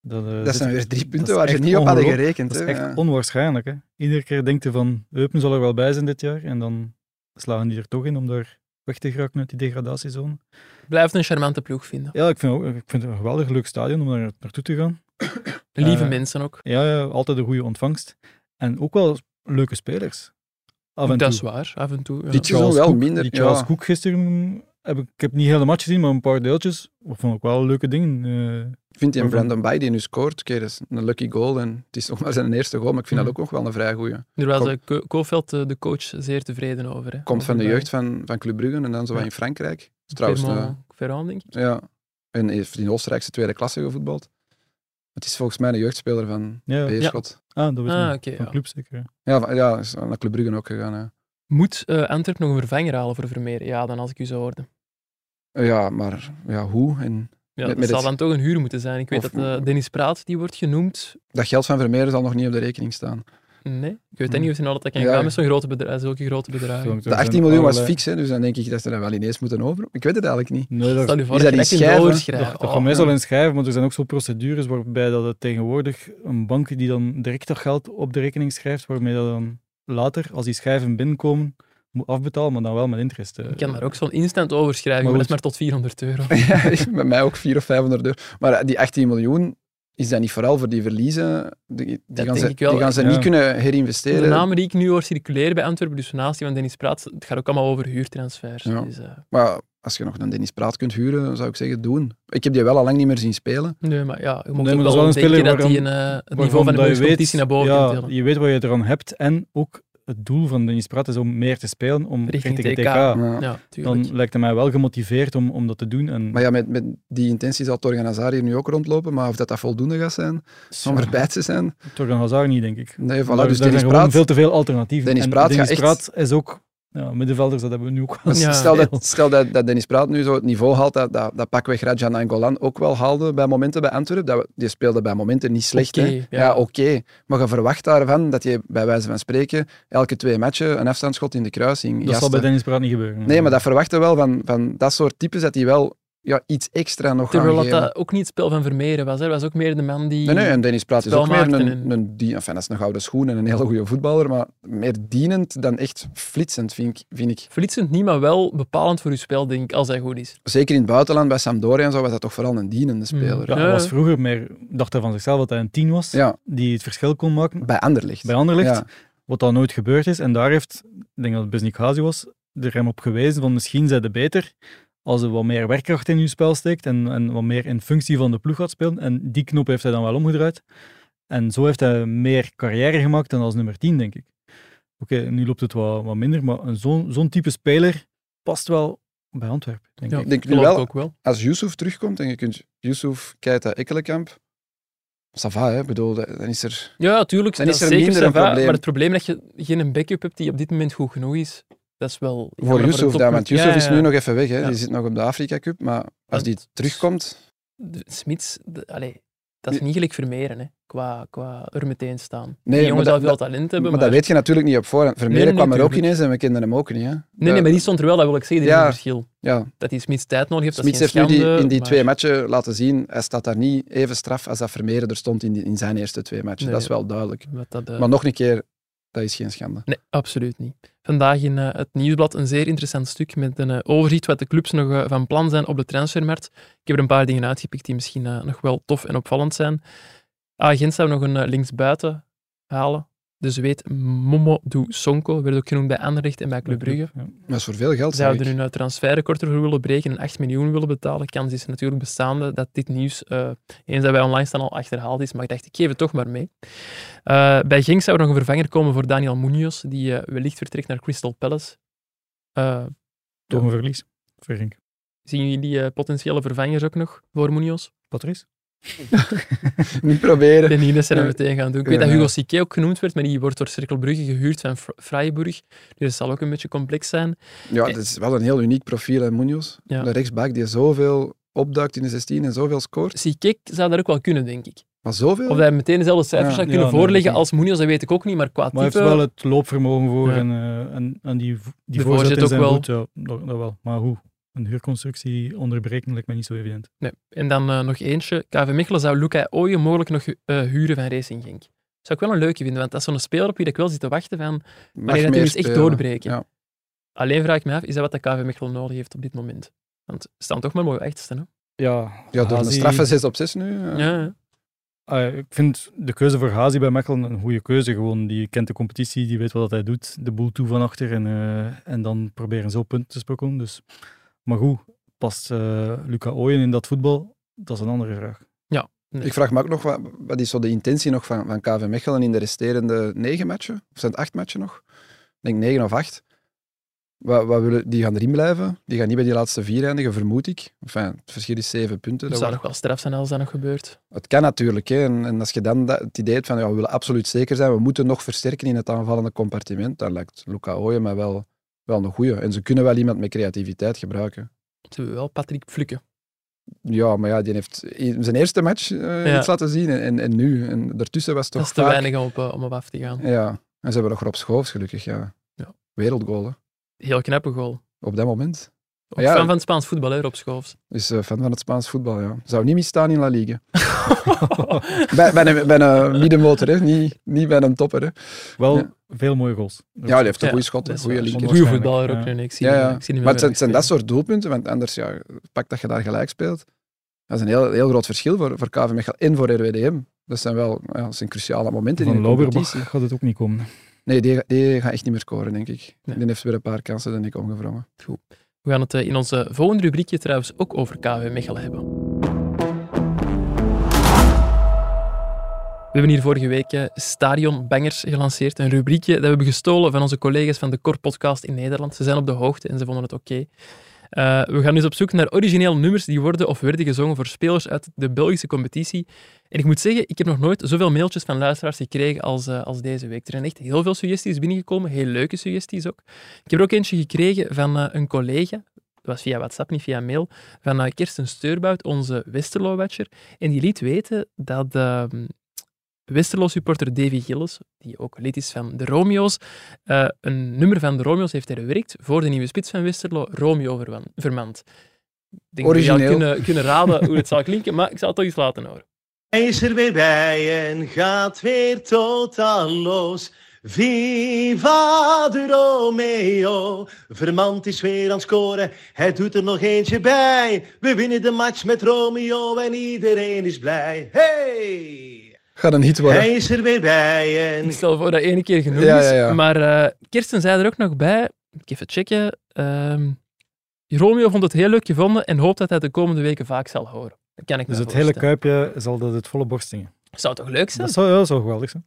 [SPEAKER 4] Dat, eh,
[SPEAKER 2] dat
[SPEAKER 4] dit-
[SPEAKER 2] zijn weer drie
[SPEAKER 4] dat
[SPEAKER 2] punten
[SPEAKER 4] is
[SPEAKER 2] waar ze
[SPEAKER 4] echt
[SPEAKER 2] niet op hadden
[SPEAKER 4] ongelooflijk.
[SPEAKER 2] gerekend.
[SPEAKER 4] Dat is
[SPEAKER 2] hè.
[SPEAKER 4] echt
[SPEAKER 2] Ja.
[SPEAKER 4] onwaarschijnlijk. Hè? Iedere keer denkt hij van, Eupen zal er wel bij zijn dit jaar. En dan slagen die er toch in om daar weg te geraken uit die degradatiezone.
[SPEAKER 1] Blijft een charmante ploeg vinden.
[SPEAKER 4] Ja, ik vind, ook, ik vind het een geweldig leuk stadion om daar naartoe te gaan.
[SPEAKER 1] Lieve
[SPEAKER 4] Eh,
[SPEAKER 1] mensen ook.
[SPEAKER 4] Ja, ja, altijd een goede ontvangst. En ook wel leuke spelers. Af en
[SPEAKER 1] Dat is
[SPEAKER 4] toe.
[SPEAKER 1] waar, af en toe. ja.
[SPEAKER 2] Dit- seizoen
[SPEAKER 4] Charles
[SPEAKER 2] wel
[SPEAKER 4] Cook-
[SPEAKER 2] minder,
[SPEAKER 4] Die
[SPEAKER 2] ja.
[SPEAKER 4] Charles Cook gisteren, heb ik, ik heb niet heel de match gezien, maar een paar deeltjes. Ik vond ook wel leuke dingen. eh.
[SPEAKER 2] Vindt hij een
[SPEAKER 4] Waarvan-
[SPEAKER 2] Brandon dus Bay die nu scoort, keer is een lucky goal en het is nog maar zijn eerste goal, maar ik vind
[SPEAKER 1] Mhm.
[SPEAKER 2] dat ook nog wel een vrij goeie.
[SPEAKER 1] Daar was
[SPEAKER 2] kom-
[SPEAKER 1] eh, Ko- Kofeld, eh, de coach, zeer tevreden over. Hè.
[SPEAKER 2] Komt van de
[SPEAKER 1] Over, eh,
[SPEAKER 2] jeugd van, van Club Brugge en dan zo
[SPEAKER 1] Ja.
[SPEAKER 2] in Frankrijk. Dat is Trouwens,
[SPEAKER 1] Clermont-
[SPEAKER 2] eh,
[SPEAKER 1] Ferrand, denk ik.
[SPEAKER 2] ja. En heeft in Oostenrijkse tweede klasse gevoetbald. Het is volgens mij een jeugdspeler van
[SPEAKER 4] ja, ja.
[SPEAKER 2] Beerschot.
[SPEAKER 4] Ah, dat was
[SPEAKER 1] Ah,
[SPEAKER 4] een,
[SPEAKER 1] oké,
[SPEAKER 4] een
[SPEAKER 1] ja.
[SPEAKER 4] club zeker. ja.
[SPEAKER 2] Ja, van- ja, is naar Club Brugge ook gegaan. hè.
[SPEAKER 1] Moet eh Antwerp nog een vervanger halen voor Vermeer? Ja, dan als ik u zo hoorde.
[SPEAKER 2] Ja, maar ja, hoe? En
[SPEAKER 1] Ja,
[SPEAKER 2] Met-
[SPEAKER 1] dat
[SPEAKER 2] met
[SPEAKER 1] zal
[SPEAKER 2] het-
[SPEAKER 1] dan toch een huur moeten zijn. Ik weet
[SPEAKER 2] Of-
[SPEAKER 1] dat eh, Dennis Praat, die wordt genoemd.
[SPEAKER 2] dat geld van Vermeer zal nog niet op de rekening staan.
[SPEAKER 1] Nee, ik weet dat niet of je nou dat kan
[SPEAKER 2] Ja.
[SPEAKER 1] gaan met zo'n grote bedrijf, zulke grote bedrijven.
[SPEAKER 2] De 18 miljoen was fix, hè, dus dan denk ik dat ze dat wel ineens moeten over. Ik weet het eigenlijk niet.
[SPEAKER 4] Nee, dat,
[SPEAKER 1] Stel
[SPEAKER 4] dat,
[SPEAKER 1] je voor
[SPEAKER 2] Is
[SPEAKER 1] dat je
[SPEAKER 2] dat
[SPEAKER 1] echt Oh,
[SPEAKER 2] in
[SPEAKER 1] in
[SPEAKER 2] schijven?
[SPEAKER 1] schrijven.
[SPEAKER 4] dat gaat meestal in schrijven, maar er zijn ook zo procedures waarbij dat het tegenwoordig een bank die dan direct dat geld op de rekening schrijft, waarmee dat dan later, als die schijven binnenkomen, moet afbetalen, maar dan wel met interest. eh.
[SPEAKER 1] Ik kan daar ook zo'n instant overschrijving, maar
[SPEAKER 4] Maar
[SPEAKER 1] dat is maar
[SPEAKER 4] goed.
[SPEAKER 1] tot 400 euro.
[SPEAKER 2] Ja, met mij ook 400 of 500 euro. Maar die 18 miljoen, is dat niet vooral voor die verliezen? Die, die gaan
[SPEAKER 1] denk
[SPEAKER 2] ze,
[SPEAKER 1] ik wel.
[SPEAKER 2] die gaan ze
[SPEAKER 4] Ja.
[SPEAKER 2] niet kunnen
[SPEAKER 1] De
[SPEAKER 2] herinvesteren.
[SPEAKER 1] namen die ik nu hoor circuleren bij Antwerpen, dus naast die van Dennis Praats, het gaat ook allemaal over huurtransfers.
[SPEAKER 2] Ja.
[SPEAKER 1] Dus, eh,
[SPEAKER 2] Maar als je nog een Dennis Praat kunt huren, dan zou ik zeggen, doen. Ik heb die wel al lang niet meer zien spelen.
[SPEAKER 1] nee, maar ja, je moet
[SPEAKER 4] maar
[SPEAKER 1] ook
[SPEAKER 4] dat
[SPEAKER 1] wel
[SPEAKER 4] is wel een
[SPEAKER 1] denken
[SPEAKER 4] speler
[SPEAKER 1] dat die een,
[SPEAKER 4] waarom-
[SPEAKER 1] eh, het niveau
[SPEAKER 4] Waarvan
[SPEAKER 1] van de
[SPEAKER 4] dat je
[SPEAKER 1] Belgische competitie naar boven
[SPEAKER 4] ja,
[SPEAKER 1] kan tillen.
[SPEAKER 4] Je weet wat je eraan hebt en ook het doel van Denis Prat is om meer te spelen, om
[SPEAKER 1] Richting
[SPEAKER 4] richting,
[SPEAKER 1] TK.
[SPEAKER 4] TK.
[SPEAKER 2] Maar-
[SPEAKER 1] Ja, tuurlijk.
[SPEAKER 4] Dan lijkt het mij wel gemotiveerd om, om dat te doen. En
[SPEAKER 2] Maar ja, met, met die intentie zal Torgan Hazard hier nu ook rondlopen. Maar of dat, dat voldoende gaat zijn, om
[SPEAKER 4] ja,
[SPEAKER 2] erbij te zijn.
[SPEAKER 4] Torgan Hazard niet, denk ik.
[SPEAKER 2] Nee, voilà. dus
[SPEAKER 4] Daar- daar
[SPEAKER 2] Dennis
[SPEAKER 4] zijn gewoon
[SPEAKER 2] Praat,
[SPEAKER 4] veel te veel alternatieven.
[SPEAKER 2] Dennis
[SPEAKER 4] En
[SPEAKER 2] Praat
[SPEAKER 4] Dennis
[SPEAKER 2] gaat echt-
[SPEAKER 4] Praat is ook... Ja, middenvelders, dat hebben we nu ook wel.
[SPEAKER 2] Dus
[SPEAKER 1] Ja.
[SPEAKER 2] stel, dat, stel dat, dat Dennis Praat nu zo het niveau haalt dat, dat, dat pakweg Rajan Angolan ook wel haalde bij momenten bij Antwerpen. Dat, we- die speelde bij momenten niet slecht.
[SPEAKER 1] Oké,
[SPEAKER 2] hè.
[SPEAKER 1] ja.
[SPEAKER 2] Ja, oké. Maar je verwacht daarvan dat je bij wijze van spreken elke twee matchen een afstandsschot in de kruising
[SPEAKER 4] Dat zal
[SPEAKER 2] jaste.
[SPEAKER 4] bij Dennis Praat niet gebeuren.
[SPEAKER 2] Nee, maar dat verwachten we wel van, van dat soort types dat die wel ja, iets extra nog gaan
[SPEAKER 1] Terwijl dat,
[SPEAKER 2] geven.
[SPEAKER 1] dat ook niet het spel van Vermeeren was. Hij was ook meer de man die...
[SPEAKER 2] Nee, nee, en Dennis Praat is
[SPEAKER 1] spel
[SPEAKER 2] ook meer
[SPEAKER 1] maakte
[SPEAKER 2] een,
[SPEAKER 1] en-
[SPEAKER 2] een, die, enfin, dat is een gouden schoen en een hele goede voetballer, maar meer dienend dan echt flitsend, vind ik. Vind ik.
[SPEAKER 1] Flitsend niet, maar wel bepalend voor uw spel, denk ik, als hij goed is.
[SPEAKER 2] Zeker in het buitenland, bij Sampdoria en zo, was dat toch vooral een dienende
[SPEAKER 1] Hmm,
[SPEAKER 2] speler.
[SPEAKER 4] Ja, hij was vroeger meer... Dacht hij van zichzelf dat hij een tien was,
[SPEAKER 2] Ja,
[SPEAKER 4] die het verschil kon maken.
[SPEAKER 2] bij Anderlecht.
[SPEAKER 4] Bij Anderlecht,
[SPEAKER 2] Ja.
[SPEAKER 4] wat dan nooit gebeurd is. En daar heeft, ik denk dat het Besnikazi was, er hem op gewezen van misschien zijn de beter als er wat meer werkkracht in uw spel steekt en, en wat meer in functie van de ploeg gaat spelen. En die knop heeft hij dan wel omgedraaid. En zo heeft hij meer carrière gemaakt dan als nummer 10, denk ik. Oké, nu loopt het wat, wat minder, maar een zo'n zo'n type speler past wel bij Antwerpen, denk
[SPEAKER 1] Ja,
[SPEAKER 4] ik.
[SPEAKER 2] denk nu
[SPEAKER 1] geloof
[SPEAKER 2] wel-
[SPEAKER 1] ik ook wel.
[SPEAKER 2] Als Yusuf terugkomt en je kunt Yusuf, Keita, Ekkelenkamp, ça va, hè. Ik bedoel, dan is er...
[SPEAKER 1] Ja, tuurlijk.
[SPEAKER 2] Dan
[SPEAKER 1] dat
[SPEAKER 2] is
[SPEAKER 1] is
[SPEAKER 2] er
[SPEAKER 1] zeker
[SPEAKER 2] minder een
[SPEAKER 1] savant,
[SPEAKER 2] probleem.
[SPEAKER 1] Maar het probleem dat je geen backup hebt die op dit moment goed genoeg is, dat is wel... jammer
[SPEAKER 2] Voor
[SPEAKER 1] een
[SPEAKER 2] Yusuf
[SPEAKER 1] topclub.
[SPEAKER 2] dan, want Yusuf
[SPEAKER 1] Ja,
[SPEAKER 2] is
[SPEAKER 1] ja.
[SPEAKER 2] nu nog even weg. Hè.
[SPEAKER 1] Ja.
[SPEAKER 2] Die zit nog op de Afrika Cup, maar als die
[SPEAKER 1] Want-
[SPEAKER 2] terugkomt...
[SPEAKER 1] De- Smits, de- allee, dat is niet gelijk Vermeeren, hè, qua, qua er meteen staan.
[SPEAKER 2] Nee,
[SPEAKER 1] die
[SPEAKER 2] maar
[SPEAKER 1] jongen
[SPEAKER 2] dat-
[SPEAKER 1] zou veel talent
[SPEAKER 2] Maar,
[SPEAKER 1] hebben, maar...
[SPEAKER 2] dat weet je natuurlijk niet op voorhand. Vermeer
[SPEAKER 1] Nee, nee,
[SPEAKER 2] kwam er ook
[SPEAKER 1] tuurlijk.
[SPEAKER 2] ineens en we kenden hem ook niet. Hè.
[SPEAKER 1] Nee, nee, maar die stond er wel, dat wil ik zeggen, er is
[SPEAKER 2] Ja.
[SPEAKER 1] een verschil.
[SPEAKER 2] Ja,
[SPEAKER 1] Dat hij Smits tijd nodig heeft,
[SPEAKER 2] Smits
[SPEAKER 1] dat is
[SPEAKER 2] heeft
[SPEAKER 1] geen
[SPEAKER 2] nu die,
[SPEAKER 1] schande,
[SPEAKER 2] in die
[SPEAKER 1] maar-
[SPEAKER 2] twee matchen laten zien, hij staat daar niet even straf als dat Vermeer er stond in, die- in zijn eerste twee matchen.
[SPEAKER 1] Nee.
[SPEAKER 2] Dat is wel duidelijk.
[SPEAKER 1] wat dat, eh,
[SPEAKER 2] Maar nog een keer, dat is geen schande.
[SPEAKER 1] Nee, absoluut niet. Vandaag in eh, het Nieuwsblad een zeer interessant stuk met een eh, overzicht wat de clubs nog eh, van plan zijn op de transfermarkt. Ik heb er een paar dingen uitgepikt die misschien eh, nog wel tof en opvallend zijn. Agent zou nog een eh, linksbuiten halen. Dus De Zweed Momodou Sonko werd ook genoemd bij Anderlecht en bij Club Brugge.
[SPEAKER 4] Ja.
[SPEAKER 2] Dat is voor veel geld. zeg
[SPEAKER 1] Zouden
[SPEAKER 2] ik.
[SPEAKER 1] hun eh, transferrecord ervoor willen breken en 8 miljoen willen betalen? Kans is natuurlijk bestaande dat dit nieuws, eh, eens dat wij online staan, al achterhaald is. Maar ik dacht, ik geef het toch maar mee. Eh, bij Genk zou er nog een vervanger komen voor Daniel Munoz, die eh, wellicht vertrekt naar Crystal Palace. Eh,
[SPEAKER 4] Toch een verlies, Verink.
[SPEAKER 1] zien jullie eh, potentiële vervangers ook nog voor Munoz?
[SPEAKER 4] Patrice?
[SPEAKER 2] Niet proberen.
[SPEAKER 1] Ik denk niet dat ze dat meteen gaan doen. Ik weet
[SPEAKER 2] Ja,
[SPEAKER 1] dat Hugo
[SPEAKER 2] ja.
[SPEAKER 1] Sique ook genoemd werd, maar die wordt door Cirkel Brugge gehuurd van Fr- Freiburg. Dus dat zal ook een beetje complex zijn.
[SPEAKER 2] Ja, dat is wel een heel uniek profiel, hè, Munoz.
[SPEAKER 1] Eh, Ja.
[SPEAKER 2] De rechtsback die zoveel opduikt in de 16 en zoveel scoort.
[SPEAKER 1] Sique zou dat ook wel kunnen, denk ik.
[SPEAKER 2] Maar zoveel?
[SPEAKER 1] Of hij meteen dezelfde cijfers
[SPEAKER 2] Ja.
[SPEAKER 1] zou
[SPEAKER 4] Ja,
[SPEAKER 1] kunnen
[SPEAKER 4] nee, dat
[SPEAKER 1] voorleggen
[SPEAKER 4] denk
[SPEAKER 1] als Munoz, dat weet ik ook niet, maar qua
[SPEAKER 4] Maar hij
[SPEAKER 1] type...
[SPEAKER 4] heeft wel het loopvermogen voor
[SPEAKER 1] Ja.
[SPEAKER 4] en, eh, en, en die, v- die
[SPEAKER 1] De
[SPEAKER 4] voorzet
[SPEAKER 1] voorzet
[SPEAKER 4] in
[SPEAKER 1] ook
[SPEAKER 4] zijn
[SPEAKER 1] wel.
[SPEAKER 4] voet, ja, dat, dat wel. Maar hoe? Een huurconstructie onderbreken lijkt mij niet zo evident.
[SPEAKER 1] Nee. En dan eh, nog eentje. KV Mechelen zou Luca Ooyen mogelijk nog eh, huren van Racing Genk. Zou ik wel een leuke vinden, want dat is zo'n speler op wie ik wel zit te wachten van...
[SPEAKER 2] Mag
[SPEAKER 1] wanneer dat
[SPEAKER 2] meer
[SPEAKER 1] hij eens echt
[SPEAKER 2] spelen.
[SPEAKER 1] doorbreken.
[SPEAKER 2] Ja.
[SPEAKER 1] Alleen vraag ik me af, is dat wat de KV Mechelen nodig heeft op dit moment? Want ze staan toch maar mooi op achtste, hè?
[SPEAKER 4] Ja,
[SPEAKER 2] Ja, door een straffe 6 op 6 nu. eh.
[SPEAKER 1] Ah, Ja, ja.
[SPEAKER 4] Ah, ik vind de keuze voor Hazi bij Mechelen een goede keuze. Gewoon, die kent de competitie, die weet wat hij doet. De boel toe van achter en, eh, en dan proberen zo punten te sprokkelen. Dus. Maar goed, past eh, Luca Ooyen in dat voetbal? Dat is een andere vraag.
[SPEAKER 1] Nee.
[SPEAKER 2] Ik vraag me ook nog, wat, wat is zo de intentie nog van, van KV Mechelen in de resterende negen matchen? Of zijn het acht matchen nog? Ik denk negen of acht. Wat, wat willen, die gaan erin blijven. Die gaan niet bij die laatste vier eindigen, vermoed ik. Enfin, het verschil is zeven punten.
[SPEAKER 1] Het
[SPEAKER 2] Dat
[SPEAKER 1] zou
[SPEAKER 2] wordt-
[SPEAKER 1] nog wel straf zijn als dat nog gebeurt.
[SPEAKER 2] het kan natuurlijk. Hè. En, en als je dan dat, het idee hebt van ja, we willen absoluut zeker zijn, we moeten nog versterken in het aanvallende compartiment, dan lijkt Luca Ooyen mij wel, wel een goeie. En ze kunnen wel iemand met creativiteit gebruiken.
[SPEAKER 1] Ze hebben wel Patrick Flukke.
[SPEAKER 2] Ja, maar ja, die heeft in zijn eerste match eh,
[SPEAKER 1] Ja.
[SPEAKER 2] iets laten zien en, en, en nu. En daartussen was het toch
[SPEAKER 1] dat is te
[SPEAKER 2] vaak-
[SPEAKER 1] weinig om op, eh, om op af te gaan.
[SPEAKER 2] Ja, en ze hebben nog Rob Schoofs, gelukkig. Ja.
[SPEAKER 1] Ja.
[SPEAKER 2] Wereldgoal, hè,
[SPEAKER 1] Heel knappe goal.
[SPEAKER 2] op dat moment.
[SPEAKER 1] Ook
[SPEAKER 2] Ja.
[SPEAKER 1] fan van het Spaans voetbal, hè, Rob Schoofs.
[SPEAKER 2] Dus eh, fan van het Spaans voetbal, ja. Zou niet misstaan in La Liga. bij, bij een, bij een eh, middenmotor, hè. Niet, niet bij een topper. Hè.
[SPEAKER 4] Wel
[SPEAKER 2] Ja.
[SPEAKER 4] veel mooie goals.
[SPEAKER 2] Ja, die heeft een
[SPEAKER 1] Ja,
[SPEAKER 2] goede schot,
[SPEAKER 1] dat
[SPEAKER 2] een
[SPEAKER 1] is
[SPEAKER 2] goede
[SPEAKER 1] waar.
[SPEAKER 2] linker.
[SPEAKER 1] Goeie
[SPEAKER 4] Waarschijnlijk,
[SPEAKER 1] voetballer ook
[SPEAKER 4] ja.
[SPEAKER 1] nu. Ik zie
[SPEAKER 2] Ja,
[SPEAKER 1] hem,
[SPEAKER 2] ja.
[SPEAKER 1] Ik zie hem
[SPEAKER 2] Maar
[SPEAKER 1] wel
[SPEAKER 2] het zijn, het zijn dat
[SPEAKER 1] spelen.
[SPEAKER 2] soort doelpunten, want anders ja, pak dat je daar gelijk speelt. Dat is een heel, heel groot verschil voor, voor KV Mechelen en voor RWDM. Dat zijn wel ja, dat zijn cruciale momenten
[SPEAKER 4] Van
[SPEAKER 2] in de competitie.
[SPEAKER 4] Lauberbach gaat het ook niet komen.
[SPEAKER 2] Nee, die, die gaat echt niet meer scoren, denk ik.
[SPEAKER 1] Nee.
[SPEAKER 2] Die heeft weer een paar kansen, denk ik, omgevrongen.
[SPEAKER 1] We gaan het eh, in onze volgende rubriekje trouwens ook over KW Mechelen hebben. We hebben hier vorige week eh, Stadion Bangers gelanceerd. Een rubriekje dat we hebben gestolen van onze collega's van de Cor Podcast in Nederland. Ze zijn op de hoogte en ze vonden het oké. Eh, we gaan dus op zoek naar originele nummers die worden of werden gezongen voor spelers uit de Belgische competitie. En ik moet zeggen, ik heb nog nooit zoveel mailtjes van luisteraars gekregen als, eh, als deze week. Er zijn echt heel veel suggesties binnengekomen, heel leuke suggesties ook. Ik heb er ook eentje gekregen van eh, een collega. Dat was via WhatsApp, niet via mail. Van eh, Kirsten Steurbout, onze Westerlo-watcher. En die liet weten dat ehm Westerlo-supporter Davy Gillis, die ook lid is van de Romeo's, eh, een nummer van de Romeo's heeft herwerkt voor de nieuwe spits van Westerlo, Romeo Verwan- Vermand. Ik denk dat jullie al
[SPEAKER 2] Origineel.
[SPEAKER 1] kunnen, kunnen raden hoe het zal klinken, maar ik zal het toch eens laten horen.
[SPEAKER 5] Hij is er weer bij en gaat weer totaal los. Viva de Romeo. Vermand is weer aan het scoren. Hij doet er nog eentje bij. We winnen de match met Romeo en iedereen is blij. Hey!
[SPEAKER 2] Gaat een hit worden.
[SPEAKER 5] Hij is er weer bij en
[SPEAKER 1] Ik stel voor dat één keer genoeg
[SPEAKER 2] Ja,
[SPEAKER 1] is.
[SPEAKER 2] ja, ja.
[SPEAKER 1] Maar eh, Kirsten zei er ook nog bij, moet ik even checken. ehm, Romeo vond het heel leuk gevonden en hoopt dat hij de komende weken vaak zal horen. Dat kan ik
[SPEAKER 4] Dus
[SPEAKER 1] me
[SPEAKER 4] het hele Dus-
[SPEAKER 1] voorstellen.
[SPEAKER 4] kuipje zal dat het volle borst zingen.
[SPEAKER 1] Zou toch leuk zijn?
[SPEAKER 4] Dat zou, ja, dat zou geweldig zijn.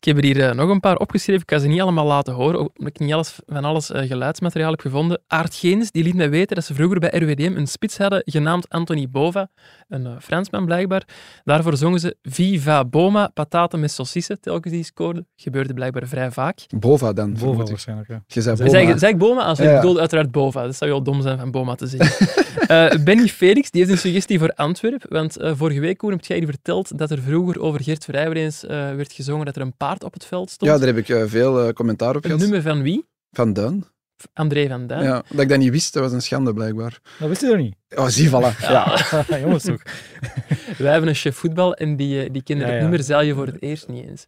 [SPEAKER 1] Ik heb er hier eh, nog een paar opgeschreven. Ik ga ze niet allemaal laten horen, omdat ik niet alles, van alles eh, geluidsmateriaal heb gevonden. Aart Geens die liet mij weten dat ze vroeger bij RWDM een spits hadden genaamd Anthony Bova. Een eh, Fransman blijkbaar. Daarvoor zongen ze Viva Boma, pataten met saucissen. Telkens die scoorde. Gebeurde blijkbaar vrij vaak.
[SPEAKER 2] Bova dan.
[SPEAKER 4] Volvo
[SPEAKER 2] vermoed ik.
[SPEAKER 4] waarschijnlijk, ja.
[SPEAKER 2] Je zei
[SPEAKER 4] Zij-
[SPEAKER 2] Boma.
[SPEAKER 1] Zeg, zeg ik Boma? Als ik
[SPEAKER 2] Ja, ja.
[SPEAKER 1] bedoel uiteraard Bova. Dat zou wel dom zijn van Boma te zeggen. Eh, Benny Felix die heeft een suggestie voor Antwerpen. Want eh, vorige week, Koen, heb jij hier verteld dat er vroeger over Geert Vrijwer eens eh, werd gezongen dat er een paard op het veld stond.
[SPEAKER 2] ja, daar heb ik eh, veel eh, commentaar op
[SPEAKER 1] een
[SPEAKER 2] gehad.
[SPEAKER 1] nummer van wie?
[SPEAKER 2] Van Duin.
[SPEAKER 1] André van
[SPEAKER 2] Ja.
[SPEAKER 1] Duin.
[SPEAKER 2] Dat ik dat niet wist, dat was een schande blijkbaar.
[SPEAKER 4] Dat Nou, wist je er niet.
[SPEAKER 2] Oh, zie, voilà.
[SPEAKER 1] Ja.
[SPEAKER 4] Jongens toch.
[SPEAKER 1] Ah, Wij hebben een chef voetbal en die, eh, die kende
[SPEAKER 4] Ja,
[SPEAKER 1] het
[SPEAKER 4] ja.
[SPEAKER 1] nummer zeil je voor het eerst niet eens.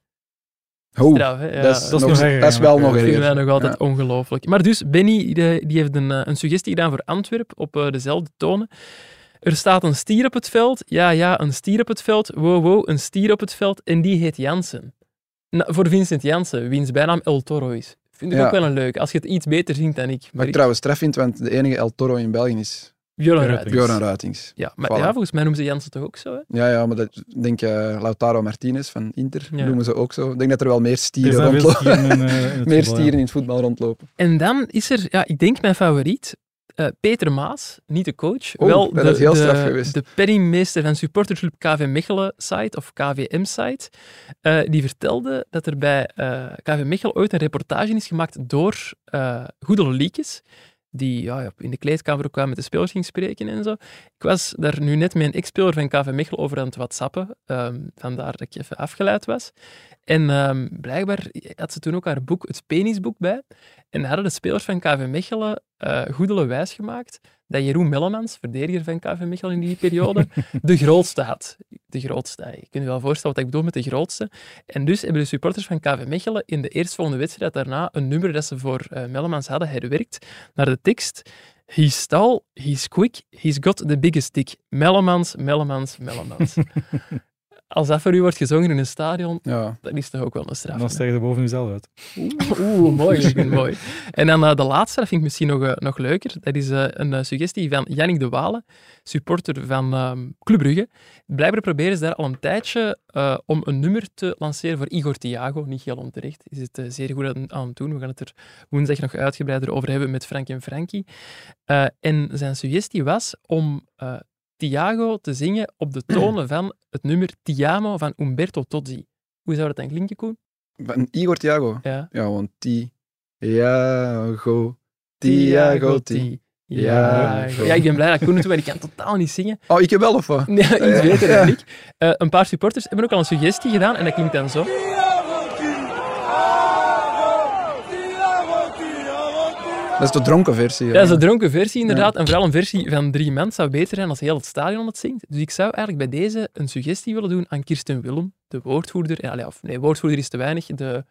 [SPEAKER 2] Hoe?
[SPEAKER 1] Trouw, hè? Ja,
[SPEAKER 2] dat, is,
[SPEAKER 4] dat is
[SPEAKER 2] nog,
[SPEAKER 4] nog erger,
[SPEAKER 2] dat is wel
[SPEAKER 4] ja.
[SPEAKER 2] nog
[SPEAKER 1] dat vinden wij
[SPEAKER 2] erger.
[SPEAKER 1] nog altijd ongelooflijk. Maar dus, Benny de- die heeft een, eh, een suggestie gedaan voor Antwerp op eh, dezelfde tonen. Er staat een stier op het veld. Ja, ja, een stier op het veld. Wow, wow, een stier op het veld. En die heet Jansen. Nou, voor Vincent Jansen, wiens bijnaam El Toro is. Vind ik
[SPEAKER 2] Ja.
[SPEAKER 1] ook wel een leuk. Als je het iets beter zingt dan ik.
[SPEAKER 2] Wat
[SPEAKER 1] Maar
[SPEAKER 2] ik
[SPEAKER 1] ik-
[SPEAKER 2] trouwens straf vind, want de enige El Toro in België is
[SPEAKER 1] Björn Ruijten.
[SPEAKER 2] Bjorn Ruitings.
[SPEAKER 1] Ja, maar
[SPEAKER 2] Voilà.
[SPEAKER 1] ja, volgens mij noemen ze Jansen toch ook zo? Hè?
[SPEAKER 2] Ja, ja, maar dat denk je, Lautaro Martinez van Inter
[SPEAKER 1] Ja.
[SPEAKER 2] noemen ze ook zo. Ik denk dat er wel meer
[SPEAKER 4] Er
[SPEAKER 2] stieren
[SPEAKER 4] zijn veel
[SPEAKER 2] rondlopen.
[SPEAKER 4] stieren in, eh,
[SPEAKER 2] meer
[SPEAKER 4] in het voetbal, ja.
[SPEAKER 2] stieren in het voetbal rondlopen.
[SPEAKER 1] En dan is er, ja, ik denk mijn favoriet, eh, Peter Maas, niet de coach,
[SPEAKER 2] Oeh,
[SPEAKER 1] wel
[SPEAKER 2] dat
[SPEAKER 1] de,
[SPEAKER 2] is Oh, heel straf
[SPEAKER 1] de,
[SPEAKER 2] geweest.
[SPEAKER 1] de penningmeester van supporterclub KV Mechelen site of KVM site, eh, die vertelde dat er bij eh, KV Mechelen ooit een reportage is gemaakt door eh Goedel Liekes, die ja, ja, in de kleedkamer ook kwam met de spelers ging spreken en zo. Ik was daar nu net met een ex-speler van KV Mechelen over aan het whatsappen, ehm, vandaar dat ik even afgeleid was. En ehm, blijkbaar had ze toen ook haar boek, het penisboek, bij. En hadden de spelers van KV Mechelen eh goedele wijs gemaakt dat Jeroen Mellemans, verdediger van KV Mechelen in die periode, de grootste had. De grootste. Je kunt je wel voorstellen wat ik bedoel met de grootste. En dus hebben de supporters van KV Mechelen in de eerstvolgende wedstrijd daarna een nummer dat ze voor eh, Mellemans hadden herwerkt naar de tekst. He's tall, he's quick, he's got the biggest dick. Mellemans, Mellemans, Mellemans. Als dat voor u wordt gezongen in een stadion,
[SPEAKER 2] Ja.
[SPEAKER 1] dan is toch ook wel een straf.
[SPEAKER 4] Dan
[SPEAKER 1] hè?
[SPEAKER 4] stijg je er boven jezelf uit.
[SPEAKER 1] Oeh, mooi. ik vind het mooi. En dan eh, de laatste, dat vind ik misschien nog, eh, nog leuker. Dat is eh, een eh, suggestie van Jannik de Walen, supporter van ehm Club Brugge. Blijkbaar proberen ze daar al een tijdje eh, om een nummer te lanceren voor Igor Thiago. Niet heel onterecht. Is het eh, zeer goed aan, aan het doen. We gaan het er woensdag nog uitgebreider over hebben met Frank en Frankie. Eh, en zijn suggestie was om eh, Thiago te zingen op de tonen van het nummer Tiamo van Umberto Tozzi. Hoe zou dat dan klinken, Koen?
[SPEAKER 2] Van Igor Thiago.
[SPEAKER 1] Ja.
[SPEAKER 2] Ja, want Thiago, Thiago, Thiago.
[SPEAKER 1] Ja,
[SPEAKER 2] Ja.
[SPEAKER 1] ja, ik ben blij dat ik kon het doen, maar ik kan totaal niet zingen.
[SPEAKER 2] Oh, ik heb wel of wat?
[SPEAKER 1] Nee, iets beter dan ik. Eh, een paar supporters hebben ook al een suggestie gedaan en dat klinkt dan zo.
[SPEAKER 2] Dat is de dronken versie.
[SPEAKER 1] Ja, dat is een dronken versie inderdaad. En vooral een versie van drie mensen zou beter zijn als heel het stadion het zingt. Dus ik zou eigenlijk bij deze een suggestie willen doen aan Kirsten Willem, de woordvoerder. Ja, allee, of nee, woordvoerder is te weinig. De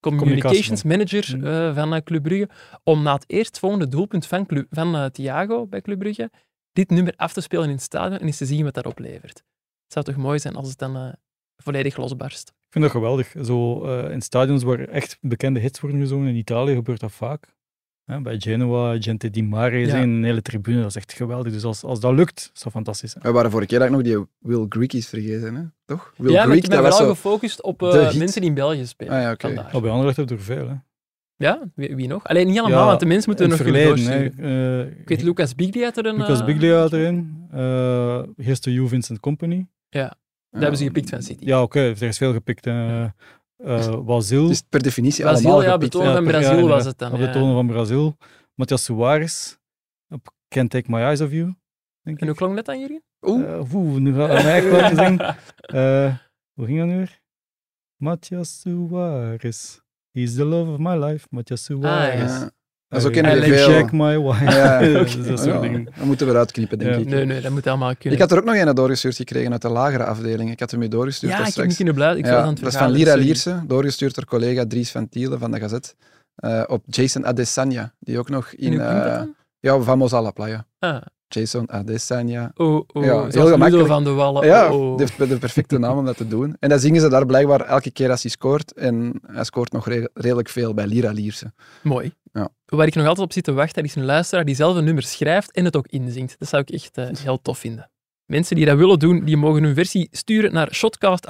[SPEAKER 1] communications manager
[SPEAKER 2] Mm.
[SPEAKER 1] eh, van eh, Club Brugge. Om na het eerstvolgende doelpunt van, Club, van eh, Thiago bij Club Brugge dit nummer af te spelen in het stadion en eens te zien wat dat oplevert. Het zou toch mooi zijn als het dan eh, volledig losbarst.
[SPEAKER 4] Ik vind dat geweldig. Zo, eh, in stadions waar echt bekende hits worden gezongen, in Italië gebeurt dat vaak. Hè, bij Genoa, Gente di Mare,
[SPEAKER 1] Ja.
[SPEAKER 4] zijn een hele tribune, dat is echt geweldig. Dus als, als dat lukt, is dat fantastisch.
[SPEAKER 2] We waren vorige keer dat ik nog die Will Greek is vergeten, hè? toch? Will
[SPEAKER 1] ja, maar
[SPEAKER 2] Greek,
[SPEAKER 1] ik ben
[SPEAKER 2] dat was
[SPEAKER 1] vooral
[SPEAKER 2] zo...
[SPEAKER 1] gefocust op
[SPEAKER 2] de
[SPEAKER 1] eh,
[SPEAKER 2] hit.
[SPEAKER 1] mensen die in België spelen.
[SPEAKER 2] Ah ja, oké.
[SPEAKER 1] Vandaar.
[SPEAKER 4] Maar bij Anderlecht heb je er veel. Hè.
[SPEAKER 1] Ja, wie, wie nog? Alleen niet allemaal,
[SPEAKER 4] Ja,
[SPEAKER 1] want de mensen moeten
[SPEAKER 4] In
[SPEAKER 1] er nog
[SPEAKER 4] het
[SPEAKER 1] kunnen
[SPEAKER 4] verleden.
[SPEAKER 1] doorsturen.
[SPEAKER 4] hè, eh,
[SPEAKER 1] Ik weet Lucas Biglia had er een...
[SPEAKER 4] Lucas
[SPEAKER 1] eh,
[SPEAKER 4] Biglia had erin. eh Here's to you, Vincent Company.
[SPEAKER 1] Dat hebben ze gepikt van City.
[SPEAKER 4] Ja, oké, er is veel gepikt. hè. Eh Wazil.
[SPEAKER 2] Dus Het is per definitie
[SPEAKER 1] Brazil,
[SPEAKER 2] allemaal
[SPEAKER 1] ja,
[SPEAKER 2] gepikt, hè.
[SPEAKER 1] betonen Dus van
[SPEAKER 4] per-
[SPEAKER 1] Brazil
[SPEAKER 4] inderdaad.
[SPEAKER 1] was het dan.
[SPEAKER 4] Op
[SPEAKER 1] ja.
[SPEAKER 4] de tonen van Brazil. Matthias Suarez. Op Can't Take My Eyes Off You. Denk
[SPEAKER 1] En
[SPEAKER 4] ik.
[SPEAKER 1] hoe klonk dat dan, Jurgen?
[SPEAKER 2] Oeh,
[SPEAKER 4] Eh, oeh, nu gaat het mij echt wel gezien. Eh, hoe ging dat nu weer? Matthias Suarez. He's the love of my life. Matthias Suarez. Eh,
[SPEAKER 1] yes.
[SPEAKER 2] ja. Dat is ook
[SPEAKER 4] I
[SPEAKER 2] een
[SPEAKER 4] like
[SPEAKER 2] veel-
[SPEAKER 4] Jack my wife. Dus
[SPEAKER 2] Ja,
[SPEAKER 4] dat soort
[SPEAKER 2] Ja,
[SPEAKER 4] dingen.
[SPEAKER 2] dat moeten we eruit knippen, denk
[SPEAKER 4] Ja.
[SPEAKER 2] ik.
[SPEAKER 1] Nee, nee, dat moet allemaal kunnen.
[SPEAKER 2] Ik had er ook nog een doorgestuurd gekregen uit de lagere afdeling. Ik had hem mee doorgestuurd.
[SPEAKER 1] ja,
[SPEAKER 2] daar
[SPEAKER 1] ik heb
[SPEAKER 2] straks.
[SPEAKER 1] niet kunnen blijven. Ik
[SPEAKER 2] Ja,
[SPEAKER 1] was aan het
[SPEAKER 2] dat is van
[SPEAKER 1] vergaderen,
[SPEAKER 2] Lira
[SPEAKER 1] sorry.
[SPEAKER 2] Lierse, doorgestuurd door collega Dries van Tielen van de Gazet. eh, op Jason Adesanya, die ook nog
[SPEAKER 1] En
[SPEAKER 2] in...
[SPEAKER 1] hoe klinkt dat
[SPEAKER 2] eh,
[SPEAKER 1] dan?
[SPEAKER 2] ja, Vamos a la playa.
[SPEAKER 1] Ah,
[SPEAKER 2] Jason Adesanya.
[SPEAKER 1] oh, oh,
[SPEAKER 2] Ja,
[SPEAKER 1] zoals
[SPEAKER 2] heel
[SPEAKER 1] Ludo
[SPEAKER 2] gemakkelijk.
[SPEAKER 1] van de Wallen.
[SPEAKER 2] ja,
[SPEAKER 1] oh, oh.
[SPEAKER 2] die heeft de perfecte naam om dat te doen. En dat zingen ze daar blijkbaar elke keer als hij scoort. En hij scoort nog re- redelijk veel bij Lira Lierse.
[SPEAKER 1] Mooi.
[SPEAKER 2] Ja.
[SPEAKER 1] Waar ik nog altijd op zit te wachten, dat is een luisteraar die zelf een nummer schrijft en het ook inzingt. Dat zou ik echt eh, heel tof vinden. Mensen die dat willen doen, die mogen hun versie sturen naar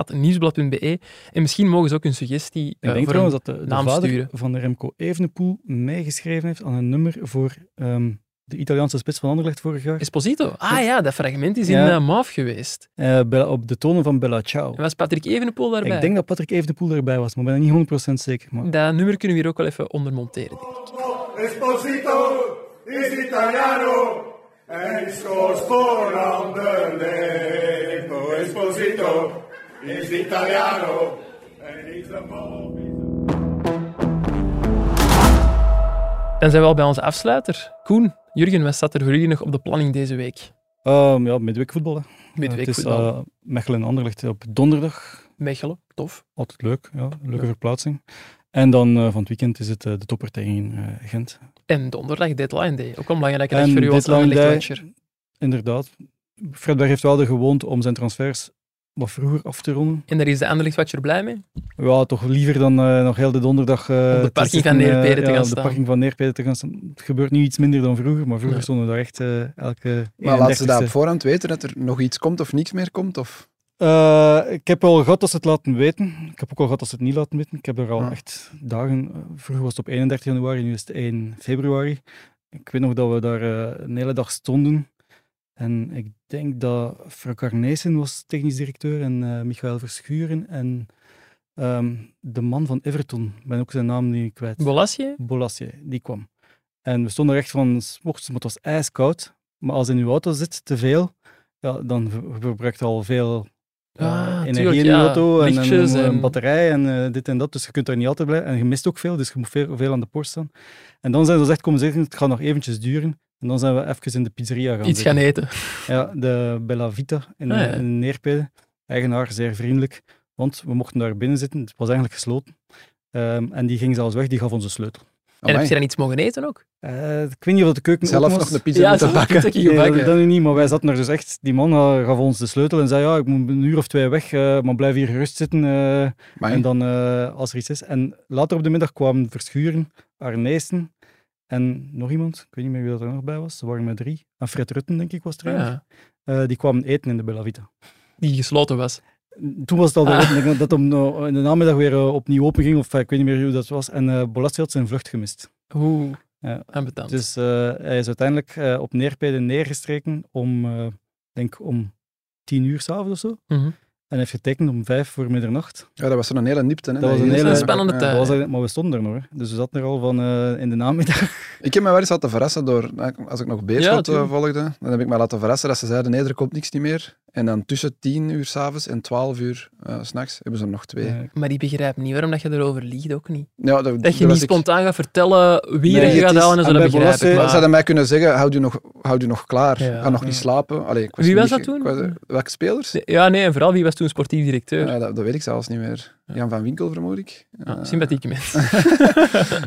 [SPEAKER 1] shotcast.nieuwsblad.be en misschien mogen ze ook hun suggestie
[SPEAKER 4] Ik
[SPEAKER 1] eh,
[SPEAKER 4] denk
[SPEAKER 1] voor een-
[SPEAKER 4] trouwens dat de, de
[SPEAKER 1] naam
[SPEAKER 4] vader
[SPEAKER 1] sturen.
[SPEAKER 4] van Remco Evenepoel meegeschreven heeft aan een nummer voor ehm, de Italiaanse spits van Anderlecht vorig jaar.
[SPEAKER 1] Esposito. Ah ja, dat fragment is in
[SPEAKER 4] Ja.
[SPEAKER 1] eh, MAF geweest.
[SPEAKER 4] Eh, Bella- op de tonen van Bella Ciao.
[SPEAKER 1] En was Patrick Evenepoel daarbij?
[SPEAKER 4] Ik denk dat Patrick Evenepoel erbij was, maar ik ben er niet 100% zeker. Maar
[SPEAKER 1] Dat nummer kunnen we hier ook wel even onder monteren, denk ik.
[SPEAKER 6] Esposito is italiano and scores for Anderlecht. Oh, Esposito is italiano and he's a ball.
[SPEAKER 1] Dan zijn we al bij onze afsluiter. Koen, Jurgen, wat staat er voor jullie nog op de planning deze week?
[SPEAKER 4] Ehm, ja, midweekvoetbal. hè.
[SPEAKER 1] Midweek
[SPEAKER 4] Het is
[SPEAKER 1] voetbal.
[SPEAKER 4] eh, Mechelen en Anderlecht op donderdag.
[SPEAKER 1] Mechelen, tof.
[SPEAKER 4] Altijd leuk, ja. leuke verplaatsing. En dan eh, van het weekend is het eh, de topper tegen eh, Gent.
[SPEAKER 1] En donderdag deadline day. Ook een belangrijke dag
[SPEAKER 4] En
[SPEAKER 1] voor u als
[SPEAKER 4] deadline day-
[SPEAKER 1] Anderlecht-watcher.
[SPEAKER 4] Inderdaad. Fredberg heeft wel de gewoonte om zijn transfers wat vroeger af te ronden.
[SPEAKER 1] En daar is de Anderlecht-watcher blij mee.
[SPEAKER 4] Ja, toch liever dan eh, nog heel de donderdag... eh,
[SPEAKER 1] Op de
[SPEAKER 4] te
[SPEAKER 1] parking
[SPEAKER 4] zitten,
[SPEAKER 1] van Neerpede
[SPEAKER 4] eh,
[SPEAKER 1] te
[SPEAKER 4] ja,
[SPEAKER 1] gaan
[SPEAKER 4] op
[SPEAKER 1] staan.
[SPEAKER 4] de parking van Neerpede te gaan staan. Het gebeurt nu iets minder dan vroeger, maar vroeger
[SPEAKER 1] Ja.
[SPEAKER 4] stonden daar echt eh, elke
[SPEAKER 2] Maar laten ze dat op
[SPEAKER 4] 31ste.
[SPEAKER 2] voorhand weten, dat er nog iets komt of niks meer komt? Of...
[SPEAKER 4] Eh, ik heb al gehad dat ze het laten weten. Ik heb ook al gehad dat ze het niet laten weten. Ik heb er al
[SPEAKER 2] Ja.
[SPEAKER 4] echt dagen... eh, Vroeger was het op 31 januari, nu is het 1 februari. Ik weet nog dat we daar eh, een hele dag stonden. En ik denk dat Frank Arnezen was technisch directeur en eh, Michael Verschuren en ehm, de man van Everton. Ik ben ook zijn naam nu kwijt.
[SPEAKER 1] Bolasje?
[SPEAKER 4] Bolasie, die kwam. En we stonden er echt van, s ochtends, maar het was ijskoud. Maar als in uw auto zit, te veel, ja, dan ver- verbruikt al veel eh,
[SPEAKER 1] Ah,
[SPEAKER 4] energie
[SPEAKER 1] tuurlijk,
[SPEAKER 4] in
[SPEAKER 1] ja.
[SPEAKER 4] je auto. En, en,
[SPEAKER 1] Lichtjes
[SPEAKER 4] een
[SPEAKER 1] en-
[SPEAKER 4] batterij en eh, dit en dat. Dus je kunt daar niet altijd blijven. En je mist ook veel, dus je moet veel, veel aan de poort staan. En dan zijn ze echt komen zeggen, het gaat nog eventjes duren. En dan zijn we even in de pizzeria gaan
[SPEAKER 1] Iets
[SPEAKER 4] zitten.
[SPEAKER 1] gaan eten.
[SPEAKER 4] Ja, de Bella Vita in,
[SPEAKER 1] Ah, ja.
[SPEAKER 4] in Neerpede. Eigenaar, zeer vriendelijk. Want we mochten daar binnen zitten. Het was eigenlijk gesloten. Ehm, en die ging zelfs weg, die gaf ons een sleutel.
[SPEAKER 1] En heb
[SPEAKER 2] Amai.
[SPEAKER 1] je dan iets mogen eten ook?
[SPEAKER 4] Eh, ik weet niet of de keuken
[SPEAKER 2] Zelf
[SPEAKER 4] open was.
[SPEAKER 2] nog een pizza moeten
[SPEAKER 1] zo'n
[SPEAKER 2] bakken.
[SPEAKER 1] stukje
[SPEAKER 4] Nee,
[SPEAKER 1] gebakken.
[SPEAKER 4] dat, dat nu niet, maar wij zaten er dus echt. Die man eh, gaf ons de sleutel en zei: Ja, ik moet een uur of twee weg, eh, maar blijf hier gerust zitten. eh,
[SPEAKER 1] Ah,
[SPEAKER 2] Amai.
[SPEAKER 4] en dan eh, als er iets is. En later op de middag kwamen Verschuren, Arnezen en nog iemand. Ik weet niet meer wie dat er nog bij was. Ze waren met drie. En Fred Rutten, denk ik, was er.
[SPEAKER 1] Ah,
[SPEAKER 4] Eh,
[SPEAKER 1] Ja,
[SPEAKER 4] die kwamen eten in de Bella Vita.
[SPEAKER 1] die gesloten was.
[SPEAKER 4] Toen was het al
[SPEAKER 1] Ah.
[SPEAKER 4] beroemd. Ik denk dat om eh, in de namiddag weer eh, opnieuw open ging, of eh, ik weet niet meer hoe dat was. En eh Bolassi had zijn vlucht gemist.
[SPEAKER 1] Hoe
[SPEAKER 4] Ja.
[SPEAKER 1] aanbetand.
[SPEAKER 4] Dus eh, hij is uiteindelijk eh, op neerpeden neergestreken om, eh, denk om tien uur s'avonds of zo.
[SPEAKER 1] Mhm.
[SPEAKER 4] En heeft getekend om vijf voor middernacht.
[SPEAKER 2] Ja, dat was zo'n hele nipte. Hè,
[SPEAKER 4] Dat was een
[SPEAKER 2] eerste
[SPEAKER 4] hele
[SPEAKER 2] dag.
[SPEAKER 1] spannende
[SPEAKER 2] Ja.
[SPEAKER 1] tijd.
[SPEAKER 4] Dat was eigenlijk- maar we stonden er nog. Hè. Dus we zaten er al van eh, in de namiddag.
[SPEAKER 2] Ik heb me wel eens laten verrassen door, als ik nog Beerschot eh,
[SPEAKER 1] tuurlijk.
[SPEAKER 2] volgde, dan heb ik me laten verrassen dat ze zeiden, nee, er komt niks niet meer. En dan tussen 10 uur s'avonds en 12 uur eh, s s'nachts hebben ze er nog twee.
[SPEAKER 4] Ja.
[SPEAKER 1] Maar die begrijpen niet waarom dat je erover liegt ook niet.
[SPEAKER 2] Ja, dat,
[SPEAKER 1] Dat je niet spontaan gaat vertellen wie er
[SPEAKER 2] Nee,
[SPEAKER 1] je
[SPEAKER 2] het
[SPEAKER 1] gaat
[SPEAKER 2] is- Ah,
[SPEAKER 1] halen en
[SPEAKER 4] en
[SPEAKER 1] zo, dat
[SPEAKER 4] bij
[SPEAKER 1] begrijp ik.
[SPEAKER 4] Bolosse-
[SPEAKER 2] Ze
[SPEAKER 1] Maar...
[SPEAKER 2] hadden mij kunnen zeggen, houd je nog, houd je nog klaar,
[SPEAKER 1] Ja.
[SPEAKER 2] ga nog niet
[SPEAKER 4] Ja.
[SPEAKER 2] slapen. Allee, ik
[SPEAKER 1] Wie
[SPEAKER 2] niet
[SPEAKER 1] was dat
[SPEAKER 2] ge-
[SPEAKER 1] toen?
[SPEAKER 2] ik was- welke spelers?
[SPEAKER 1] Ja, nee, en vooral wie was toen sportief directeur?
[SPEAKER 2] Ja, dat, dat weet ik zelfs niet meer. Jan van Winkel, vermoed ik.
[SPEAKER 1] Ah,
[SPEAKER 2] Eh,
[SPEAKER 1] sympathieke mensen.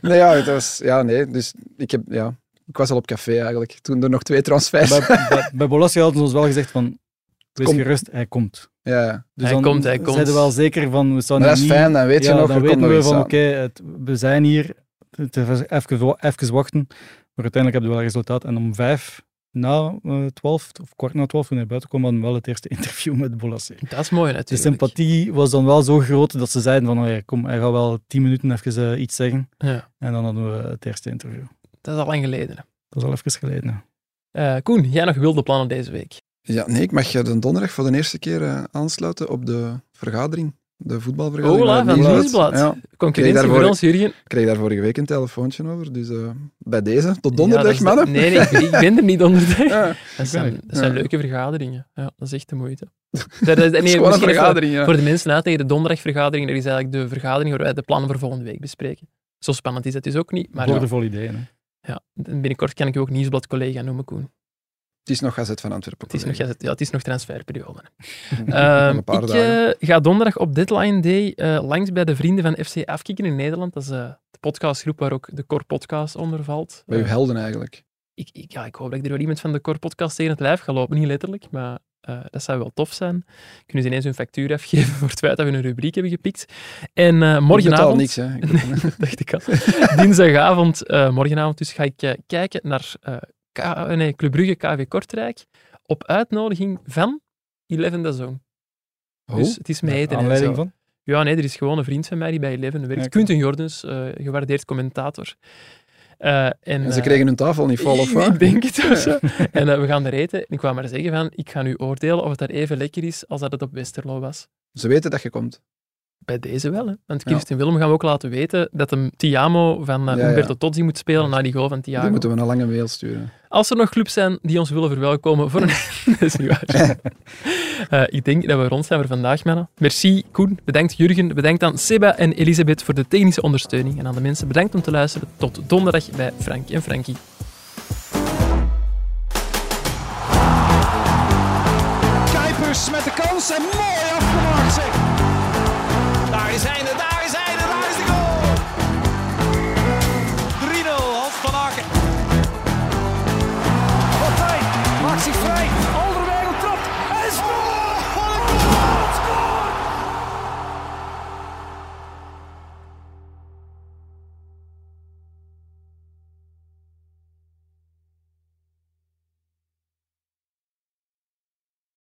[SPEAKER 2] nee, ja, het was, ja, nee. Dus ik, heb, ja, ik was al op café eigenlijk, toen er nog twee transfers
[SPEAKER 4] bij, bij, bij Bolossi hadden ze ons wel gezegd van, wees
[SPEAKER 2] Komt.
[SPEAKER 4] gerust, hij komt.
[SPEAKER 2] Ja, ja.
[SPEAKER 4] Dus
[SPEAKER 1] Hij
[SPEAKER 4] dan
[SPEAKER 1] komt, hij komt.
[SPEAKER 4] Zeiden we wel zeker van, we staan
[SPEAKER 2] Maar dat is
[SPEAKER 4] niet...
[SPEAKER 2] fijn, dan weet je
[SPEAKER 4] ja,
[SPEAKER 2] nog, er
[SPEAKER 4] dan
[SPEAKER 2] komt
[SPEAKER 4] weten
[SPEAKER 2] nog
[SPEAKER 4] we
[SPEAKER 2] iets
[SPEAKER 4] van,
[SPEAKER 2] aan.
[SPEAKER 4] oké, het- we zijn hier, het is even, wa- even wachten. Maar uiteindelijk hebben we wel resultaat. En om vijf na eh, twaalf, of kwart na twaalf, toen hij buiten kwam, hadden we wel het eerste interview met Bolossi.
[SPEAKER 1] Dat is mooi
[SPEAKER 4] De
[SPEAKER 1] natuurlijk.
[SPEAKER 4] sympathie was dan wel zo groot dat ze zeiden van, oh ja, kom, hij gaat wel tien minuten even eh, iets zeggen.
[SPEAKER 1] Ja,
[SPEAKER 4] En dan hadden we het eerste interview.
[SPEAKER 1] dat is al lang geleden.
[SPEAKER 4] Dat is al even geleden. hè.
[SPEAKER 1] Eh, Koen, jij nog wilde plannen deze week?
[SPEAKER 2] Ja, nee, ik mag eh, de donderdag voor de eerste keer eh, aansluiten op de vergadering. De voetbalvergadering.
[SPEAKER 1] Ola,
[SPEAKER 2] het
[SPEAKER 1] Oh, van het
[SPEAKER 2] Nieuwsblad.
[SPEAKER 1] Nieuwsblad.
[SPEAKER 2] Ja,
[SPEAKER 1] Concurrentie
[SPEAKER 2] Kreeg daarvoor-
[SPEAKER 1] voor ons, Jurgen.
[SPEAKER 2] ik kreeg daar vorige week een telefoontje over. Dus eh, bij deze, tot
[SPEAKER 1] Ja, dat
[SPEAKER 2] donderdag,
[SPEAKER 1] is de-
[SPEAKER 2] mannen.
[SPEAKER 1] Nee, nee, ik, ik ben er niet donderdag.
[SPEAKER 2] Ja,
[SPEAKER 1] Dat zijn,
[SPEAKER 4] ik.
[SPEAKER 1] dat zijn
[SPEAKER 2] Ja.
[SPEAKER 1] leuke vergaderingen. Ja, dat is echt de moeite. Dat is-
[SPEAKER 2] het is
[SPEAKER 1] nee,
[SPEAKER 2] gewoon een
[SPEAKER 1] misschien even
[SPEAKER 2] vergadering. Ja.
[SPEAKER 1] Voor de mensen uit tegen de donderdagvergadering, dat is eigenlijk de vergadering waar wij de plannen voor volgende week bespreken. Zo spannend is dat dus ook niet, maar ja,
[SPEAKER 4] Boordevol ideeën. hè.
[SPEAKER 1] binnenkort kan ik je ook nieuwsblad collega noemen, Koen.
[SPEAKER 2] Het is nog Gazet van Antwerpen.
[SPEAKER 1] Het is nog,
[SPEAKER 2] collega.
[SPEAKER 1] ja, het is nog transferperiode.
[SPEAKER 2] Nog
[SPEAKER 1] Ehm
[SPEAKER 2] een paar
[SPEAKER 1] ik
[SPEAKER 2] dagen.
[SPEAKER 1] eh, ga donderdag op Deadline Day eh, langs bij de vrienden van FC Afkikken in Nederland. Dat is eh, de podcastgroep waar ook de Core Podcast onder valt.
[SPEAKER 2] Bij uw
[SPEAKER 1] Eh,
[SPEAKER 2] helden eigenlijk.
[SPEAKER 1] ik, ik, ja, ik hoop dat ik er wel iemand van de Core Podcast tegen het lijf ga lopen. Niet letterlijk, maar eh, dat zou wel tof zijn. Kunnen ze ineens hun factuur afgeven voor het feit dat we een rubriek hebben gepikt. En eh,
[SPEAKER 2] Ik betaal
[SPEAKER 1] morgenavond...
[SPEAKER 2] niks, hè. Ik-
[SPEAKER 1] Nee, dat dacht ik al. Dinsdagavond, eh, morgenavond dus, ga ik eh, kijken naar eh, K- nee, Club Brugge KV Kortrijk op uitnodiging van Eleven da Zone.
[SPEAKER 2] Oh,
[SPEAKER 1] Dus het is mij en zo.
[SPEAKER 4] Aanleiding van?
[SPEAKER 1] Ja, nee, er is gewoon een vriend van mij die bij Eleven werkt.
[SPEAKER 4] Ja, oké.
[SPEAKER 1] Quinten Jordens, eh, gewaardeerd commentator. Eh, en,
[SPEAKER 2] en ze
[SPEAKER 1] eh,
[SPEAKER 2] kregen hun tafel niet vol, of
[SPEAKER 1] ik-
[SPEAKER 2] wat?
[SPEAKER 1] Ik denk het of zo. En eh, we gaan er eten. En ik wou maar zeggen van, ik ga nu oordelen of het daar even lekker is als dat het op Westerlo was.
[SPEAKER 2] Ze weten dat je komt.
[SPEAKER 1] Bij deze wel, hè. Want
[SPEAKER 2] Ja.
[SPEAKER 1] Kirsten Willem gaan we ook laten weten dat hem Tiamo van eh,
[SPEAKER 2] Ja, ja.
[SPEAKER 1] Umberto Tozzi moet spelen na die goal van
[SPEAKER 2] Dan
[SPEAKER 1] Tiamo.
[SPEAKER 2] moeten we een lange mail sturen.
[SPEAKER 1] Als er nog clubs zijn die ons willen verwelkomen voor een... dat is niet waar. Eh, ik denk dat we rond zijn voor vandaag, mannen. Merci, Koen. Bedankt, Jurgen. Bedankt aan Seba en Elisabeth voor de technische ondersteuning. En aan de mensen bedankt om te luisteren. Tot donderdag bij Frank en Frankie.